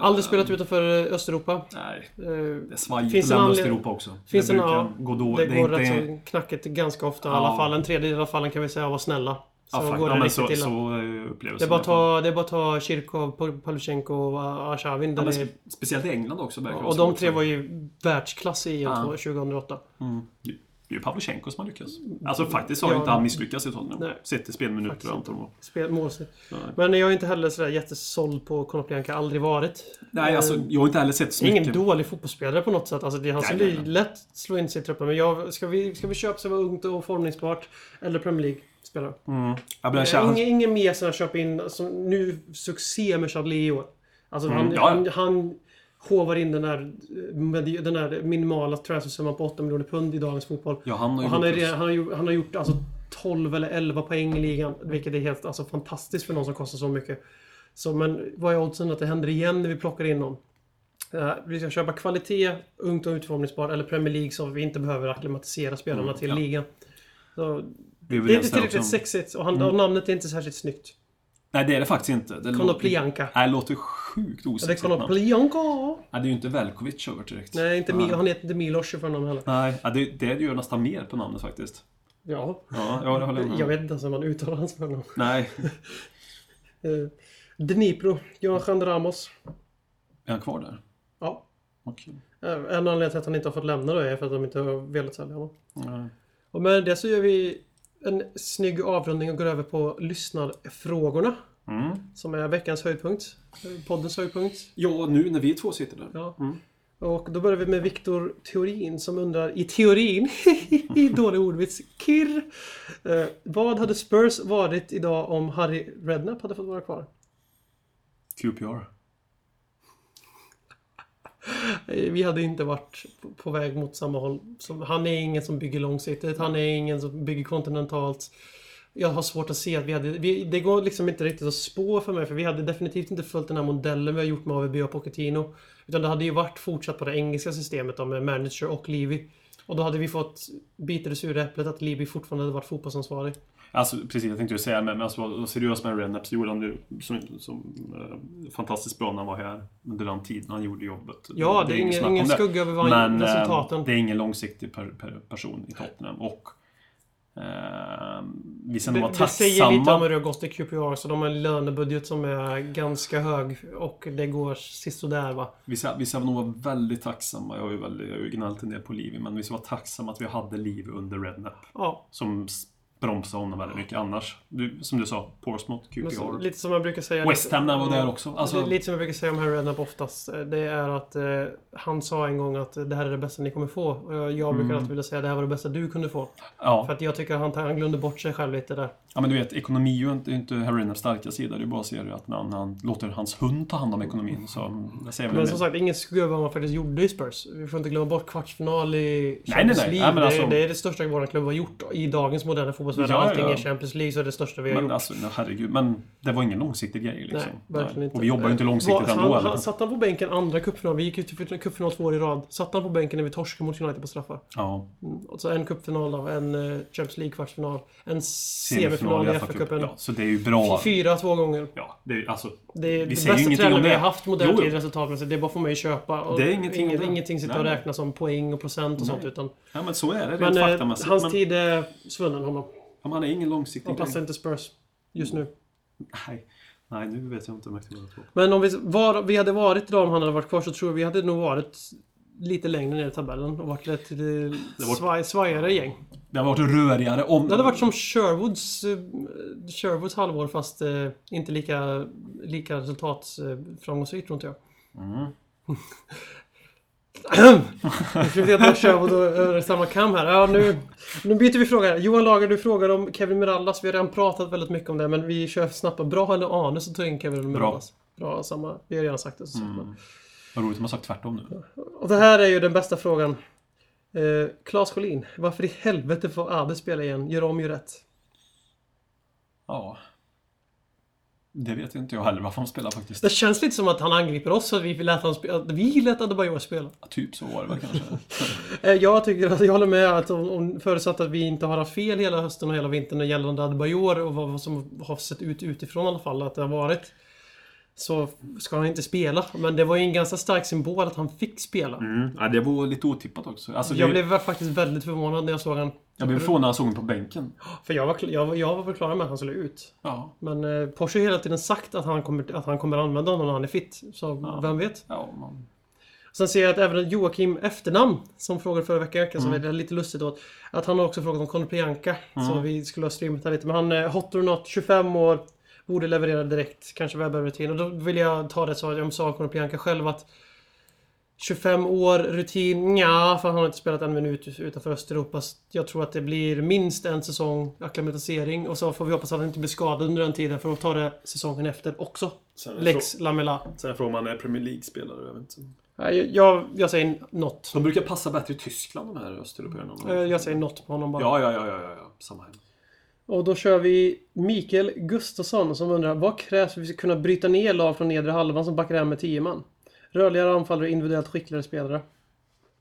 Speaker 2: Aldrig spelat utanför eh, Östeuropa.
Speaker 3: Nej,
Speaker 2: Eh,
Speaker 3: det är svajigt
Speaker 2: Finns
Speaker 3: att
Speaker 2: en
Speaker 3: lämna
Speaker 2: anled-
Speaker 3: Östeuropa också.
Speaker 2: Finns
Speaker 3: det
Speaker 2: en,
Speaker 3: brukar
Speaker 2: ja,
Speaker 3: gå då.
Speaker 2: det
Speaker 3: Det är
Speaker 2: går
Speaker 3: inte...
Speaker 2: rätt så knackigt ganska ofta. I
Speaker 3: Ja.
Speaker 2: alla fall en tredjedel av fallen kan vi säga var snälla. Så
Speaker 3: Ja, fakt-
Speaker 2: går det
Speaker 3: ja, men
Speaker 2: riktigt
Speaker 3: så,
Speaker 2: illa.
Speaker 3: så är upplevelsen.
Speaker 2: Det är bara att ta, det är bara att ta Kirkov, Pol- Pavlyuchenko och Arshavin.
Speaker 3: Ja,
Speaker 2: där
Speaker 3: men
Speaker 2: det är,
Speaker 3: spe- speciellt i England också verkar
Speaker 2: och de tre var ju världsklass i EM
Speaker 3: Ja. Mm.
Speaker 2: 2008.
Speaker 3: Det är ju Pavlychenko som har lyckats. Alltså faktiskt har ju
Speaker 2: Mm. Ja.
Speaker 3: inte han misslyckats i Tottenham.
Speaker 2: Nej.
Speaker 3: Sett i spelminuter
Speaker 2: Faktiskt
Speaker 3: och antal mål.
Speaker 2: Spel, målsnitt.
Speaker 3: Nej.
Speaker 2: Men jag är inte heller sådär jättesåld på Konoplyanka. Aldrig varit.
Speaker 3: Nej, alltså jag har inte heller sett så
Speaker 2: Det är ingen
Speaker 3: mycket.
Speaker 2: dålig fotbollsspelare på något sätt. Alltså, det, han
Speaker 3: Nej,
Speaker 2: skulle
Speaker 3: nej,
Speaker 2: ju
Speaker 3: nej.
Speaker 2: lätt slå in sig i truppen. Men jag, ska, vi, ska vi köpa som var ungt och formningsbart? Eller Premier League-spelare?
Speaker 3: Ja, men jag
Speaker 2: Eh, Ingen,
Speaker 3: känner,
Speaker 2: ingen mer som jag köper in. Alltså, nu succé med Chadli i år. Alltså, han,
Speaker 3: Mm, ja.
Speaker 2: han, han hovar in den där, eh, med- den där minimala transfersumman på 8 miljoner pund i dagens fotboll.
Speaker 3: Ja, han har ju
Speaker 2: och han, är,
Speaker 3: gjort-
Speaker 2: redan- han, har gjort, han har gjort alltså 12 eller 11 poäng i ligan. Vilket är helt alltså, fantastiskt för någon som kostar så mycket. Så, men vad är oddsen att det händer igen när vi plockar in någon? Eh, vi ska köpa kvalitet, ungt och utformningsbar eller Premier League som vi inte behöver acklimatisera spelarna
Speaker 3: Mm,
Speaker 2: till ligan. Så,
Speaker 3: vi är
Speaker 2: det är
Speaker 3: överens
Speaker 2: inte
Speaker 3: där
Speaker 2: tillräckligt
Speaker 3: också. Mm.
Speaker 2: sexigt och, han, och namnet är inte särskilt snyggt.
Speaker 3: Nej, det är det faktiskt inte. Det
Speaker 2: Konoplyanka.
Speaker 3: Nej, det låter sjukt
Speaker 2: Det är
Speaker 3: osexigt. namn.
Speaker 2: Konoplyanka!
Speaker 3: Nej, det är ju inte Velkovic över direkt.
Speaker 2: Nej, inte Mil- han heter inte Milos för honom heller.
Speaker 3: Nej, ja, det, det gör nästan mer på namnet faktiskt.
Speaker 2: Ja.
Speaker 3: Ja, ja det håller jag med
Speaker 2: Jag
Speaker 3: om.
Speaker 2: vet inte ens hur man uttalar hans förnamn.
Speaker 3: Nej.
Speaker 2: Eh, Dnipro, Jonathan Ramos.
Speaker 3: Är han kvar där?
Speaker 2: Ja.
Speaker 3: Okej.
Speaker 2: Eh, En anledning till att han inte har fått lämna då är för att de inte har velat sälja honom.
Speaker 3: Nej.
Speaker 2: Och med det så gör vi en snygg avrundning och går över på lyssnarfrågorna.
Speaker 3: Mm.
Speaker 2: Som är veckans höjdpunkt. Eh, Poddens höjdpunkt.
Speaker 3: Ja, nu när vi två sitter där.
Speaker 2: Ja. Och då börjar vi med Viktor Teorin som undrar, i teorin, i dålig ordvits, kirr. Eh, vad hade Spurs varit idag om Harry Redknapp hade fått vara kvar?
Speaker 3: QPR.
Speaker 2: Eh, vi hade inte varit på- på väg mot samma håll. som- Han är ingen som bygger långsiktigt, han är ingen som bygger kontinentalt. Jag har svårt att se att vi hade... Vi, det går liksom inte riktigt att spå för mig, för vi hade definitivt inte följt den här modellen vi har gjort med AVB och Pochettino. Utan det hade ju varit fortsatt på det engelska systemet då med manager och Levy. Och då hade vi fått biter ur sura äpplet att Libby fortfarande hade varit fotbollsansvarig.
Speaker 3: Alltså precis, jag tänkte ju säga men alltså vad seriös med Rennaps gjorde han ju som, som, eh, fantastiskt bra när han var här under den tiden han gjorde jobbet.
Speaker 2: Ja, det är ingen,
Speaker 3: snack om
Speaker 2: ingen
Speaker 3: det.
Speaker 2: skugga över vad
Speaker 3: Men eh,
Speaker 2: resultaten...
Speaker 3: det är ingen långsiktig per, per person i Tottenham och eh, vi sen
Speaker 2: Det,
Speaker 3: var
Speaker 2: det säger lite om hur
Speaker 3: tacksamma.
Speaker 2: det har gått i QPR, så de har en lönebudget som är ganska hög och det går sisådär va.
Speaker 3: Vi ska, vi ska nog vara väldigt tacksamma. Jag har ju, väldigt, jag har ju gnällt en del på Livi, men vi ska vara tacksamma att vi hade Livi under Rednap.
Speaker 2: Ja,
Speaker 3: Som s- bromsade honom väldigt mycket annars. Du, som du sa, Portsmouth,
Speaker 2: men så,
Speaker 3: QPR.
Speaker 2: lite som jag brukar säga...
Speaker 3: West Ham när han var där också. Alltså,
Speaker 2: Det är lite som jag brukar säga om Harry Redknapp oftast. eh, Det är att eh, han sa en gång att eh, det här är det bästa ni kommer få. Och jag, jag
Speaker 3: Mm.
Speaker 2: brukar alltid vilja säga det här var det bästa du kunde få.
Speaker 3: ja.
Speaker 2: För att jag tycker han, han glömde bort sig själv lite där.
Speaker 3: Ja men du vet, ekonomi är ju inte, är ju inte Harryners starka sida. Det är ju bara att se det att när han, när han låter hans hund ta hand om ekonomin så... mm, Jag säger väl
Speaker 2: Men
Speaker 3: en
Speaker 2: som
Speaker 3: del.
Speaker 2: sagt, ingen skugga över vad man faktiskt gjorde i Spurs. Vi får inte glömma bort kvartsfinal i
Speaker 3: nej,
Speaker 2: Champions
Speaker 3: nej.
Speaker 2: League.
Speaker 3: Nej, men
Speaker 2: det, är,
Speaker 3: alltså-
Speaker 2: det är det största vår klubb har gjort i dagens moderna fotbollsvärld.
Speaker 3: Ja, ja,
Speaker 2: Allting
Speaker 3: ja.
Speaker 2: är Champions League, så det är det största vi har
Speaker 3: men
Speaker 2: gjort.
Speaker 3: alltså, nej, herregud. Men det var ingen långsiktig grej liksom.
Speaker 2: Nej, verkligen inte. Eh,
Speaker 3: Och vi jobbar ju inte långsiktigt
Speaker 2: Var-
Speaker 3: ändå
Speaker 2: han,
Speaker 3: eller?
Speaker 2: han, Satt han på bänken andra cupfinal? Vi gick ju till cupfinal två år i rad. Satt han på bänken när vi torskade mot United på straffar?
Speaker 3: Ja.
Speaker 2: Och så Alltså en cupfinal då, en eh, Champions League-kvartsfinal, en semifinal i
Speaker 3: FA-cupen.
Speaker 2: FA-cupen.
Speaker 3: Ja, så det är ju bra.
Speaker 2: Fyra två gånger.
Speaker 3: Ja, det är ju alltså...
Speaker 2: Det är
Speaker 3: Vi
Speaker 2: det
Speaker 3: säger
Speaker 2: bästa
Speaker 3: ju ingenting
Speaker 2: tränaren
Speaker 3: om
Speaker 2: vi
Speaker 3: det.
Speaker 2: har haft
Speaker 3: Jo,
Speaker 2: modernt
Speaker 3: jo.
Speaker 2: i resultatmässigt. Det bara får mig köpa. Och
Speaker 3: Det är ingenting om
Speaker 2: inget,
Speaker 3: det.
Speaker 2: ingenting sitter och
Speaker 3: Nej.
Speaker 2: räknas som poäng och procent och sånt. Utan,
Speaker 3: Ja men så är
Speaker 2: men
Speaker 3: det rent
Speaker 2: eh,
Speaker 3: faktamässigt.
Speaker 2: hans
Speaker 3: men,
Speaker 2: tid alltså- är svunnen honom.
Speaker 3: ja, men han är ingen långsiktig
Speaker 2: Han passar
Speaker 3: grej.
Speaker 2: inte Spurs just nu.
Speaker 3: Nej. Nej, nu vet jag inte om jag kan vara på.
Speaker 2: Men om vi, var, vi hade varit idag om han hade varit kvar så tror jag vi hade nog varit lite längre ner i tabellen och varit lite
Speaker 3: var-
Speaker 2: svaj, svajigare gäng.
Speaker 3: Det hade varit rörigare om...
Speaker 2: Det hade varit som Sherwoods, eh, Sherwoods halvår fast eh, inte lika, lika resultatframgångsrikt tror inte jag. Vi ska se att Sherwood och eh, samma kam här. Ja, nu, nu byter vi fråga. här. Johan Lager, du frågar om Kevin Mirallas. Vi har redan pratat väldigt mycket om det, men vi kör snabbt. Bra eller anus att ta in Kevin Mirallas? Bra. samma. Vi har redan sagt det. Så.
Speaker 3: Vad roligt, de har sagt tvärtom nu.
Speaker 2: Och det här är ju den bästa frågan. Eh, Claes Schelin, varför i helvete får Abbe spela igen? Gör om, gör rätt.
Speaker 3: Ja. Det vet inte jag heller varför de spelar faktiskt.
Speaker 2: Det känns lite som att han angriper oss, att vi lät, han spe- att vi lät Adebayor spela.
Speaker 3: Ja, Typ så var det väl kanske.
Speaker 2: Eh, Jag, tycker att, jag håller med att om, om förutsatt att vi inte har haft fel hela hösten och hela vintern gällande Adebayor och vad, vad som har sett ut utifrån i alla fall, att det har varit. Så ska han inte spela. Men det var ju en ganska stark symbol att han fick spela.
Speaker 3: Mm. Ja, det var lite otippat också. Alltså, det,
Speaker 2: Jag blev faktiskt väldigt förvånad när jag såg han.
Speaker 3: jag blev förvånad när jag såg honom på bänken.
Speaker 2: För jag var, kl- jag, var- jag var väl klar med att han skulle ut.
Speaker 3: Ja.
Speaker 2: Men eh, Porsche har hela tiden sagt att han, kommer, att han kommer använda honom när han är fit. Så vem vet?
Speaker 3: ja man.
Speaker 2: Sen ser jag att även Joakim efternamn, som frågade förra veckan, som är lite lustigt åt. Att han har också frågat om Konoplyanka. Så vi skulle ha streamat här lite. Men han, eh, hot or not, 25 år. Borde leverera direkt, kanske webbrörutin. Och då vill jag ta det som sa Konoplyanka själv att 25 år, rutin, nja, för han har inte spelat en minut utanför Östeuropa. Så Jag tror att det blir minst en säsong akklimatisering och så får vi hoppas att han inte blir skadad under den tiden för då tar det säsongen efter också.
Speaker 3: Sen är det
Speaker 2: Lex Lamela.
Speaker 3: Sen frågar man är Premier League-spelare. Jag, vet inte.
Speaker 2: Jag, jag, jag säger något.
Speaker 3: De brukar passa bättre i Tyskland, de här östeuropéerna.
Speaker 2: Eh, Jag säger något på honom bara.
Speaker 3: Ja, ja, ja, ja, ja, ja. Samma här.
Speaker 2: Och då kör vi Mikael Gustafsson som undrar vad krävs för att vi ska kunna bryta ner lag från nedre halvan som backar hem med 10 man? Rörligare anfallare, individuellt skickligare spelare.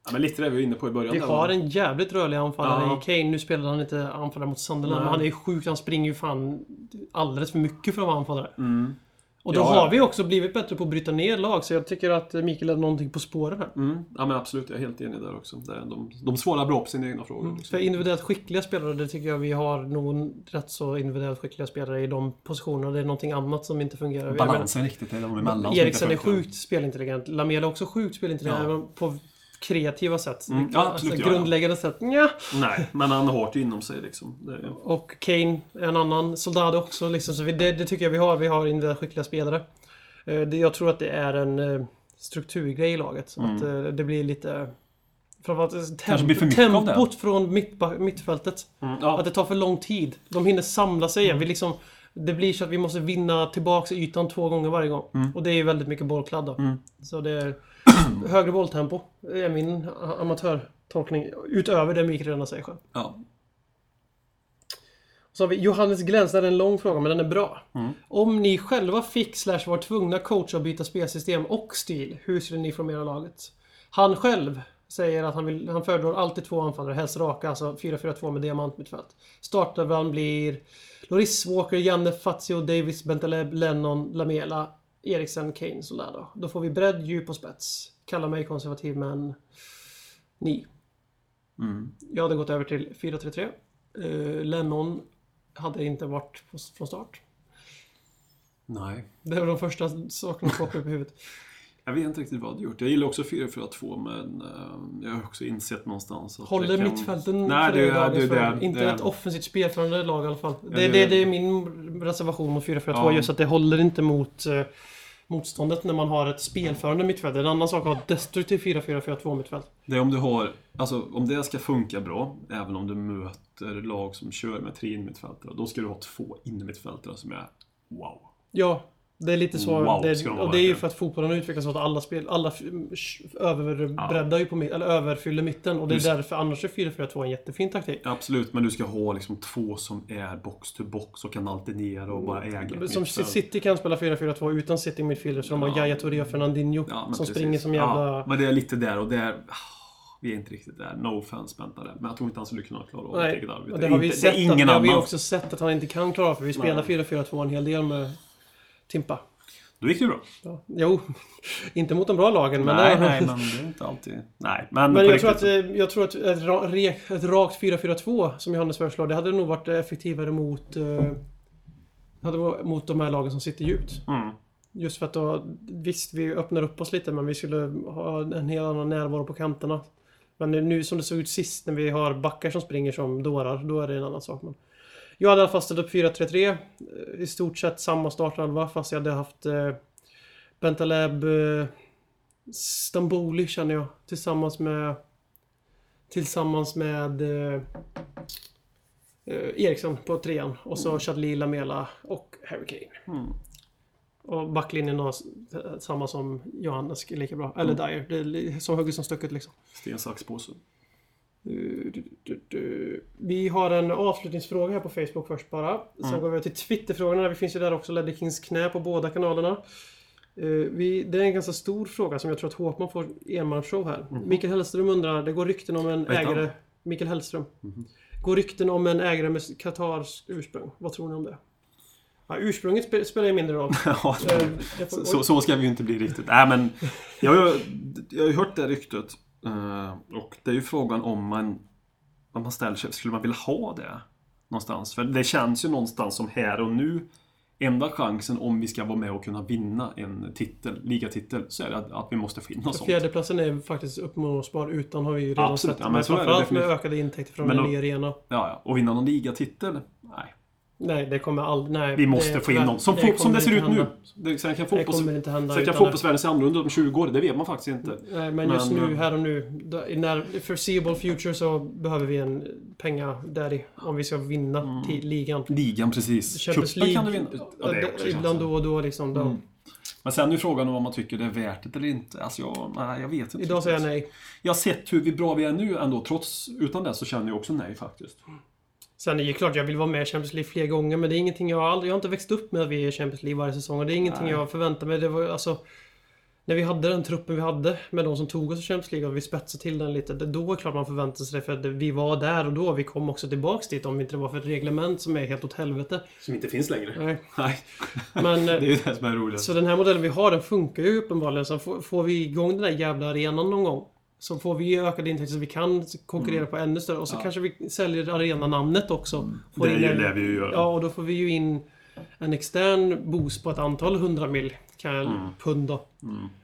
Speaker 3: Ja, men lite det vi var inne på i början.
Speaker 2: Vi
Speaker 3: där,
Speaker 2: har
Speaker 3: va?
Speaker 2: en jävligt rörlig anfallare
Speaker 3: Ja.
Speaker 2: i Kane. Nu spelade han inte anfallare mot Sunderland, men han är ju sjuk. Han springer ju fan alldeles för mycket för att vara anfallare. Och då
Speaker 3: Mm. Ja, ja.
Speaker 2: har vi också blivit bättre på att bryta ner lag, så jag tycker att Mikael är någonting på spåren här.
Speaker 3: Mm. Ja, men absolut. Jag är helt enig där också. Det är- De, de svarar bra på sina egna frågor.
Speaker 2: För
Speaker 3: Liksom.
Speaker 2: individuellt skickliga spelare, det tycker jag vi har nog rätt så individuellt skickliga spelare i de positionerna. Det är någonting annat som inte fungerar. Jag menar-
Speaker 3: Balansen riktigt är de emellan. som inte
Speaker 2: Eriksen är
Speaker 3: funkar.
Speaker 2: sjukt spelintelligent. Lamela är också sjukt spelintelligent.
Speaker 3: Ja.
Speaker 2: men På kreativa sätt. Alltså,
Speaker 3: Mm, ja, absolut, ja, ja.
Speaker 2: grundläggande sätt. Nja.
Speaker 3: Nej, men han har det inom sig liksom. Det är...
Speaker 2: Och Kane är en annan. Soldado också. Liksom. Så vi, det, det tycker jag vi har. Vi har individuellt skickliga spelare. Eh, det, jag tror att det är en eh, strukturgrej i laget. Att, eh, det blir lite... Framförallt eh,
Speaker 3: Mm. Kanske blir för mycket av det. Mm.
Speaker 2: tempot från mittba- mittfältet.
Speaker 3: ja.
Speaker 2: Att det tar för lång tid. De hinner samla sig igen. Vi liksom, det blir så att vi måste vinna tillbaka ytan två gånger varje gång. Och det är ju väldigt mycket bollkladd då. Så det är högre bolltempo. Det är min a- amatörtolkning. Utöver det Mikael redan säger själv.
Speaker 3: Ja.
Speaker 2: Så har vi Johannes Gläns. Det här är en lång fråga, men den är bra. Om ni själva fick slash var tvungna coacha att byta spelsystem och stil, hur skulle ni formera laget? Han själv Säger att han, vill, han föredrar alltid två anfallare, helst raka. Alltså 4-4-2 med diamantmittfält. Startelvan blir Loris Walker, Janne, Fazio, Davis, Bentaleb, Lennon, Lamela, Eriksen, Kane, Soldado. Då får vi bredd, djup och spets. Kalla mig konservativ men... Ni. Jag hade gått över till 4-3-3. Eh, Lennon hade inte varit på- från start.
Speaker 3: Nej.
Speaker 2: Det var de första sakerna som poppade upp i huvudet.
Speaker 3: Jag vet inte riktigt vad du gjort. Jag gillar också 4-4-2 men eh, jag har också insett någonstans att
Speaker 2: Håller
Speaker 3: jag kan...
Speaker 2: mittfälten
Speaker 3: Nej,
Speaker 2: för
Speaker 3: det, är-
Speaker 2: dagens
Speaker 3: det, är-
Speaker 2: fördel?
Speaker 3: det,
Speaker 2: Inte
Speaker 3: det,
Speaker 2: ett offensivt spel från det lag i alla fall. Det,
Speaker 3: det-
Speaker 2: det, det är min reservation mot 4-4-2
Speaker 3: Ja.
Speaker 2: just att det håller inte mot eh, motståndet när man har ett spelförande mittfält. En annan sak att ha ett destruktivt 4-4-4-2 mittfält.
Speaker 3: Det är om du har, alltså om det ska funka bra, även om du möter lag som kör med tre innermittfältare, då ska du ha två innermittfältare som är wow.
Speaker 2: Ja, det är lite så.
Speaker 3: Wow,
Speaker 2: det,
Speaker 3: ska de vara
Speaker 2: och det är ju
Speaker 3: verkligen.
Speaker 2: för att fotbollen utvecklas så att alla spel, alla f- överbreddar ju på mitten, eller överfyller mitten. Och det är
Speaker 3: Just-
Speaker 2: därför annars är 4-4-2 en jättefin taktik.
Speaker 3: Absolut, men du ska ha liksom två som är box to box och kan alternera och bara äga ett
Speaker 2: Som
Speaker 3: mittfält.
Speaker 2: City kan spela 4-4-2 utan City midfielder så de har Yahya Touré och Fernandinho
Speaker 3: Ja, men
Speaker 2: som
Speaker 3: precis.
Speaker 2: springer som jävla...
Speaker 3: Ja, men det är lite där och där... ah, Vi är inte riktigt där. No offense, Bentare. Men jag tror inte han skulle kunna klara av ett
Speaker 2: Nej,
Speaker 3: eget arbete.
Speaker 2: och det har vi
Speaker 3: inte,
Speaker 2: sett.
Speaker 3: det är ingen
Speaker 2: att, det har
Speaker 3: annan.
Speaker 2: vi också sett att han inte kan klara för vi spelar 4-4-2 en hel del med Timpa.
Speaker 3: Då gick det ju bra.
Speaker 2: Ja. Jo, inte mot de bra lagen men...
Speaker 3: Nej,
Speaker 2: där-
Speaker 3: nej, men det är inte alltid... Nej, men,
Speaker 2: Men
Speaker 3: på
Speaker 2: jag tror, att,
Speaker 3: riktigt.
Speaker 2: eh, jag tror att ett, ra- re- ett rakt 4-4-2 som Johannes föreslår, det hade nog varit eh, effektivare mot, eh, det hade varit mot de här lagen som sitter djupt.
Speaker 3: Mm.
Speaker 2: Just för att då, visst vi öppnar upp oss lite men vi skulle ha en helt annan närvaro på kanterna. Men nu som det såg ut sist när vi har backar som springer som dårar, då är det en annan sak. Men jag hade i alla fall ställt upp 4-3-3. eh, I stort sett samma startelva fast jag hade haft eh, Bentaleb, eh, Stamboli känner jag. Tillsammans med... Tillsammans med... Eh, eh, Eriksson på trean. Och så Chadli, Lamela och Harry Kane. Och backlinjen har s- eh, samma som Johannes, lika bra. Eller Dyer. Det är li- som hugget som stucket liksom.
Speaker 3: Sten, sax, påse.
Speaker 2: Du, du, du, du. Vi har en avslutningsfråga här på Facebook först bara. Sen
Speaker 3: Mm.
Speaker 2: går vi över till Twitterfrågorna. Vi finns ju där också. Ledder Kings knä på båda kanalerna. Eh, vi, det är en ganska stor fråga som jag tror att Håkman får enmansshow här. Mikael Hellström undrar, det går rykten om en
Speaker 3: Mm. han? Mm-hmm.
Speaker 2: ägare... Mikael Hellström. Går rykten om en ägare med Qatars ursprung. Vad tror ni om det? Ja, ursprunget spe, spelar ju mindre roll.
Speaker 3: Ja,
Speaker 2: Eh, jag får-
Speaker 3: Så, så ska vi ju inte bli riktigt. Nej, men jag, har ju- jag har ju hört det ryktet. eh, Och det är ju frågan om man, om man ställer sig, skulle man vilja ha det? Någonstans. För det känns ju någonstans som här och nu. Enda chansen om vi ska vara med och kunna vinna en titel, ligatitel, så är det att, att vi måste få in något sånt.
Speaker 2: Fjärdeplatsen är faktiskt uppnåsbar utan har vi ju redan
Speaker 3: Absolut,
Speaker 2: sett.
Speaker 3: ja, men
Speaker 2: men
Speaker 3: så är det
Speaker 2: framförallt med
Speaker 3: definitivt.
Speaker 2: ökade intäkter från
Speaker 3: Men
Speaker 2: en
Speaker 3: då-
Speaker 2: ny arena.
Speaker 3: Ja, ja. Och vinna någon ligatitel? Nej.
Speaker 2: Nej, det kommer aldrig... Nej,
Speaker 3: Vi måste få in någon. Som,
Speaker 2: det
Speaker 3: fot- som
Speaker 2: kommer
Speaker 3: det ser ut
Speaker 2: inte
Speaker 3: nu.
Speaker 2: hända.
Speaker 3: Det, sen kan
Speaker 2: Det
Speaker 3: fotbolls,
Speaker 2: kommer inte hända.
Speaker 3: sen
Speaker 2: utan
Speaker 3: kan
Speaker 2: det-
Speaker 3: fotbollsvärlden se annorlunda ut om 20 år. Det vet man faktiskt inte.
Speaker 2: Nej, men just
Speaker 3: Men,
Speaker 2: nu,
Speaker 3: eh,
Speaker 2: här och nu, då- i när i foreseeable future så behöver vi en penga där i om vi ska vinna till ligan.
Speaker 3: Ligan precis.
Speaker 2: Champions
Speaker 3: Cupen
Speaker 2: League,
Speaker 3: kan du vinna. Ja, det är också
Speaker 2: ibland då och då liksom. Då.
Speaker 3: Men sen är ju frågan om vad man tycker det är värt det eller inte. Alltså jag, nej, jag vet inte.
Speaker 2: Idag säger jag
Speaker 3: riktigt.
Speaker 2: nej.
Speaker 3: Jag har sett hur vi bra vi är nu ändå. Trots, utan det så känner jag också nej faktiskt.
Speaker 2: Sen är det klart jag vill vara med i Champions League fler gånger men det är ingenting jag har aldrig, jag har inte växt upp med att vi är i Champions League varje säsong och det är ingenting
Speaker 3: Nej.
Speaker 2: jag förväntar mig. Det var alltså när vi hade den truppen vi hade med de som tog oss i Champions League och vi spetsade till den lite. det- Då är det klart man förväntar sig det för att vi var där och då. Vi kom också tillbaks dit om det inte var för ett reglement som är helt åt helvete.
Speaker 3: Som inte finns längre.
Speaker 2: Nej.
Speaker 3: Nej.
Speaker 2: Men,
Speaker 3: det
Speaker 2: eh,
Speaker 3: är ju det som är roligt.
Speaker 2: Så den här modellen vi har den funkar ju uppenbarligen. Så får, får vi igång den där jävla arenan någon gång. Så får vi ökade intäkter så vi kan konkurrera
Speaker 3: Mm.
Speaker 2: på ännu större. Och så kanske vi säljer arenanamnet också. Får
Speaker 3: Det är
Speaker 2: in
Speaker 3: ju
Speaker 2: en-
Speaker 3: det vi ju gör.
Speaker 2: Ja, och då får vi ju in en extern boost på ett antal hundra mil. Kan jag,
Speaker 3: Mm.
Speaker 2: Pund då.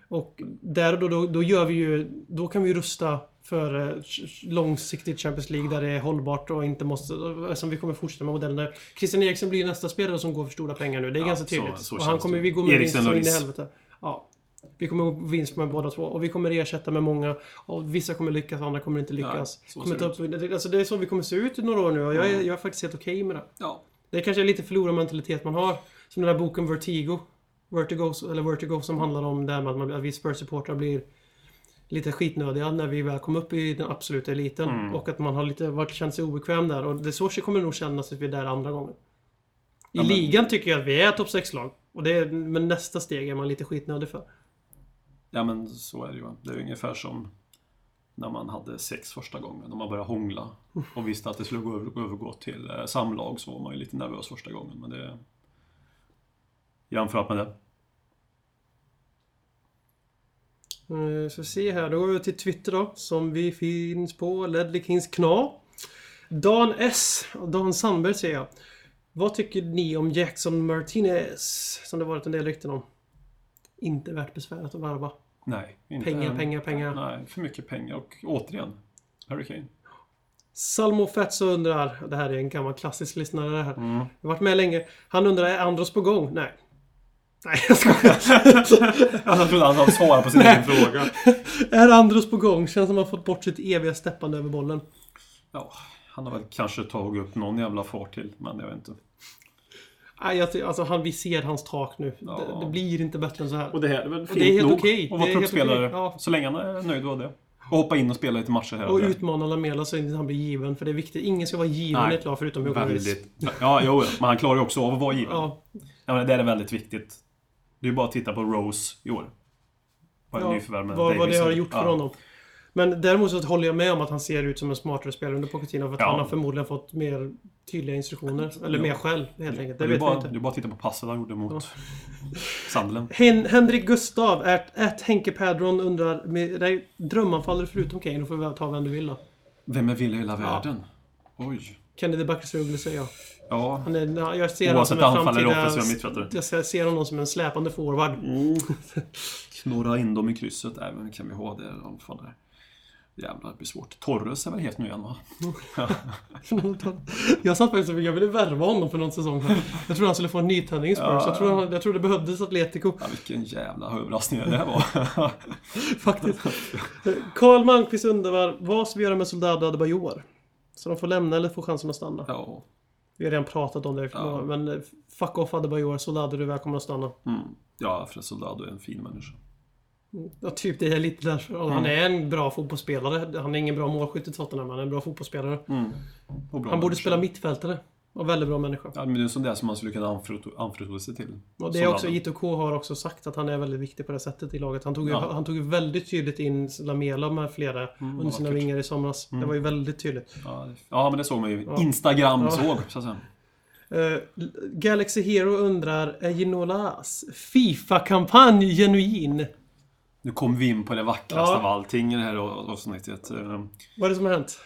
Speaker 2: Och där och då, då, då gör vi ju... Då kan vi ju rusta för eh, ch- långsiktigt Champions League där det är hållbart och inte måste... Som vi kommer fortsätta med modellen där. Christian Eriksen blir ju nästa spelare som går för stora pengar nu. Det är
Speaker 3: Ja,
Speaker 2: ganska
Speaker 3: så-
Speaker 2: tydligt.
Speaker 3: så
Speaker 2: och
Speaker 3: känns
Speaker 2: han
Speaker 3: det.
Speaker 2: kommer, vi går med
Speaker 3: Eriksen
Speaker 2: vinst så
Speaker 3: och
Speaker 2: in i
Speaker 3: Riis.
Speaker 2: helvete. Ja. Vi kommer gå vinst med båda två. Och vi kommer ersätta med många. Och vissa kommer lyckas, andra kommer inte lyckas.
Speaker 3: så
Speaker 2: kommer
Speaker 3: ser
Speaker 2: ta upp, det- alltså det är så vi kommer se ut i några år nu och jag är, jag är faktiskt helt okej med det.
Speaker 3: Ja.
Speaker 2: Det kanske är lite förlorarmentalitet man har. Som den där boken Vertigo. Vertigo, eller Vertigo som handlar om det här med att, man, att vi Spurs-supportrar blir lite skitnödiga när vi väl kom upp i den absoluta eliten. Och att man har lite varit, känt sig obekväm där. Och det så kommer det nog kännas att vi är där andra gången. I
Speaker 3: men-
Speaker 2: ligan tycker jag att vi är topp 6-lag. Och det är, men nästa steg är man lite skitnödig för.
Speaker 3: ja, men så är det ju. Det är ju ungefär som när man hade sex första gången, när man började hångla och visste att det skulle gå över- övergå till eh, samlag så var man ju lite nervös första gången. Men det... Jämfört med det.
Speaker 2: Eh, Så se här, då går vi till Twitter då, som vi finns på, Ledley Kings Kna. Dan S och Dan Sandberg säger jag. Vad tycker ni om Jackson Martinez? Som det varit en del rykten om. Inte värt besväret att varva.
Speaker 3: Nej, inte
Speaker 2: Pengar,
Speaker 3: än.
Speaker 2: pengar, pengar.
Speaker 3: Nej, för mycket pengar. Och återigen, Harry Kane.
Speaker 2: Salmo Fetso undrar, det här är en gammal klassisk lyssnare det här. Jag har varit med länge. Han undrar, är Andros på gång? Nej. Nej, jag skojar.
Speaker 3: Jag trodde han hade svarat på sin egen fråga.
Speaker 2: är Andros på gång? Känns som att han fått bort sitt eviga steppande över bollen.
Speaker 3: Ja, han har väl kanske tagit upp någon jävla fart till, men jag vet inte.
Speaker 2: Nej, jag, ty- alltså, han, vi ser hans tak nu.
Speaker 3: Ja.
Speaker 2: Det, det blir inte bättre än så här.
Speaker 3: Och det här är väl fint
Speaker 2: det är helt
Speaker 3: nog
Speaker 2: okej.
Speaker 3: att
Speaker 2: Det
Speaker 3: vara
Speaker 2: är helt
Speaker 3: truppspelare.
Speaker 2: okej, ja.
Speaker 3: Så länge han är nöjd med det. Och hoppa in och spela lite matcher här
Speaker 2: Och
Speaker 3: där.
Speaker 2: utmana Lamela så inte han blir given. För det är viktigt. Ingen ska vara given
Speaker 3: Nej.
Speaker 2: i ett lag förutom Johan Wills.
Speaker 3: Väldigt. Ja, jo, men han klarar ju också av att vara given.
Speaker 2: Ja,
Speaker 3: Ja, men det är väldigt viktigt. Det är ju bara att titta på Rose i år. Vad en
Speaker 2: ja.
Speaker 3: nyförvärv med
Speaker 2: Vad, vad det
Speaker 3: Davis.
Speaker 2: har gjort för
Speaker 3: liksom- ja.
Speaker 2: honom. Men däremot så håller jag med om att han ser ut som en smartare spelare under Pochettino. För att
Speaker 3: Ja.
Speaker 2: han har förmodligen fått mer tydliga instruktioner. Eller
Speaker 3: Ja.
Speaker 2: mer skäll helt enkelt. Det
Speaker 3: Det är
Speaker 2: vet
Speaker 3: bara,
Speaker 2: vi inte.
Speaker 3: det är bara att titta på passet han gjorde mot Sandelen.
Speaker 2: Hen Henrik Gustav, att, att Henke Padron undrar, med dig drömanfallare förutom Kane, då får vi ta vem du vill då.
Speaker 3: Vem är vill i hela världen? Oj.
Speaker 2: Kennedy Bakircioglu säger jag.
Speaker 3: Ja.
Speaker 2: Han är, ja, jag ser honom
Speaker 3: Oavsett
Speaker 2: som en
Speaker 3: anfallare eller
Speaker 2: framtida...
Speaker 3: offensiva mittfältare. Mm.
Speaker 2: Jag ser- ser honom som en släpande forward.
Speaker 3: Knorra in dem i krysset. Nej, men kan vi ha det? Ja, fan det här. Jävlar, det blir svårt. Torres är väl helt ny igen va?
Speaker 2: jag satt faktiskt och jag ville värva honom för någon säsong sedan. Jag trodde han skulle få en nytändning i Spurs. Jag trodde, han- jag trodde det behövdes Atletico.
Speaker 3: Ja, vilken jävla överraskning det här var.
Speaker 2: Faktiskt. Karl Malmqvist undrar vad ska vi göra med Soldado och Adebayor? Så de får lämna eller får chansen att stanna?
Speaker 3: ja.
Speaker 2: Vi har redan pratat om det. Men eh, fuck off Adebayor, Soldado du är välkommen att stanna.
Speaker 3: Mm. ja, Fred Soldado är en fin människa.
Speaker 2: Ja, typ det är lite därför. Och Han
Speaker 3: Mm.
Speaker 2: är en bra fotbollsspelare. Han är ingen bra målskytt i Tottenham, men han är en bra fotbollsspelare.
Speaker 3: Mm, Och bra
Speaker 2: Han borde
Speaker 3: människa.
Speaker 2: spela mittfältare. Och väldigt bra människa.
Speaker 3: Ja, men det är en sån där som man skulle kunna anförtro, anförtro sig till.
Speaker 2: Och det är också, ITK har också sagt att han är väldigt viktig på det sättet i laget. Han tog, ju-
Speaker 3: Ja. Mm,
Speaker 2: han tog ju väldigt tydligt in Lamela med flera under sina
Speaker 3: vackert. Mm.
Speaker 2: vingar i somras. Det var ju väldigt tydligt.
Speaker 3: Ja, det- ja, men det såg man ju. Instagram såg, så att säga.
Speaker 2: Eh, Galaxy Hero undrar, är Ginolas Fifa-kampanj genuin?
Speaker 3: Nu kom vi in på det vackraste
Speaker 2: Ja.
Speaker 3: av allting i det här avsnittet. Eh,
Speaker 2: Vad är det som har hänt?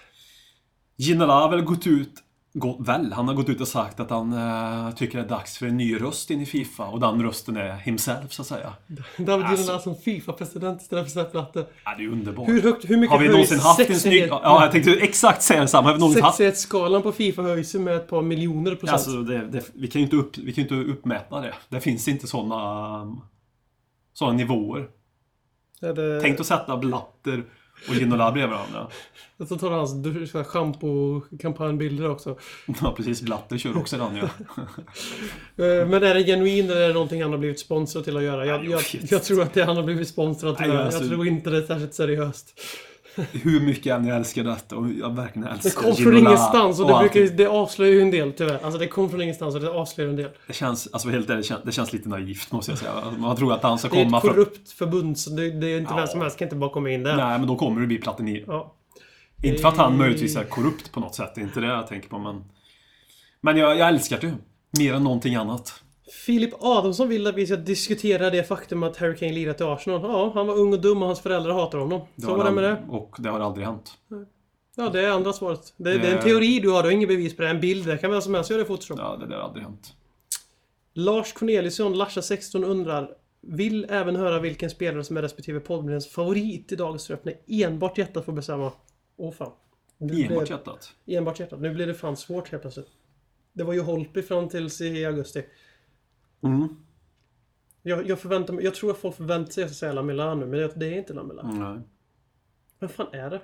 Speaker 3: Ginela har väl gått ut, gå- väl, han har gått ut och sagt att han eh, tycker det är dags för en ny röst in i Fifa. Och den rösten är himself, så att säga.
Speaker 2: David
Speaker 3: Alltså.
Speaker 2: Ginolas som Fifa-president istället för Sepp Blatter.
Speaker 3: Ja, det är underbart.
Speaker 2: eh, Hur högt, hur mycket
Speaker 3: har vi
Speaker 2: höjs
Speaker 3: någonsin haft en snygg...
Speaker 2: sexighet-
Speaker 3: Ja, jag tänkte exakt säga detsamma. Har vi någonsin haft...
Speaker 2: Sexighetsskalan på Fifa höjs ju med ett par miljoner procent.
Speaker 3: Alltså, det, det, vi, kan ju inte upp, vi kan ju inte uppmäta det. Det finns inte såna um, såna nivåer.
Speaker 2: Är det-
Speaker 3: Tänk att sätta Blatter och Ginola bredvid varandra.
Speaker 2: Och så tar han hans dusch- så här shampoo-kampanjbilder också.
Speaker 3: Ja, precis. Blatter kör också den ju.
Speaker 2: Eh, Men är det genuin eller är det någonting han har blivit sponsrad till att göra? Jag,
Speaker 3: jag
Speaker 2: jag,
Speaker 3: vet
Speaker 2: jag tror att det han har blivit sponsrad till
Speaker 3: Nej,
Speaker 2: att göra.
Speaker 3: alltså-
Speaker 2: Jag tror inte det är särskilt seriöst.
Speaker 3: Hur mycket jag än älskar detta och jag verkligen
Speaker 2: Det
Speaker 3: älskar
Speaker 2: kom från
Speaker 3: Ginola
Speaker 2: ingenstans och det, brukar, ju-
Speaker 3: allting.
Speaker 2: det avslöjar ju en del tyvärr. Alltså det kom från ingenstans och det avslöjar en del.
Speaker 3: Det känns, alltså helt ärligt, det känns, det känns lite naivt måste jag säga. Alltså, Man tror att han ska
Speaker 2: Det är
Speaker 3: komma
Speaker 2: ett
Speaker 3: från...
Speaker 2: korrupt förbund så det, det är inte
Speaker 3: Ja.
Speaker 2: vem som helst kan inte bara komma in där.
Speaker 3: Nej, men då kommer det bli Platini.
Speaker 2: Ja. Eh.
Speaker 3: Inte för att han möjligtvis är korrupt på något sätt, det är inte det jag tänker på men... Men jag, jag älskar det. Mer än någonting annat.
Speaker 2: Filip Adamsson vill att vi ska diskutera det faktum att Harry Kane lirat i Arsenal. Ja, han var ung och dum och hans föräldrar hatar honom. Så
Speaker 3: har
Speaker 2: var det med det.
Speaker 3: ald- Och det har aldrig hänt.
Speaker 2: Ja, det är andra svaret. Det, det är
Speaker 3: Det-
Speaker 2: en teori du har, du har inget bevis på det. En bild, det kan vem som helst göra i Photoshop.
Speaker 3: Ja, det där har aldrig hänt.
Speaker 2: Lars Corneliusson, Larsa16 undrar Vill även höra vilken spelare som är respektive poddmedlems favorit i dagens röp när enbart hjärtat får bestämma. Åh fan. Nu
Speaker 3: Enbart
Speaker 2: blev-
Speaker 3: hjärtat.
Speaker 2: enbart hjärtat. Nu blir det fan svårt helt plötsligt. Det var ju Holpi fram tills i augusti.
Speaker 3: Mm.
Speaker 2: Jag, jag förväntar mig, jag tror att folk förväntar sig att jag ska säga Lamela nu, men det, det är inte Lamela.
Speaker 3: Nej.
Speaker 2: Vem fan är det?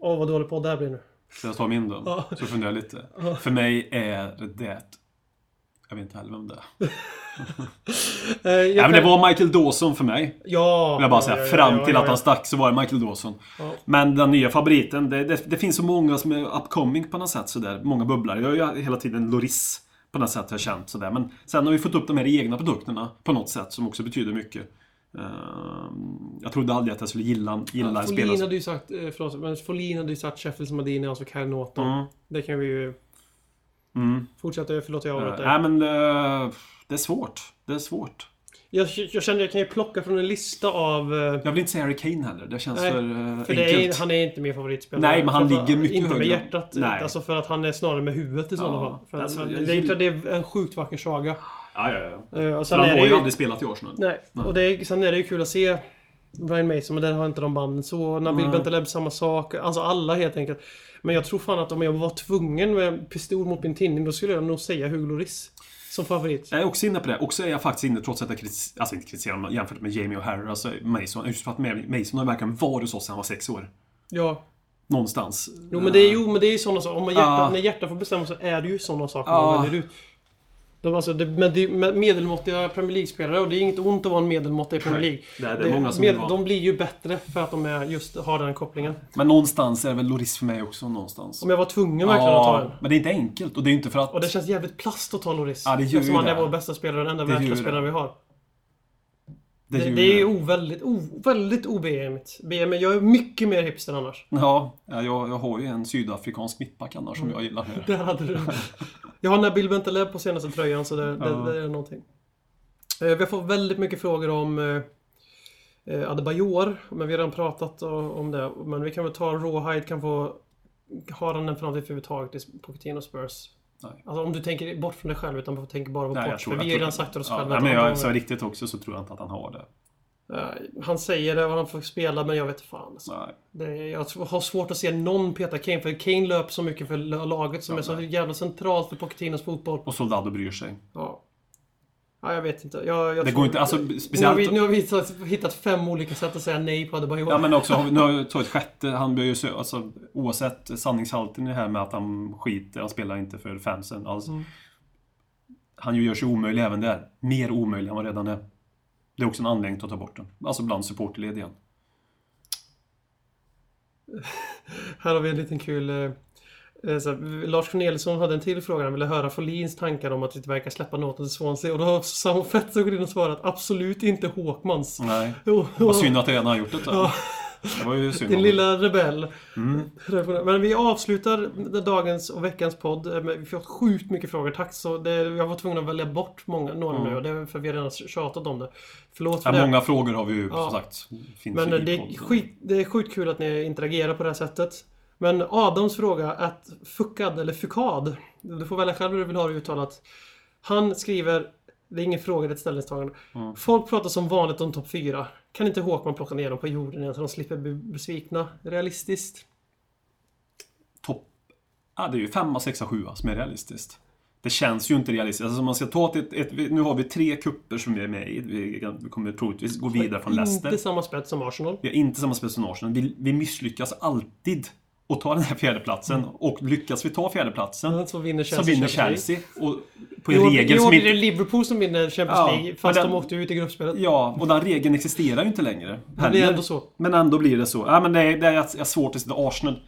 Speaker 2: Åh, vad dålig podd det här blir nu.
Speaker 3: Ska jag ta min då?
Speaker 2: Ja.
Speaker 3: Så funderar jag lite. För mig är det... Jag vet inte heller vem det är.
Speaker 2: Eh, jag
Speaker 3: Nej, men
Speaker 2: kan-
Speaker 3: det var Michael Dawson för mig.
Speaker 2: Ja!
Speaker 3: Vill jag bara
Speaker 2: ja,
Speaker 3: säga.
Speaker 2: ja, ja,
Speaker 3: Fram
Speaker 2: ja,
Speaker 3: till
Speaker 2: ja,
Speaker 3: att
Speaker 2: ja.
Speaker 3: han stack så var det Michael Dawson.
Speaker 2: Ja.
Speaker 3: Men den nya favoriten, det, det, det finns så många som är upcoming på något sätt sådär. Många bubblar. Jag har ju hela tiden Loris på något sätt har jag känt sådär. Men sen har vi fått upp de här egna produkterna på något sätt som också betyder mycket. Ehm, jag trodde aldrig att jag skulle gilla, gilla en
Speaker 2: Folin
Speaker 3: spelare.
Speaker 2: hade ju sagt, eh, förlåt, men Folin hade ju satt Sheffields Madini, alltså Kyle Norton.
Speaker 3: Mm.
Speaker 2: Det kan vi ju
Speaker 3: Mm.
Speaker 2: fortsätta, förlåt jag avbröt
Speaker 3: Eh,
Speaker 2: dig.
Speaker 3: nej men eh, det är svårt. Det är svårt.
Speaker 2: Jag, jag känner jag kan ju plocka från en lista av... eh,
Speaker 3: Jag vill inte säga Harry Kane heller. Det känns
Speaker 2: Nej,
Speaker 3: för, eh,
Speaker 2: För det
Speaker 3: enkelt.
Speaker 2: är, han är inte min favoritspelare.
Speaker 3: Nej, men han
Speaker 2: Framför-
Speaker 3: ligger mycket
Speaker 2: inte
Speaker 3: högre.
Speaker 2: med hjärtat.
Speaker 3: Nej.
Speaker 2: Alltså för att han är snarare med huvudet i sådana
Speaker 3: Ja.
Speaker 2: fall. För
Speaker 3: Alltså,
Speaker 2: att,
Speaker 3: jag
Speaker 2: det, är,
Speaker 3: gillar-
Speaker 2: det är en sjukt vacker saga.
Speaker 3: Ja, ja, ja.
Speaker 2: Eh, och
Speaker 3: För
Speaker 2: sen
Speaker 3: han
Speaker 2: är
Speaker 3: har
Speaker 2: det
Speaker 3: ju
Speaker 2: ju...
Speaker 3: aldrig spelat i Arsenal.
Speaker 2: Nej. Och det är, sen är det ju kul att se Brian Mason, men där har inte de banden så. Nabil Bentaleb, samma sak. Alltså alla helt enkelt. Men jag tror fan att om jag var tvungen med en pistol mot min tinning, då skulle jag nog säga Hugo Lloris. Som favorit.
Speaker 3: Jag är också inne på det. Och så är jag faktiskt inne, trots att jag kritiserar, alltså inte kritiserar, men jämfört med Jamie O'Hara, alltså Mason. Just för att Mason har verkligen varit hos oss sedan han var sex år.
Speaker 2: Ja.
Speaker 3: Någonstans.
Speaker 2: Jo men det är ju men det är ju sådana saker. Om man hjärta,
Speaker 3: Ja.
Speaker 2: När hjärtat får bestämma så är det ju sådana saker
Speaker 3: Ja.
Speaker 2: man väljer ut. De, alltså, det, men det är med- medelmåttiga Premier League-spelare och det är inget ont att vara en medelmåttig i Premier League.
Speaker 3: Nej, det är många som vill vara.
Speaker 2: De blir ju bättre för att de är, just har den kopplingen.
Speaker 3: Men någonstans är det väl Loris för mig också någonstans.
Speaker 2: Om jag var tvungen verkligen att ta den.
Speaker 3: men det är inte enkelt. Och det är inte för att...
Speaker 2: Och det känns jävligt plast att ta Loris.
Speaker 3: Ja, det gör ju
Speaker 2: eftersom han är
Speaker 3: det.
Speaker 2: vår bästa spelare och den enda
Speaker 3: Det gör ju
Speaker 2: verkliga
Speaker 3: det.
Speaker 2: spelaren vi har.
Speaker 3: det
Speaker 2: Det, det,
Speaker 3: ju-
Speaker 2: är ju oväldigt, o, väldigt obemigt. BM, jag är mycket mer hipster annars.
Speaker 3: Ja, jag, jag har ju en sydafrikansk mittback annars
Speaker 2: Mm.
Speaker 3: som jag gillar här.
Speaker 2: Där hade du Jag har Nabil Bentaleb på senaste tröjan så det, det, det är någonting. Eh, Vi har fått väldigt mycket frågor om eh, eh, Adebayor, men vi har redan pratat eh, om det. Men vi kan väl ta Rawhide, kan få... Har han en framtid överhuvudtaget i Pochettino Spurs?
Speaker 3: Nej.
Speaker 2: Alltså om du tänker bort från dig själv utan bara tänker bara på
Speaker 3: Nej,
Speaker 2: Poch. För vi har ju redan sagt till oss
Speaker 3: ja,
Speaker 2: själva
Speaker 3: nej,
Speaker 2: att
Speaker 3: men
Speaker 2: han
Speaker 3: jag,
Speaker 2: inte
Speaker 3: så
Speaker 2: har-
Speaker 3: riktigt också så tror jag inte att han har det.
Speaker 2: Eh, Han säger det och han får spela, men jag vet fan. Alltså.
Speaker 3: Nej.
Speaker 2: Det, är- jag tror- har svårt att se någon peta Kane, för Kane löper så mycket för laget som är så jävla centralt för Pochettinos fotboll.
Speaker 3: Och Soldado bryr sig.
Speaker 2: Ja. Ja, jag vet inte. Jag, jag
Speaker 3: Det
Speaker 2: tror-
Speaker 3: går inte... Alltså,
Speaker 2: Nu har Mm. vi,
Speaker 3: speciellt...
Speaker 2: nu har vi hittat- hittat fem olika sätt att säga nej på Adebayor.
Speaker 3: Ja men också, har vi- nu har jag tagit sjätte, han bör ju sö- alltså, oavsett sanningshalten i det här med att han skiter, han spelar inte för fansen alls.
Speaker 2: Mm.
Speaker 3: Han ju gör sig omöjlig även där. Mer omöjlig än vad redan är. Det är också en anledning till att ta bort den. Alltså bland supporterled igen.
Speaker 2: Här har vi en liten kul... eh, eh, Så här, Lars Corneliusson hade en till fråga. Han ville höra Folins tankar om att inte verkar släppa Norton till Swansea. Och då har Sam Fetzer gått in och svarat absolut inte Håkmans.
Speaker 3: Nej.
Speaker 2: Jo,
Speaker 3: Mm. Vad synd att det redan har gjort det. då. Det var ju synd.
Speaker 2: Din
Speaker 3: om-
Speaker 2: lilla rebell.
Speaker 3: Mm.
Speaker 2: Men vi avslutar dagens och veckans podd. Eh, men Vi har fått sjukt mycket frågor. Tack så... Det, jag var tvungen att välja bort många, några nu. Och det är för vi har redan tjatat om det. Förlåt för
Speaker 3: Ja,
Speaker 2: det.
Speaker 3: många frågor har vi ju
Speaker 2: Ja.
Speaker 3: som sagt. Finns
Speaker 2: Men
Speaker 3: ju
Speaker 2: eh,
Speaker 3: i
Speaker 2: det är,
Speaker 3: podden.
Speaker 2: skit, det är sjukt kul att ni interagerar på det här sättet. Men Adams fråga, att fuckad eller fukad, du får välja själv hur du vill ha det uttalat. Han skriver, det är ingen fråga, det är ett ställningstagande. Folk pratar som vanligt om topp 4. Kan inte Håkman plocka ner dem på jorden igen så de slipper bli besvikna? Realistiskt?
Speaker 3: topp... Ja, det är ju femma, sexa, sjua som är realistiskt. Det känns ju inte realistiskt. Alltså, om man ska ta till ett, ett, vi- nu har vi tre kupper som vi är med i. Vi, vi kommer troligtvis gå vidare från Leicester.
Speaker 2: Inte samma spets som Arsenal.
Speaker 3: Vi har inte samma spel som Arsenal. Vi, vi misslyckas alltid att ta den här fjärdeplatsen.
Speaker 2: Mm.
Speaker 3: Och lyckas vi ta fjärdeplatsen
Speaker 2: Så vinner
Speaker 3: så
Speaker 2: Chelsea.
Speaker 3: vinner
Speaker 2: Champions
Speaker 3: Chelsea. Och på
Speaker 2: League.
Speaker 3: en
Speaker 2: I år, i år
Speaker 3: regel som
Speaker 2: blir det
Speaker 3: inte...
Speaker 2: Liverpool som vinner Champions
Speaker 3: Ja,
Speaker 2: League, fast
Speaker 3: men den-
Speaker 2: de åkte ut i gruppspelet.
Speaker 3: Ja, och den regeln existerar ju inte längre.
Speaker 2: Men det är
Speaker 3: heller.
Speaker 2: ändå så.
Speaker 3: Men ändå blir det så. Ja, men det är, det är, jag har svårt att sitta Arsenal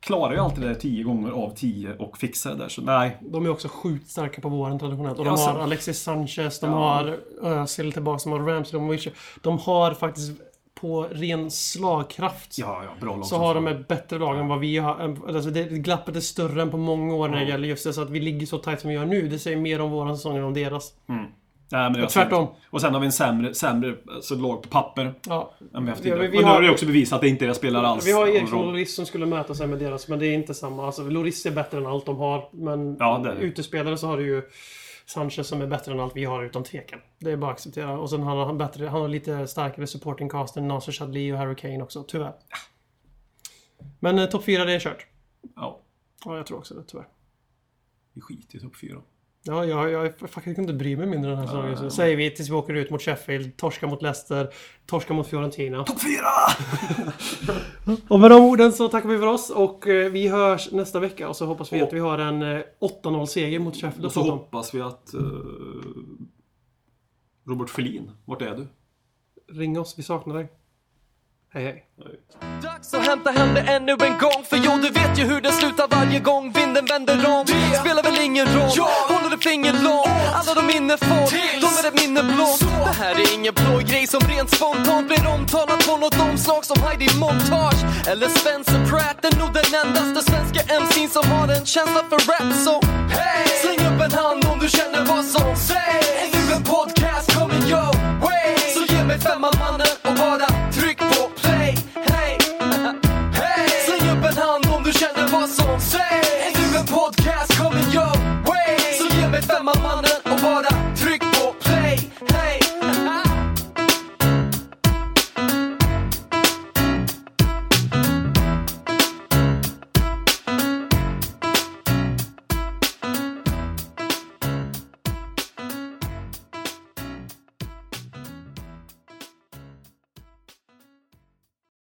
Speaker 3: klarar ju alltid det där 10 gånger av 10 och fixar det där. Så nej,
Speaker 2: De är också sjukt starka på våren traditionellt. Och
Speaker 3: Ja,
Speaker 2: de har
Speaker 3: sen-
Speaker 2: Alexis Sanchez, de har eh, Özil tillbaka, de har Ramsey, de har Wilshere. De har faktiskt på ren slagkraft
Speaker 3: Ja, ja, bra lag
Speaker 2: så
Speaker 3: som
Speaker 2: har de
Speaker 3: fan.
Speaker 2: ett bättre lag än vad vi har. Alltså det, glappet är större än på många år när det gäller just det. Så att vi ligger så tajt som vi gör nu, det säger mer om våran säsong än om deras.
Speaker 3: Nej, men jag
Speaker 2: Tvärtom.
Speaker 3: ser inte. Och sen har vi en sämre, sämre alltså, lag på papper
Speaker 2: Ja.
Speaker 3: än vi haft
Speaker 2: Ja,
Speaker 3: tidigare.
Speaker 2: men vi
Speaker 3: och nu
Speaker 2: har-
Speaker 3: har det också bevisat att det inte är spelare alls.
Speaker 2: Vi har
Speaker 3: någon
Speaker 2: Eriksson och
Speaker 3: roll.
Speaker 2: Loris som skulle möta sig med deras, men det är inte samma. Alltså, Loris är bättre än allt de har, men
Speaker 3: Ja, det är det.
Speaker 2: utespelare så har du ju Sanchez som är bättre än allt vi har utan tvekan. Det är bara att acceptera. Och sen har han, bättre, han har lite starkare supporting cast än Nasser Chadli och Harry Kane också, tyvärr. Men eh, topp 4, det är kört.
Speaker 3: Ja,
Speaker 2: Ja, jag tror också det, tyvärr.
Speaker 3: vi skiter i topp fyra.
Speaker 2: Ja, jag, jag, jag faktiskt kunde inte bry mig mindre den här säsongen. Så säger vi tills vi åker ut mot Sheffield, torska mot Leicester, torska mot Fiorentina.
Speaker 3: Topp fyra!
Speaker 2: Och med de orden så tackar vi för oss och eh, vi hörs nästa vecka och så hoppas vi att vi har en eh, 8-0 seger mot Sheffield.
Speaker 3: Och så
Speaker 2: dessutom.
Speaker 3: hoppas vi att eh, Robert Felin, vart är du?
Speaker 2: Ring oss, vi saknar dig. Hej hej.
Speaker 4: Dags att hämta hem det ännu en gång För jo, du vet ju hur det slutar varje gång vinden vänder om Det spelar väl ingen roll, håller du finger långt Alla de minnen får, de är ett minne blått Det här är ingen blå grej som rent spontant blir omtalat på något omslag som Heidi Montage eller Spencer Pratt är nog den endaste svenska MC'n som har en känsla för rap så hey! Släng upp en hand om du känner vad som sägs Är du en podcast coming your way? Så ge mig femman mannen